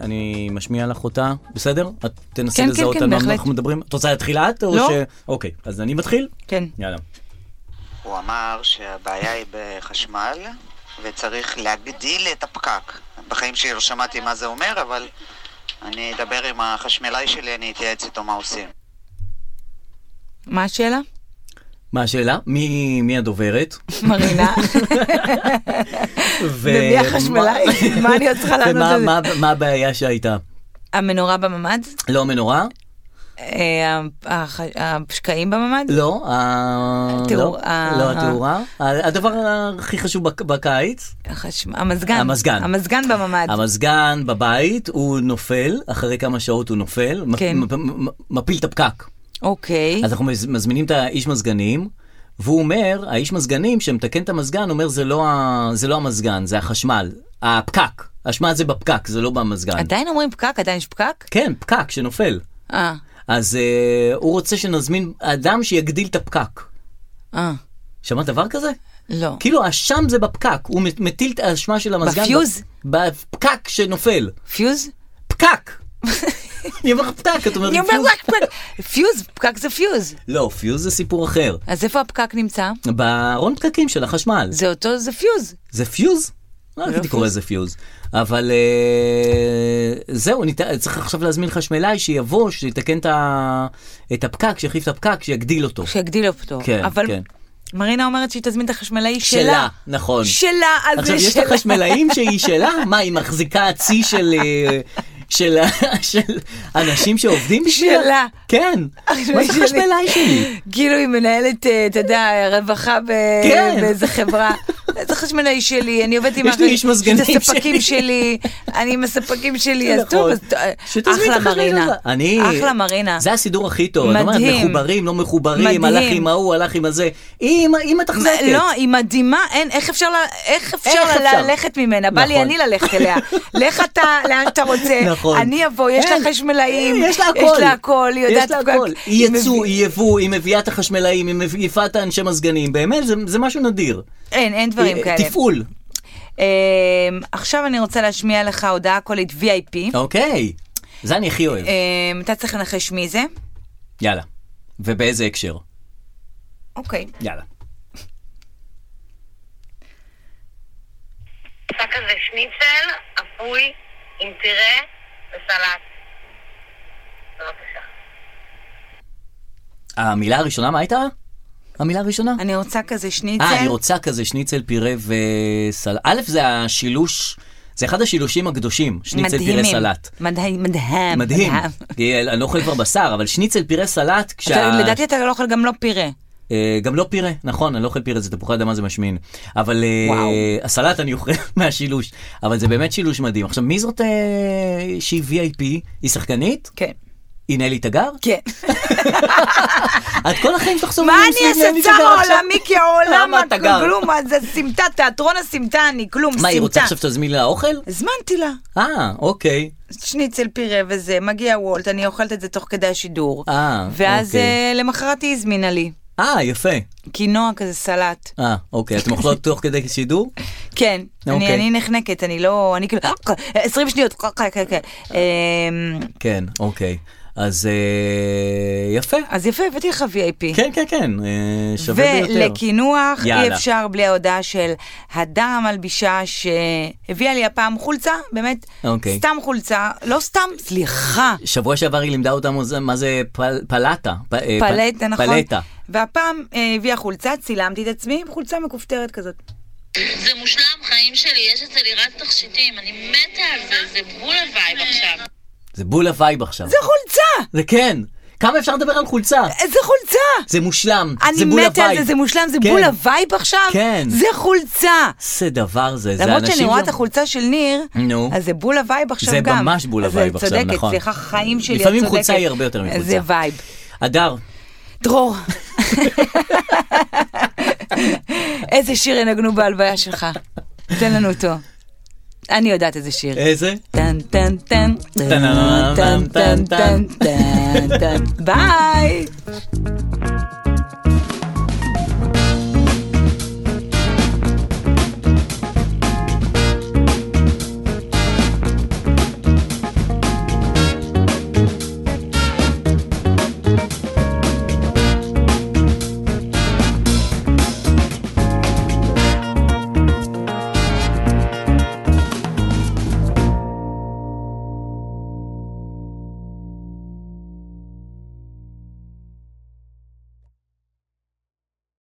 Speaker 2: אני משמיע לך אותה, בסדר? את תנסי
Speaker 3: כן, כן,
Speaker 2: לזהות
Speaker 3: כן,
Speaker 2: על מה
Speaker 3: בהחלט.
Speaker 2: אנחנו מדברים. את רוצה להתחיל את? או
Speaker 3: לא.
Speaker 2: ש- אוקיי, אז אני מתחיל?
Speaker 3: כן.
Speaker 2: יאללה.
Speaker 7: הוא אמר שהבעיה היא בחשמל וצריך להגדיל את הפקק. בחיים שלי לא שמעתי מה זה אומר, אבל אני אדבר עם החשמלאי שלי, אני אתייעץ איתו מה עושים.
Speaker 3: מה השאלה?
Speaker 2: מה השאלה? מי, מי הדוברת?
Speaker 3: מרינה.
Speaker 2: ו...
Speaker 3: ומי החשמלאי? מה אני עוד צריכה לענות
Speaker 2: ומה-
Speaker 3: על זה?
Speaker 2: מה, מה הבעיה שהייתה?
Speaker 3: המנורה בממ"ד?
Speaker 2: לא המנורה?
Speaker 3: אה, הח- השקעים בממ"ד?
Speaker 2: לא, ה...
Speaker 3: התאור-
Speaker 2: לא,
Speaker 3: ה-
Speaker 2: לא התאורה. ה- הדבר הכי חשוב בק- בקיץ,
Speaker 3: החש- המזגן.
Speaker 2: המזגן.
Speaker 3: המזגן בממ"ד.
Speaker 2: המזגן בבית, הוא נופל, אחרי כמה שעות הוא נופל, מפ-
Speaker 3: כן.
Speaker 2: מפ- מפ- מפיל את הפקק.
Speaker 3: אוקיי.
Speaker 2: אז אנחנו מז- מזמינים את האיש מזגנים, והוא אומר, האיש מזגנים שמתקן את המזגן, אומר זה לא, ה... זה לא המזגן, זה החשמל, הפקק. אשמה זה בפקק, זה לא במזגן.
Speaker 3: עדיין אומרים פקק? עדיין יש פקק?
Speaker 2: כן, פקק שנופל.
Speaker 3: אה,
Speaker 2: אז אה, הוא רוצה שנזמין אדם שיגדיל את הפקק.
Speaker 3: אה,
Speaker 2: שמעת דבר כזה?
Speaker 3: לא.
Speaker 2: כאילו האשם זה בפקק, הוא מת- מטיל את האשמה של המזגן.
Speaker 3: בפיוז?
Speaker 2: בפקק שנופל.
Speaker 3: פיוז?
Speaker 2: פקק! אני אומר לך פקק, את אומרת
Speaker 3: אני
Speaker 2: לי
Speaker 3: אומר
Speaker 2: לא, פיוז.
Speaker 3: רק פקק. פיוז, פקק זה פיוז.
Speaker 2: לא, פיוז זה סיפור אחר.
Speaker 3: אז איפה הפקק נמצא?
Speaker 2: בארון פקקים של החשמל.
Speaker 3: זה אותו, זה פיוז.
Speaker 2: זה פיוז? לא הייתי
Speaker 3: פיוז.
Speaker 2: קורא לזה פיוז. אבל אה, זהו, נת... צריך עכשיו להזמין חשמלאי שיבוא, שיתקן את, ה... את הפקק, שיחליף את הפקק, שיגדיל אותו.
Speaker 3: שיגדיל אותו.
Speaker 2: כן,
Speaker 3: אבל
Speaker 2: כן.
Speaker 3: מרינה אומרת שהיא תזמין את החשמלאי
Speaker 2: שלה,
Speaker 3: שלה.
Speaker 2: נכון.
Speaker 3: שלה, אז
Speaker 2: עכשיו,
Speaker 3: זה
Speaker 2: יש
Speaker 3: שלה.
Speaker 2: לך חשמלאים שהיא שלה? מה, היא מחזיקה צי של... אה, של, של אנשים שעובדים בשבילה?
Speaker 3: שלה.
Speaker 2: כן. מה זה
Speaker 3: שלי.
Speaker 2: חשמלאי שלי?
Speaker 3: כאילו היא מנהלת, אה, אתה יודע, רווחה ב-
Speaker 2: כן.
Speaker 3: באיזה חברה. זה חשמלאי שלי, אני עובדת עם
Speaker 2: יש לי
Speaker 3: הח-
Speaker 2: איש מזגנים
Speaker 3: את הספקים
Speaker 2: שלי.
Speaker 3: שלי, אני עם הספקים שלי, אז
Speaker 2: נכון.
Speaker 3: טוב, אז ת-
Speaker 2: שתזמין את
Speaker 3: אחלה
Speaker 2: החשמלאי
Speaker 3: מרינה.
Speaker 2: שלה. אני...
Speaker 3: אחלה מרינה.
Speaker 2: זה הסידור הכי טוב. מדהים. את אומרת,
Speaker 3: מדהים.
Speaker 2: מחוברים, לא מחוברים,
Speaker 3: מדהים.
Speaker 2: הלך עם ההוא, הלך עם הזה. היא עם- היא מתחזקת.
Speaker 3: זה- לא, היא מדהימה, אין, איך אפשר, לה- איך אפשר
Speaker 2: איך
Speaker 3: לה-
Speaker 2: אפשר?
Speaker 3: ללכת ממנה? בא לי
Speaker 2: נכון.
Speaker 3: אני ללכת אליה. לך אתה, לאן שאתה רוצה.
Speaker 2: נכון.
Speaker 3: אני אבוא, יש
Speaker 2: אין.
Speaker 3: לה חשמלאים.
Speaker 2: יש לה הכל.
Speaker 3: יש לה הכל, היא יודעת...
Speaker 2: יש לה
Speaker 3: כל כך-
Speaker 2: הכל. היא יצוא,
Speaker 3: מביא-
Speaker 2: היא יבוא, היא מביאה את החשמלאים, היא מביאה את האנשי מזגנים. באמת, זה- זה משהו נדיר.
Speaker 3: אין, אין דברים
Speaker 2: אה,
Speaker 3: כאלה. אמ,
Speaker 2: תפעול.
Speaker 3: אה, עכשיו אני רוצה להשמיע לך הודעה קולית VIP.
Speaker 2: אוקיי. זה אני הכי אוהב.
Speaker 3: אה, אתה צריך לנחש מי זה?
Speaker 2: יאללה. ובאיזה הקשר?
Speaker 3: אוקיי.
Speaker 2: יאללה.
Speaker 8: שק הזה שניצל, אפוי, עם פירה וסלט. בבקשה.
Speaker 2: המילה הראשונה, מה הייתה? המילה הראשונה?
Speaker 3: אני רוצה כזה שניצל.
Speaker 2: אה, אני רוצה כזה שניצל פירה וסלט. א', זה השילוש, זה אחד השילושים הקדושים, שניצל פירה
Speaker 3: מדהימים.
Speaker 2: סלט.
Speaker 3: מדהים. מדהים.
Speaker 2: מדהים. כי אני לא אוכל כבר בשר, אבל שניצל פירה סלט,
Speaker 3: אתה-
Speaker 2: כשה...
Speaker 3: לדעתי אתה לא אוכל גם לא פירה.
Speaker 2: אה, גם לא פירה, נכון, אני לא אוכל פירה, זה תפוחי אדמה זה משמין. אבל אה,
Speaker 3: וואו.
Speaker 2: הסלט אני אוכל מהשילוש, אבל זה באמת שילוש מדהים. עכשיו, מי זאת אה, שהיא VIP? היא שחקנית?
Speaker 3: כן.
Speaker 2: היא נלי תגר?
Speaker 3: כן.
Speaker 2: את כל החיים שלך סובבים
Speaker 3: מה אני
Speaker 2: סביב נלי
Speaker 3: אעשה? צר
Speaker 2: תגר עכשיו?
Speaker 3: העולמי כעולם
Speaker 2: למה אתה גר?
Speaker 3: הכלום, אז זה סמטה, תיאטרון הסמטה, אני כלום, סמטה.
Speaker 2: מה, היא רוצה עכשיו תזמין לה אוכל?
Speaker 3: הזמנתי לה
Speaker 2: אה, אוקיי.
Speaker 3: שניצל פירה וזה, מגיע וולט, אני אוכלת את זה תוך כדי השידור.
Speaker 2: אה,
Speaker 3: ואז
Speaker 2: אוקיי.
Speaker 3: אה, למחרת היא הזמינה לי.
Speaker 2: אה, יפה.
Speaker 3: קינוע כזה סלט.
Speaker 2: אה, אוקיי, אתם אוכלות תוך כדי שידור?
Speaker 3: כן, אני
Speaker 2: אוקיי.
Speaker 3: אני נחנקת, אני לא, אני כאילו, 20 שניות, כן, כן, כן. אמ,
Speaker 2: כן, אוקיי. אז אה, יפה.
Speaker 3: אז יפה, הבאתי לך VIP.
Speaker 2: כן, כן, כן, אה, שווה ביותר.
Speaker 3: ולקינוח אי
Speaker 2: יאללה.
Speaker 3: אפשר בלי ההודעה של הדר המלבישה שהביאה לי הפעם חולצה, באמת,
Speaker 2: אוקיי.
Speaker 3: סתם חולצה, לא סתם, סליחה,
Speaker 2: שבוע שעבר היא לימדה אותנו זה- מה זה פל- פלטה. פ- אה, פ-
Speaker 3: פלטה, נכון?
Speaker 2: פלטה.
Speaker 3: והפעם אה, הביאה חולצה, צילמתי את עצמי עם חולצה מכופתרת כזאת.
Speaker 8: זה מושלם, חיים שלי, יש אצל לירת תכשיטים, אני מתה על זה, זה בול הווייב עכשיו.
Speaker 2: זה בול הווייב עכשיו.
Speaker 3: זה חולצה!
Speaker 2: זה כן. כמה אפשר לדבר על חולצה?
Speaker 3: איזה חולצה!
Speaker 2: זה מושלם. זה
Speaker 3: אני
Speaker 2: בול
Speaker 3: מתה על
Speaker 2: הווייב.
Speaker 3: זה, זה מושלם, זה
Speaker 2: כן.
Speaker 3: בול הווייב עכשיו?
Speaker 2: כן.
Speaker 3: זה חולצה!
Speaker 2: איזה דבר זה, זה
Speaker 3: למרות שאני
Speaker 2: אנשים
Speaker 3: רואה
Speaker 2: לא-
Speaker 3: את החולצה של ניר,
Speaker 2: נו.
Speaker 3: אז זה בול הווייב עכשיו
Speaker 2: זה
Speaker 3: גם.
Speaker 2: ממש בול
Speaker 3: אז
Speaker 2: הווייב עכשיו,
Speaker 3: צודקת,
Speaker 2: נכון.
Speaker 3: סליחה, חיים שלי, את צודקת.
Speaker 2: לפעמים חולצה היא הרבה יותר מחולצה.
Speaker 3: זה וייב.
Speaker 2: הדר,
Speaker 3: דרור. איזה שיר ינגנו בהלוויה שלך? תן לנו אותו. אני יודעת איזה שיר.
Speaker 2: איזה?
Speaker 3: טן טן טן טן טן טן טן טן ביי.